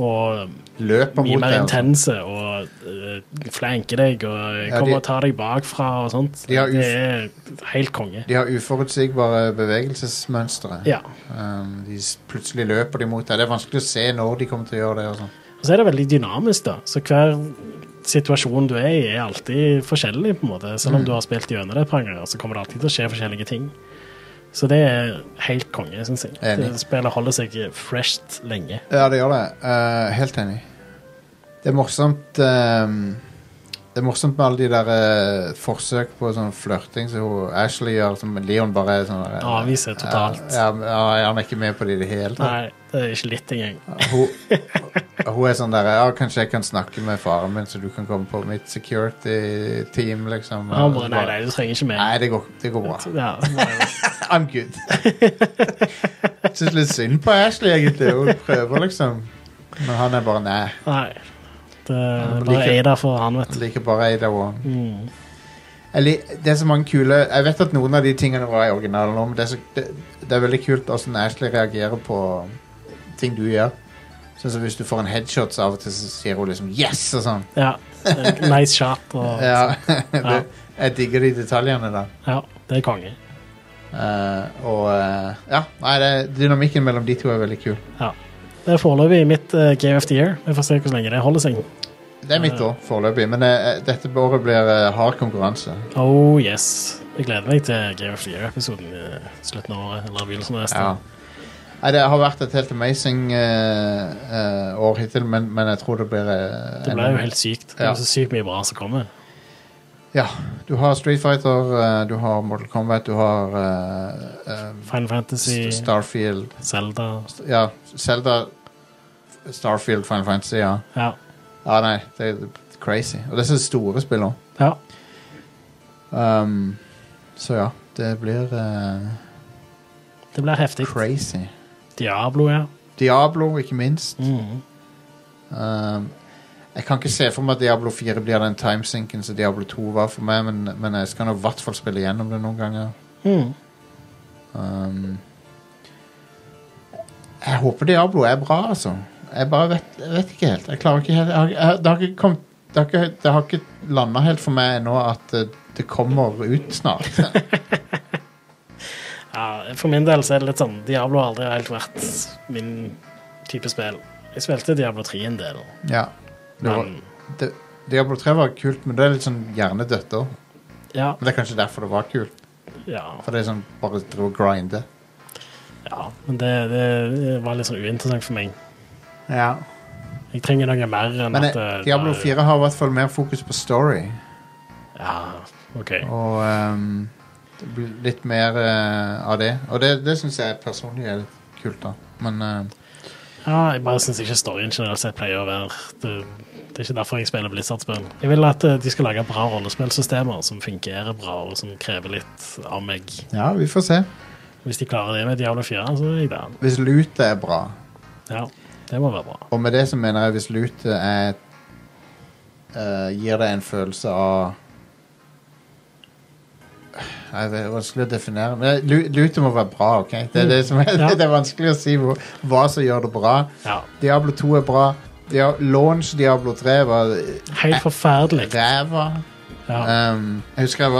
B: Og
A: Løper
B: mye
A: mot
B: mer
A: deg, altså.
B: intense og eh, flanker deg og
A: Ja,
B: kommer
A: de-
B: og tar deg bakfra og sånt.
A: De har
B: det er helt konge.
A: De har uforutsigbare bevegelsesmønstre.
B: Ja.
A: Um, de s- plutselig løper de mot deg. Det er vanskelig å se når de kommer til å gjøre det. Og sånn.
B: Og så er det veldig dynamisk, da. Så hver situasjon du er i, er alltid forskjellig, på en måte. Selv
A: Mm.
B: om du har spilt gjennom det et par ganger, så kommer det alltid til å skje forskjellige ting. Så det er helt konge, syns jeg.
A: Enig.
B: Det Spillet holder seg fresht lenge.
A: Ja, det gjør det. Eh, helt enig. Det er morsomt ehm, Det er morsomt med alle de der eh, forsøk på sånn flørting som hun Ashley gjør, som Leon bare er sånn eh,
B: Avviser totalt.
A: Ja, ja, ja, han er ikke med på det i det hele tatt.
B: Nei, det er ikke litt engang.
A: Hun, hun er sånn der Ja, kanskje jeg kan snakke med faren min, så du kan komme på mitt security team, liksom.
B: Han bare, Nei, nei, du trenger ikke mer.
A: Nei, det går, det går bra.
B: Ja, bare-
A: I'm good. Jeg syns litt synd på Ashley, egentlig. Hun prøver, liksom. Men han er bare nei.
B: nei. Det
A: men
B: er
A: like-
B: bare er der for han, vet
A: Han
B: du.
A: liker bare Ada Wong.
B: Mm.
A: Jeg lik- Det er så mange kule Jeg vet at noen av de tingene var i originalen òg, men det er, så, det, det er veldig kult åssen Ashley reagerer på ting du gjør. Sånn som hvis du får en headshot, så av og til så sier hun liksom 'yes' og sånn.
B: Ja. Nice shot og
A: Ja, det,
B: Ja.
A: jeg digger de detaljene der.
B: Ja, det er konge.
A: Eh, og eh, Ja, nei, det, dynamikken mellom de to er veldig kul.
B: Ja. Det er foreløpig mitt eh, Game of the Year. Vi får se hvor lenge det holder seg.
A: Det er mitt år foreløpig, men eh, dette året blir eh, hard konkurranse.
B: Oh yes. Jeg gleder meg til Game of the Year-episoden i slutten av året. Eller begynnelsen av neste.
A: Ja. Nei, det har vært et helt amazing eh, eh, år hittil, men, men jeg tror det blir eh,
B: Det ble jo helt sykt. Det
A: Ja.
B: er så sykt mye bra som kommer.
A: Ja. Du har Street Fighter, eh, du har Mortal Kombat, du har eh, eh,
B: Final Fantasy,
A: St- Starfield
B: Zelda
A: Ja, Zelda Starfield, Final Fantasy, ja.
B: Ja.
A: Ja, nei, det er crazy. Og det er så store spill òg.
B: ja.
A: Um, så ja, det blir eh,
B: Det blir heftig.
A: crazy.
B: Diablo, ja.
A: Diablo, ikke minst.
B: Mhm.
A: Um, jeg kan ikke se for meg at Diablo 4 blir den timesinken som Diablo 2 var for meg, men, men jeg skal nå i hvert fall spille gjennom det noen ganger.
B: Mhm.
A: Um, jeg håper Diablo er bra, altså. Jeg bare vet, jeg vet ikke helt. Jeg klarer ikke helt jeg, har- jeg, Det har ikke kommet det har ikke, det har ikke landa helt for meg ennå at eh, det kommer ut snart.
B: Ja, for min del så er det litt sånn Diablo har aldri helt vært min type spill. Jeg spilte Diablo 3 en del,
A: Ja. Det var,
B: men
A: det, Diablo 3 var kult, men det er litt sånn hjernedødt òg.
B: ja.
A: Men det er kanskje derfor det var kult.
B: ja,
A: For det er sånn bare drive og grinde.
B: ja. Men det, det var litt sånn uinteressant for meg.
A: Ja.
B: Jeg trenger noe mer enn
A: Men
B: at
A: eh,
B: eh,
A: Diablo
B: det er-
A: 4 har i hvert fall mer fokus på story.
B: Ja, OK.
A: Og ehm, det blir litt mer eh, av det. Og det, det syns jeg personlig er litt kult, da. Men eh,
B: Ja, jeg bare syns ikke storyen generelt sett pleier å være det, det er ikke derfor jeg spiller Blizzard-spill. Jeg vil at eh, de skal lage bra rollespillsystemer som fungerer bra, og som krever litt av meg.
A: ja, vi får se.
B: Hvis de klarer det med Diablo 4, så er jeg der.
A: Hvis lootet er bra,
B: Ja, det må være bra.
A: og med det så mener jeg hvis lootet er eh, Gir deg en følelse av Nei, Det er vanskelig å definere. Men lu- lootet må være bra, OK? Det er, det som er,
B: Mm. Ja.
A: det er vanskelig å si hvor, hva som gjør det bra.
B: Ja,
A: Diablo 2 er bra. Dia Launch Diablo 3 var
B: Helt forferdelig.
A: ræva.
B: Ja.
A: Um, jeg husker jeg var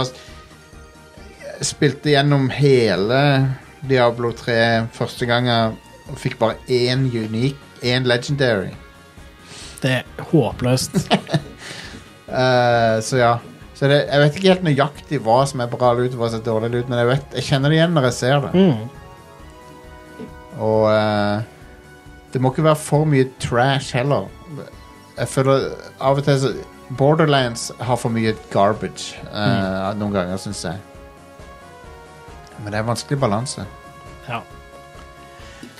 A: jeg Spilte gjennom hele Diablo 3 første gang jeg- og fikk bare én unik, én legendary.
B: Det er håpløst.
A: Uh, så ja. Så det, jeg vet ikke helt nøyaktig hva som er bra lut, hva som er dårlig lut, men jeg, vet, jeg kjenner det igjen når jeg ser det.
B: Mm.
A: Og eh, det må ikke være for mye trash heller. Jeg føler av og til så Borderlands har for mye garbage eh, noen ganger, syns jeg. Men det er en vanskelig balanse.
B: Ja.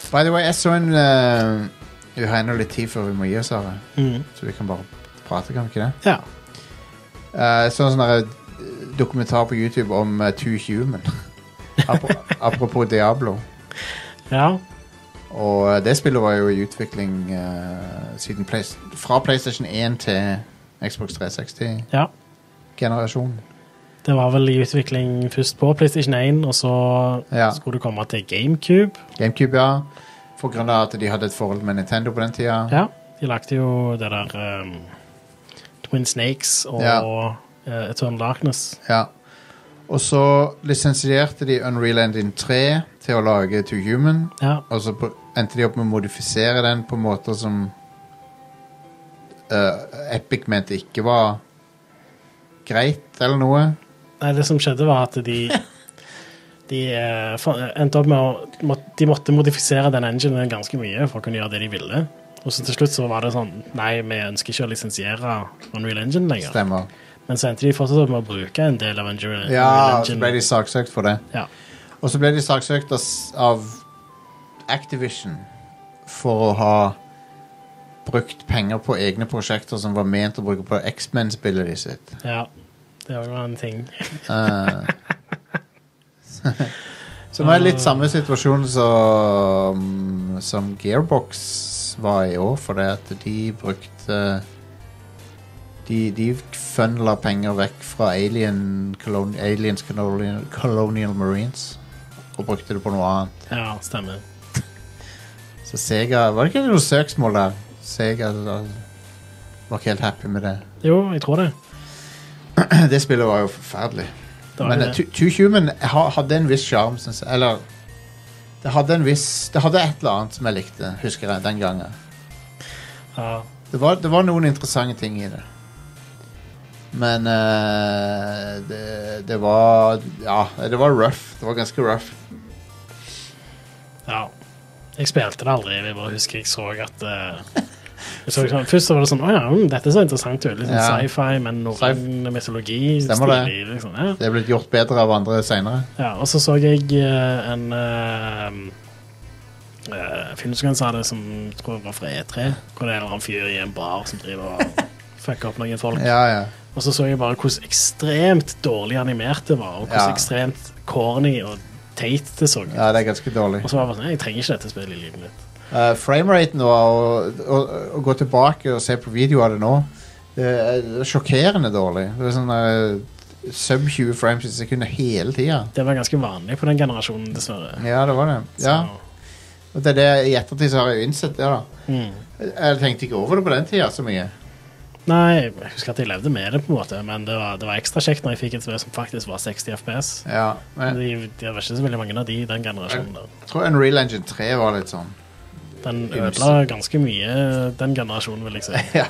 A: By the way, jeg så en eh, Vi har ennå litt tid før vi må gi oss, Are.
B: Mm.
A: Så vi kan bare prate, kan vi ikke det?
B: ja.
A: Eh, Jeg så en sånn der, eh, dokumentar på YouTube om eh, Two Human. Apro- Apropos Diablo.
B: Ja.
A: Og eh, det spillet var jo i utvikling eh, siden Play fra PlayStation 1 til Xbox 360-generasjonen.
B: ja. Det var vel i utvikling først på PlayStation 1, og så
A: Ja.
B: skulle det komme til GameCube.
A: GameCube, ja. For grunn av at de hadde et forhold med Nintendo på den tida.
B: Ja. De lagde jo det der um, Twin Snakes og
A: Ja.
B: eh, Eternal Darkness.
A: Ja. Og så lisensierte de Unreal Engine 3 til å lage To Human.
B: Ja.
A: Og så Altså, på- endte de opp med å modifisere den på måter som eh, Epic mente ikke var greit, eller noe.
B: Nei, det som skjedde, var at de De eh, fa- endte opp med å må, De måtte modifisere den enginen ganske mye for å kunne gjøre det de ville. Og så til slutt så var det sånn Nei, vi ønsker ikke å lisensiere Unreal Engine lenger.
A: Stemmer.
B: Men så endte de fortsatt opp med å bruke en del av Unreal,
A: Ja,
B: Unreal
A: Eh, så
B: Engine.
A: ble de saksøkt for det.
B: Ja.
A: Og så ble de saksøkt av s- av Activision for å ha brukt penger på egne prosjekter som var ment å bruke på X-Men-spillet de sitt.
B: ja. Det var jo en ting.
A: Eh, så nå er det litt samme situasjon som, som Gearbox var i år, for det at de brukte de, de funnla penger vekk fra Alien, Colon, Aliens Colonial, Colonial Marines og brukte det på noe annet.
B: Ja, stemmer.
A: Så Sega Var det ikke noe søksmål der? Sega da, var ikke helt happy med det.
B: Jo, jeg tror det.
A: Det spillet var jo forferdelig.
B: det var
A: Men
B: jo
A: eh,
B: det.
A: Two Two Human ha, hadde en viss sjarm, syns jeg. Eller det hadde, en viss, det hadde et eller annet som jeg likte, husker jeg, den gangen.
B: Ja.
A: Det var, det var noen interessante ting i det. Men eh, det, det var Ja, det var rough. Det var ganske rough.
B: Ja. Jeg spilte det aldri. Jeg bare husker jeg så at eh, jeg så sånn, Først så var det sånn Å ja, mm, dette så interessant ut. Litt sånn
A: Ja.
B: sci-fi, men norrøn mytologi.
A: Stemmer det.
B: stilig, Liksom. Ja.
A: Det er blitt gjort bedre av andre seinere.
B: ja. Og så så jeg eh, en eh, eh, film som kan sa det, som jeg tror jeg var fra E3, hvor det er en eller annen fyr i en bar som driver og fucker opp noen folk.
A: Ja, ja.
B: Og så så jeg bare hvordan ekstremt dårlig animert det var, og hvordan
A: Ja.
B: ekstremt corny og teit det så ut.
A: ja, det er ganske dårlig.
B: Og så var jeg bare sånn «Nei, Jeg trenger ikke dette spillet i livet mitt.
A: Uh, Frameraten og å gå tilbake og se på video av det nå Det er det er sjokkerende dårlig. Det er sånn eh, sub 20 frames i sekundet hele tida.
B: Det var ganske vanlig på den generasjonen, dessverre.
A: Ja, det var det. Ja,
B: Så,
A: og det er det I ettertid så har jeg jo innsett det. da
B: mm.
A: Jeg tenkte ikke over det på den tida så mye.
B: Nei, jeg husker at jeg levde med det, på en måte, men det var, det var ekstra kjekt når jeg fikk et spill som faktisk var 60 FPS.
A: Ja, men
B: Det det var ikke så veldig mange av de i den generasjonen. der.
A: jeg tror Unreal Engine 3 var litt sånn.
B: Den ødela ganske mye den generasjonen, vil jeg si.
A: ja.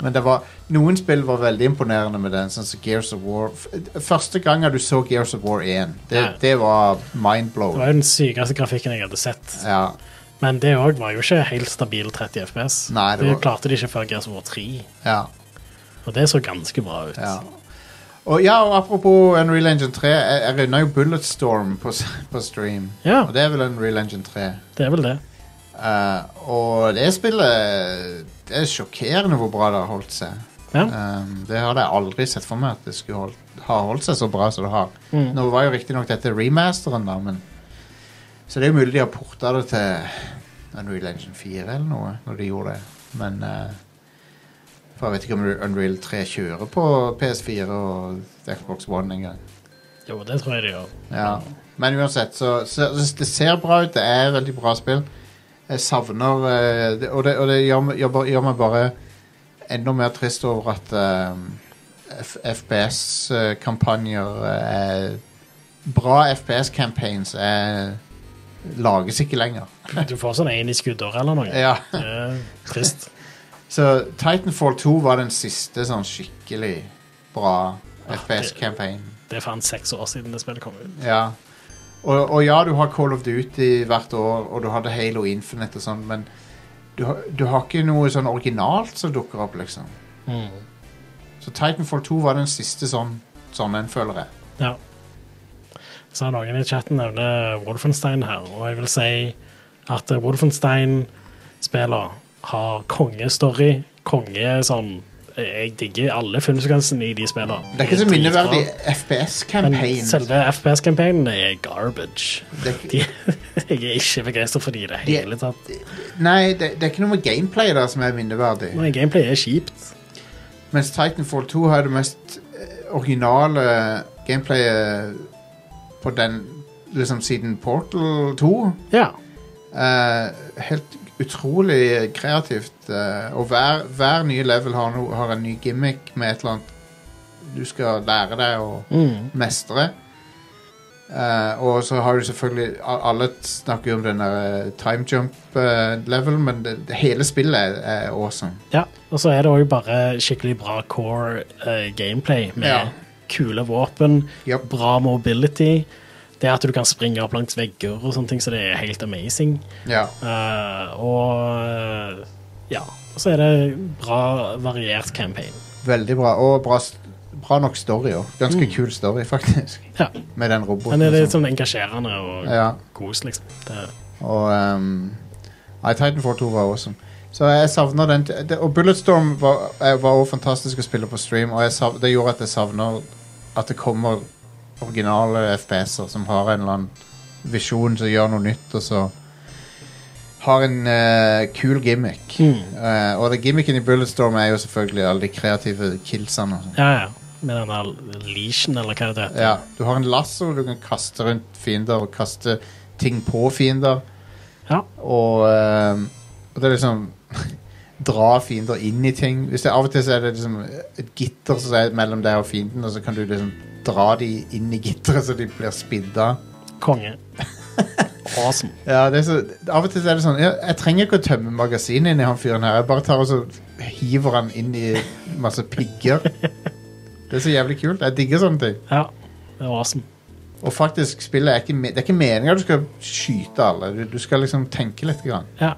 A: Men det var, noen spill var veldig imponerende med den, sånn som Gears of War. F- Første gangen du så Gears of War 1, det,
B: Ja.
A: det var
B: Det var
A: mind-blowing.
B: jo den sykeste grafikken jeg hadde sett.
A: Ja.
B: Men det òg var jo ikke helt stabil 30 FPS.
A: Nei, det
B: det
A: var-
B: klarte de ikke før Gears of War 3,
A: ja,
B: og det så ganske bra ut.
A: ja. Og ja, og apropos Unreal Engine 3, jeg, jeg runda jo Bulletstorm på, s- på stream.
B: Ja.
A: Og det er vel Unreal Engine 3.
B: Det er vel det.
A: Eh, og det spillet Det er sjokkerende hvor bra det har holdt seg.
B: Ja.
A: Um, det hadde jeg aldri sett for meg at det skulle hold, ha holdt seg så bra som det har.
B: Mm.
A: Nå var jo riktignok dette remasteren, da, men Så det er jo mulig de har porta det til Unreal Engine 4 eller noe, når de gjorde det. Men eh, For jeg vet ikke om Unreal 3 kjører på PS4 og Xbox One engang.
B: Jo, det tror jeg det gjør.
A: Ja. Men uansett, så, så, så det ser bra ut. Det er et veldig bra spill. Jeg savner eh, det, Og det, og det gjør, meg- gjør, bare- gjør meg bare enda mer trist over at eh, FPS-kampanjer eh, Bra FPS-campaigns eh, lages ikke lenger.
B: Du får sånn én i skuddår eller noe.
A: Ja.
B: Det er trist.
A: Så Titanfall 2 var den siste sånn skikkelig bra FPS-campaign.
B: Det er faen seks år siden det spillet kom ut.
A: Ja. Og, og ja, du har Call of Duty hvert år, og du hadde Halo Infinite og sånn, men du, har- du har ikke noe sånn originalt som dukker opp, liksom.
B: Mm.
A: Så Titanfall 2 var den siste sånn, sånn en, føler jeg.
B: Ja. Så har noen i chatten nevner Wolfenstein her, og jeg vil si at Wolfenstein-spiller har kongestory, konge sånn Jeg digger alle filmsekvensene i de spillene.
A: Det er ikke så
B: Dritbra.
A: minneverdig
B: Men
A: FPS-campaign.
B: selve FPS-campaignen er garbage.
A: Det er
B: De,
A: ikke-
B: jeg er ikke begeistra for de i det hele tatt.
A: Nei, det, det er ikke noe med gameplay der som er minneverdig.
B: Men gameplay er kjipt.
A: Mens Titanfall 2 har det mest eh, originale gameplayet på den liksom siden Portal 2.
B: Ja.
A: Eh, helt utrolig kreativt. eh, og hver, hver nye level har, no, har en ny gimmick med et eller annet du skal lære deg å
B: Mm.
A: mestre. Eh, og så har du selvfølgelig a- Alle snakker jo om den der eh, time jump-level, men det, det hele spillet er, er awesome.
B: ja. Og så er det òg bare skikkelig bra core eh, gameplay med
A: Ja.
B: kule våpen,
A: Yep.
B: bra mobility. Det at du kan springe opp langs vegger og sånne ting, så det er helt amazing.
A: Ja.
B: Eh, og eh, ja. Og så er det bra variert campaign.
A: Veldig bra. Og bra, s- bra nok story òg. Ganske kul story, faktisk.
B: Mm. Ja.
A: Med den roboten.
B: Men det er
A: og
B: litt
A: sånn.
B: sånn engasjerende og
A: Ja.
B: kos, liksom. Det,
A: Og um, Nei, Titanfall 2 var awesome. Så jeg savner den t- det, Og Bulletstorm var òg fantastisk å spille på stream, og jeg sav, det gjorde at jeg savner at det kommer originale FPS-er som har en eller annen visjon som gjør noe nytt, og så har en eh, kul gimmick. Eh, og det gimmicken i Bulletstorm er jo selvfølgelig alle de kreative killsene. og sånn.
B: ja, ja. Med den der leashen, eller hva det heter.
A: Ja, du har en lasso du kan kaste rundt fiender og kaste ting på fiender.
B: Ja.
A: Og, ehm, og det er liksom Dra fiender inn i ting. Hvis det, av og til så er det liksom et gitter som er mellom deg og fienden, og så kan du liksom dra de inn i gitteret så de blir spidda.
B: Konge. Awesome.
A: Ja, det er så, av og til så er det sånn Jeg, jeg trenger ikke å tømme magasinet inni han fyren her. Jeg bare tar og så hiver han inn i masse pigger. Det er så jævlig kult. Jeg digger sånne ting.
B: Ja, det var awesome.
A: Og faktisk, spillet er ikke, me- det er ikke meninga du skal skyte alle. Du, du skal liksom tenke litt. Grann.
B: Ja.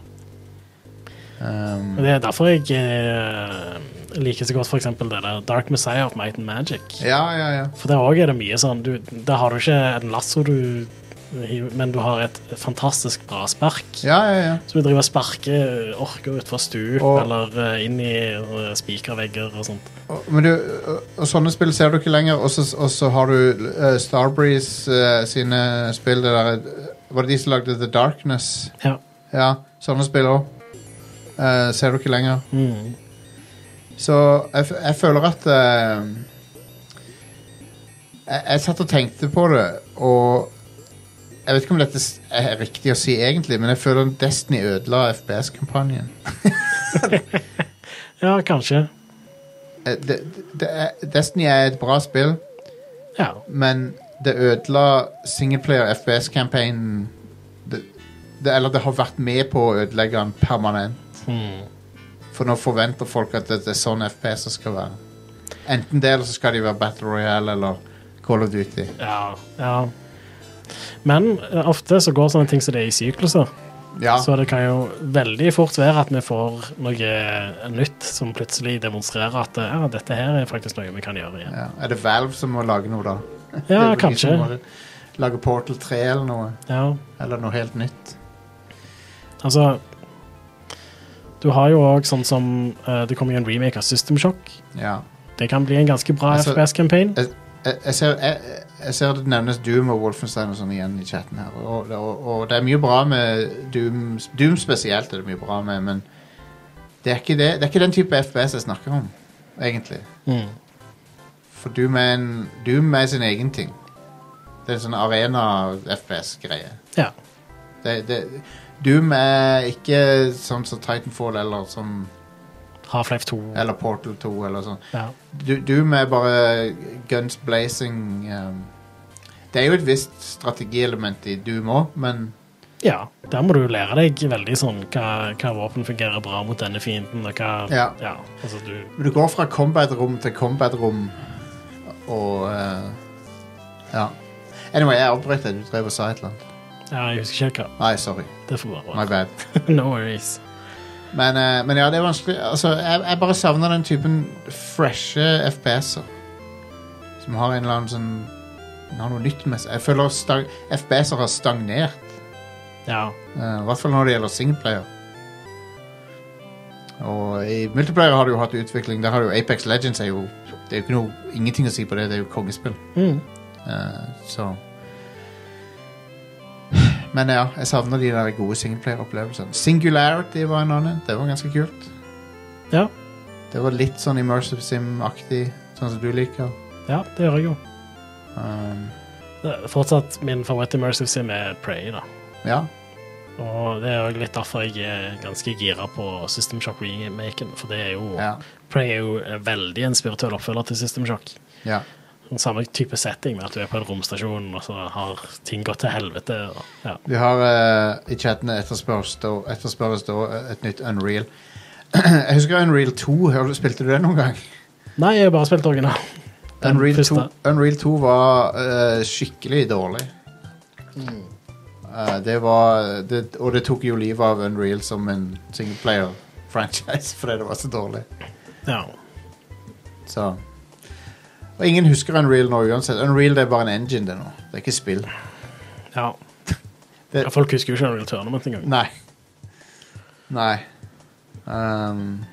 A: Ehm,
B: Og Det er derfor jeg eh, liker så godt for eksempel det der Dark Messiah of Might and Magic.
A: ja, ja, ja.
B: For der òg er det mye sånn du, Der har du ikke en lasso, du, men du har et fantastisk bra spark.
A: Ja, ja, ja.
B: Så du driver og sparker orker utfor stup
A: Og-
B: eller eh, inn i eh, spikervegger og sånt.
A: Og, men du, og, og sånne spill ser du ikke lenger. Og så- og så har du eh, Starbreeze eh, sine spill. Det der, eh, var det de som lagde The Darkness?
B: Ja.
A: Ja, sånne spill òg. ser du ikke lenger.
B: Mm.
A: Så jeg, f- jeg føler at eh, jeg, jeg satt og tenkte på det, og jeg vet ikke om dette s- er riktig å si egentlig, men jeg føler Destiny ødela FPS-kampanjen.
B: ja, kanskje.
A: eh, det, det er, Destiny er et bra spill,
B: Ja.
A: men det ødela singleplayer FPS-campaignen det, det, Eller det har vært med på å ødelegge den permanent.
B: Hmm.
A: For nå forventer folk at det, det er sånn FPS det skal være. Enten det, eller så skal de være Battle Royale eller Call of Duty.
B: ja. ja. Men eh, ofte så går sånne ting som det er i sykluser.
A: Ja,
B: Så det kan jo veldig fort være at vi får noe nytt som plutselig demonstrerer at ja, dette her er faktisk noe vi kan gjøre igjen.
A: ja. Er det Valve som må lage noe, da? Det er
B: Ja,
A: vel de som
B: kanskje.
A: må Lage Portal 3 eller noe.
B: Ja.
A: Eller noe helt nytt.
B: Altså Du har jo òg sånn som eh, Det kommer jo en remake av System Shock.
A: Ja.
B: Det kan bli en ganske bra
A: Altså-
B: FPS-campaign.
A: Jeg, jeg, ser, jeg, jeg ser det nevnes Doom og Wolfenstein og sånn igjen i chatten her. Og, og, og det er mye bra med Doom Doom spesielt er det mye bra med, men det er ikke, det, det er ikke den type FPS jeg snakker om, egentlig.
B: Mm.
A: For Doom er, en, Doom er sin egen ting. Det er en sånn arena-FPS-greie.
B: Ja.
A: Det, det, Doom er ikke sånn som Titanfall eller, som,
B: Half-Life 2.
A: eller Portal 2 eller sånn.
B: Ja.
A: Du- Doom er bare guns blazing um, Det er jo et visst strategielement i Doom òg, men
B: ja. Der må du lære deg veldig sånn hva, hva våpen fungerer bra mot denne fienden, og hva
A: Ja.
B: altså du
A: du går fra combat-rom til combat-rom og uh, Ja. Anyway, jeg avbrøt deg. Du drev og sa et eller annet.
B: Ja, jeg husker ikke helt hva.
A: Nei, sorry.
B: Det får bare
A: My
B: være.
A: bad.
B: No worries.
A: Men, eh, men ja, det er vanskelig. Altså, jeg, jeg bare savner den typen freshe FPS-er. Som har en eller annen sånn den Har noe nytt med seg. Jeg føler stag, FPS-er har stagnert.
B: Ja.
A: Eh, I hvert fall når det gjelder singleplayer. Og i multiplayer har du jo hatt utvikling. Der har du Apex Legends er jo Det er jo ikke noe, ingenting å si på det. Det er jo kongespill.
B: Mm.
A: Eh, så Men ja, jeg savner de der gode singleplayer-opplevelsene. Singularity var en annen. Det var ganske kult.
B: Ja.
A: Det var litt sånn immersive sim-aktig, sånn som du liker.
B: ja, det gjør jeg jo.
A: Um,
B: Det er Fortsatt min favoritt-immersive sim er Prey, da.
A: ja.
B: Og det er òg litt derfor jeg er ganske gira på System Shock-remaken. For det er jo
A: Ja.
B: Prey er jo en veldig en spirituell oppfølger til System Shock.
A: ja.
B: Den samme type setting med at du er på en romstasjon, og så har ting gått til helvete. Og, ja.
A: Vi har eh, i chatten etterspørres da, etterspørres da eh, et nytt Unreal. jeg husker Unreal 2. Hør- Spilte du det noen gang?
B: Nei, jeg har bare spilt original. Den
A: Unreal 2,
B: første.
A: Unreal 2 var eh, skikkelig dårlig. Eh, det var det, Og det tok jo livet av Unreal som en singleplayer-franchise fordi det var så dårlig.
B: Ja.
A: Så Og ingen husker Unreal nå uansett. Unreal det er bare en engine, det nå. Det er ikke spill.
B: ja.
A: Det-
B: ja. Folk husker jo ikke Unreal Tournament engang.
A: Nei. Nei. Ehm,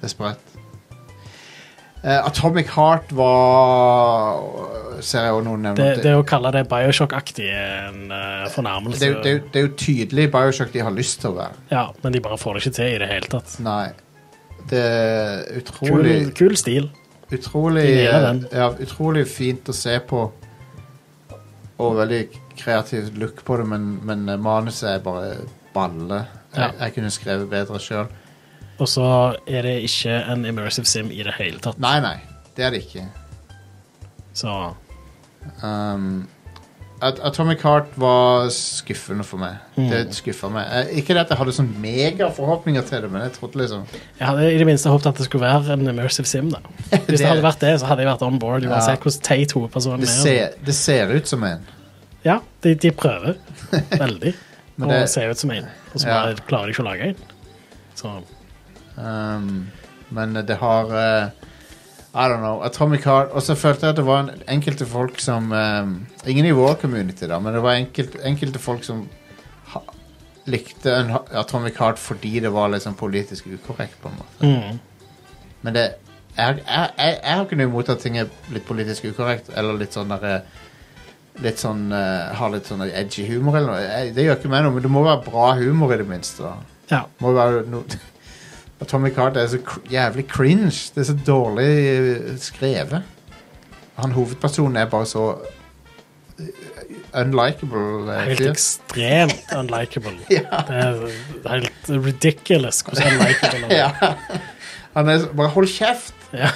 A: det er sprøtt. Eh, Atomic Heart var Ser jeg også noen nevne.
B: Det,
A: Det-
B: det å kalle det Bioshock-aktig er en eh, fornærmelse.
A: det, er jo- det, er jo- det er jo tydelig Bioshock de har lyst til å være.
B: Ja, men de bare får det ikke til i det hele tatt.
A: Nei. Det er
B: Kul,
A: utrolig
B: kul stil.
A: Utrolig,
B: De nailer
A: eh,
B: den.
A: ja, utrolig fint å se på. Og veldig kreativ look på det, men, men eh, manuset er bare balle. Jeg,
B: Ja.
A: jeg kunne skrevet bedre sjøl.
B: Og så er det ikke en immersive sim i det hele tatt.
A: Nei, nei. Det er det ikke.
B: Så
A: Um, At Atomic Heart var skuffende for meg. Det skuffa meg. Eh, ikke det at jeg hadde sånn megaforhåpninger til det, men jeg trodde liksom
B: jeg hadde i det minste håpet at det skulle være en immersive sim. da. Hvis
A: Det-
B: det hadde vært det, så hadde jeg vært on board.
A: Ja.
B: Uansett hvordan teit hovedpersonen
A: Det
B: er.
A: ser, det ser ut som en.
B: Ja, de, de prøver veldig
A: Men
B: å
A: det-
B: se ut som en, og så
A: Ja.
B: bare klarer de ikke å lage en. Så
A: Um, men det har eh, I don't know. Atomic Heart. Og så følte jeg at det var en, enkelte folk som um, Ingen i vår community, da, men det var enkelt, enkelte folk som ha, likte Unha- Atomic Heart fordi det var liksom politisk ukorrekt, på en måte.
B: mm,
A: Men det jeg, jeg, jeg, jeg har ikke noe imot at ting er litt politisk ukorrekt, eller litt sånn derre Litt sånn eh, Har litt sånn edgy humor eller noe. Jeg, det gjør ikke meg noe, men det må være bra humor i det minste. da
B: ja.
A: Må være no Atomic Heart er så cr jævlig cringe. Det er så dårlig eh, skrevet. Han hovedpersonen er bare så eh, unlikable. eh,
B: Helt
A: fyr.
B: ekstremt unlikable.
A: Ja.
B: Det er helt ridiculous hvordan unlikable han er.
A: ja. Han er så, Bare hold kjeft!
B: Ja.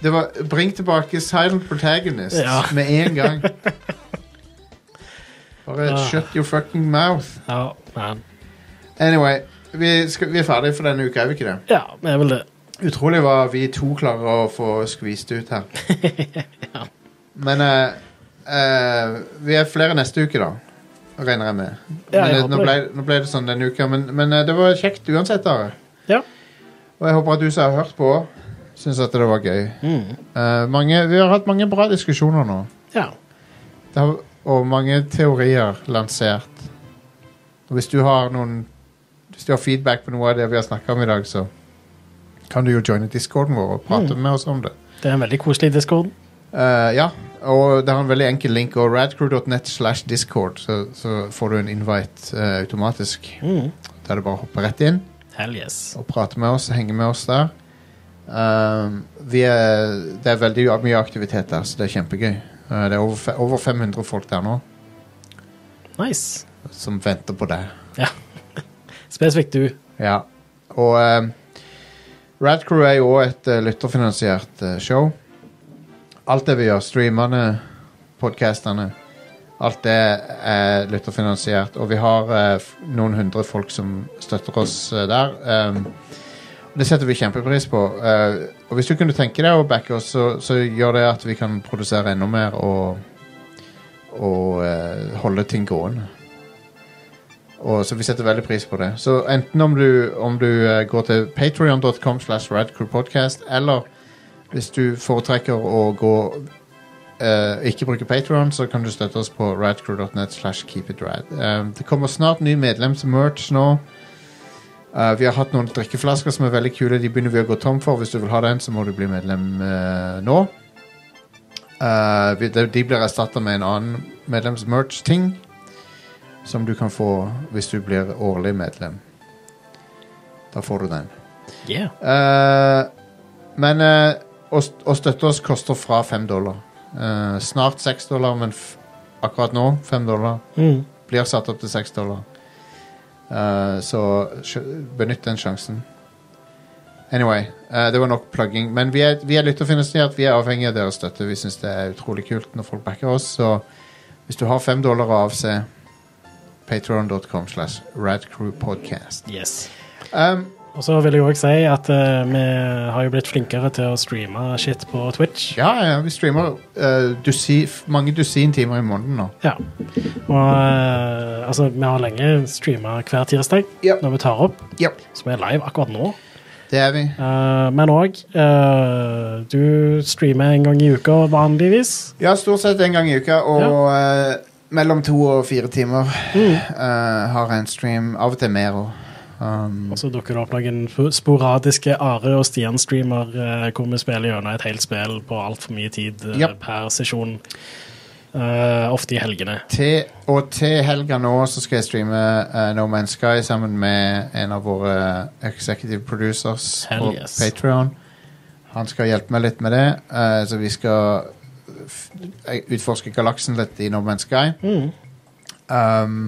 A: Det var Bring tilbake Silent Protagonist
B: Ja.
A: med en gang. Bare
B: Ah.
A: shut your fucking mouth.
B: Ja, men
A: Anyway, vi, skal, vi er ferdige for denne uka, er vi ikke det?
B: Ja, det er vel det.
A: Utrolig hva vi to klarer å få skvist ut her. Men eh, eh, vi er flere neste uke, da. Regner jeg med.
B: Ja,
A: men,
B: jeg
A: eh,
B: håper
A: nå,
B: det.
A: ble, nå ble det sånn denne uka, men, men eh, det var kjekt uansett. Da.
B: Ja.
A: Og jeg håper at du som har hørt på, syns at det var gøy.
B: Mm.
A: Eh, mange, vi har hatt mange bra diskusjoner nå.
B: Ja.
A: Det har, og mange teorier lansert. Og hvis du har noen Hvis du har feedback på noe av det vi har snakka om i dag, så kan du jo joine discorden vår og prate med oss om det.
B: Det er en veldig koselig discord.
A: Eh, ja, og det har en veldig enkel link. Og radcrew.net slash discord, så, så får du en invite eh, automatisk.
B: Mm.
A: Da er det bare å hoppe rett inn
B: Hell yes.
A: og prate med oss, henge med oss der. Um, vi er, det er veldig mye aktivitet der, så det er kjempegøy. Uh, det er over, fe- over 500 folk der nå
B: Nice.
A: som venter på deg.
B: Spesifikt du.
A: Ja. Og um, Radcrew er jo også et eh, lytterfinansiert eh, show. Alt det vi gjør, streamene, podkastene, alt det er lytterfinansiert. Og vi har eh, f- noen hundre folk som støtter oss eh, der. Um, det setter vi kjempepris på. Eh, og hvis du kunne tenke deg å backe oss, så, så gjør det at vi kan produsere enda mer og, og eh, holde ting gående. Og så vi setter veldig pris på det. Så enten om du, om du eh, går til patreon.com slash radcrewpodcast, eller hvis du foretrekker å gå eh, ikke bruke Patreon, så kan du støtte oss på radcrew.net slash keepitrad. Eh, det kommer snart ny medlemsmerch nå. Eh, vi har hatt noen drikkeflasker som er veldig kule. De begynner vi å gå tom for. Hvis du vil ha den, så må du bli medlem eh, nå. Eh, vi, de, de blir erstatta med en annen medlemsmerch-ting som du kan få hvis du blir årlig medlem. Da får du den.
B: Yeah.
A: Eh, men eh, å, st- å støtte oss koster fra fem dollar. Eh, snart seks dollar, men f akkurat nå fem dollar.
B: Mm.
A: Blir satt opp til seks dollar. Eh, så sj- benytt den sjansen. Anyway, eh, det var nok plugging. Men vi er, vi er lytterfinansiert. Vi er avhengig av deres støtte. Vi syns det er utrolig kult når folk backer oss. Så hvis du har fem dollar å avse, patreon.com slash radcrewpodcast.
B: Yes.
A: Um,
B: Og så vil jeg òg si at eh, vi har jo blitt flinkere til å streame shit på Twitch.
A: ja, ja, vi streamer eh, dusi, f- mange dusin timer i måneden nå.
B: Ja. Og eh, altså, vi har lenge streama hver tirsdag
A: Ja.
B: når vi tar opp,
A: Ja.
B: som er live akkurat nå.
A: Det er vi.
B: Eh, men òg Du streamer en gang i uka vanligvis.
A: Ja, stort sett en gang i uka, og eh, mellom to og fire timer
B: Mm.
A: eh, har jeg en stream. Av og til mer òg. Um,
B: Og så dukker det opp noen f- sporadiske Are og Stian-streamer eh, hvor vi spiller gjennom et helt spill på altfor mye tid eh,
A: Ja.
B: per sesjon. Eh, ofte i helgene.
A: til, og til helga nå så skal jeg streame eh, No Man's Sky sammen med en av våre executive producers
B: Hell
A: på
B: yes.
A: Patreon. Han skal hjelpe meg litt med det, eh, så vi skal f utforske galaksen litt i No Man's Sky.
B: Mm.
A: Um,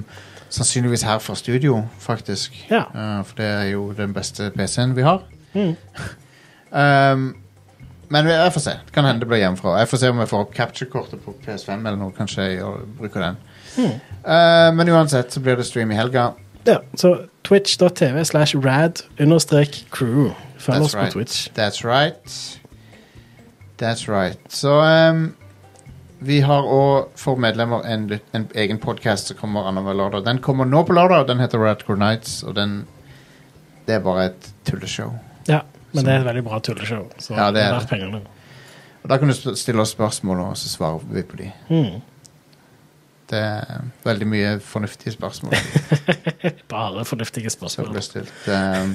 A: sannsynligvis her fra studio, faktisk.
B: Ja.
A: Eh, for det er jo den beste PC-en vi har.
B: Mm.
A: Um, men jeg får se. Det kan hende det blir hjemmefra. Jeg får se om jeg får opp capture-kortet på PS5 eller noe. Kanskje jeg gjør- bruker den.
B: Mm.
A: Eh, men uansett så blir det stream i helga.
B: Ja, så twitch.tv slash rad understrek crew. Følg
A: That's
B: oss
A: right.
B: på Twitch.
A: That's right. That's right. Så ehm, vi har òg for medlemmer en, lyt- en egen podkast som kommer annenhver lørdag. Den kommer nå på lørdag, og den heter Radcore Nights. Og den Det er bare et tulleshow.
B: Ja, men
A: Så-
B: det er et veldig bra tulleshow. Så
A: Ja, det er
B: verdt pengene.
A: Og Da kan du sp- stille oss spørsmål, og så svarer vi på de.
B: Mm.
A: Det er veldig mye fornuftige spørsmål
B: Bare fornuftige
A: som
B: spørsmål.
A: blir stilt. Ehm,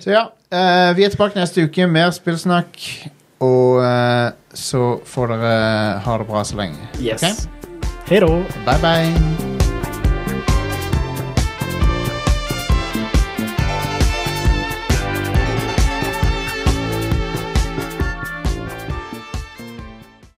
A: så ja. eh, vi er tilbake neste uke. Mer spillsnakk. Og eh, så får dere ha det bra så lenge.
B: Yes.
A: Ok?
B: Hei da.
A: Bye, bye.